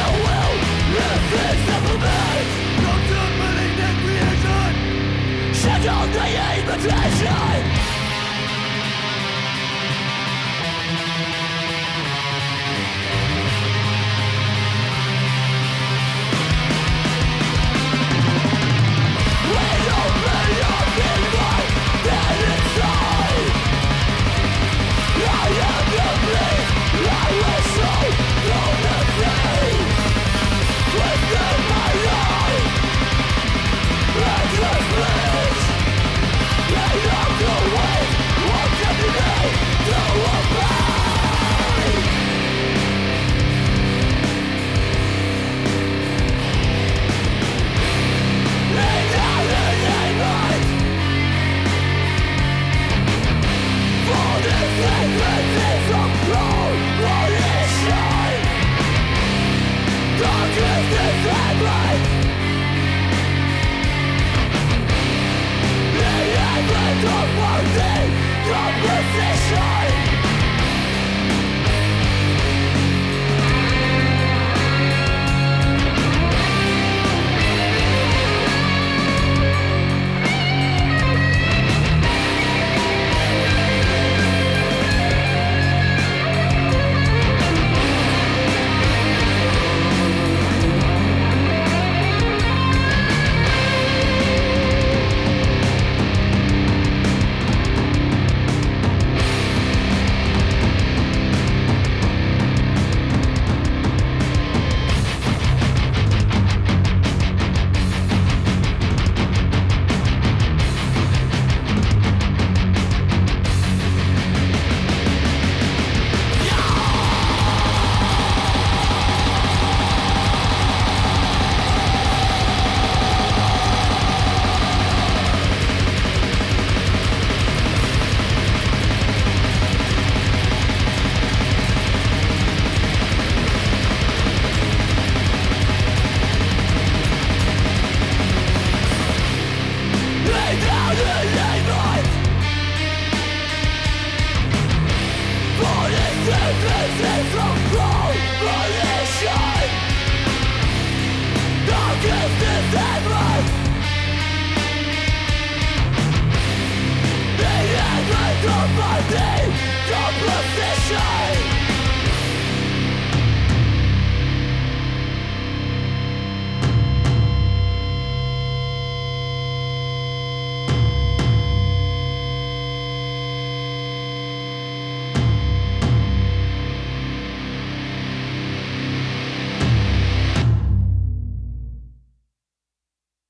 Shadow the invitation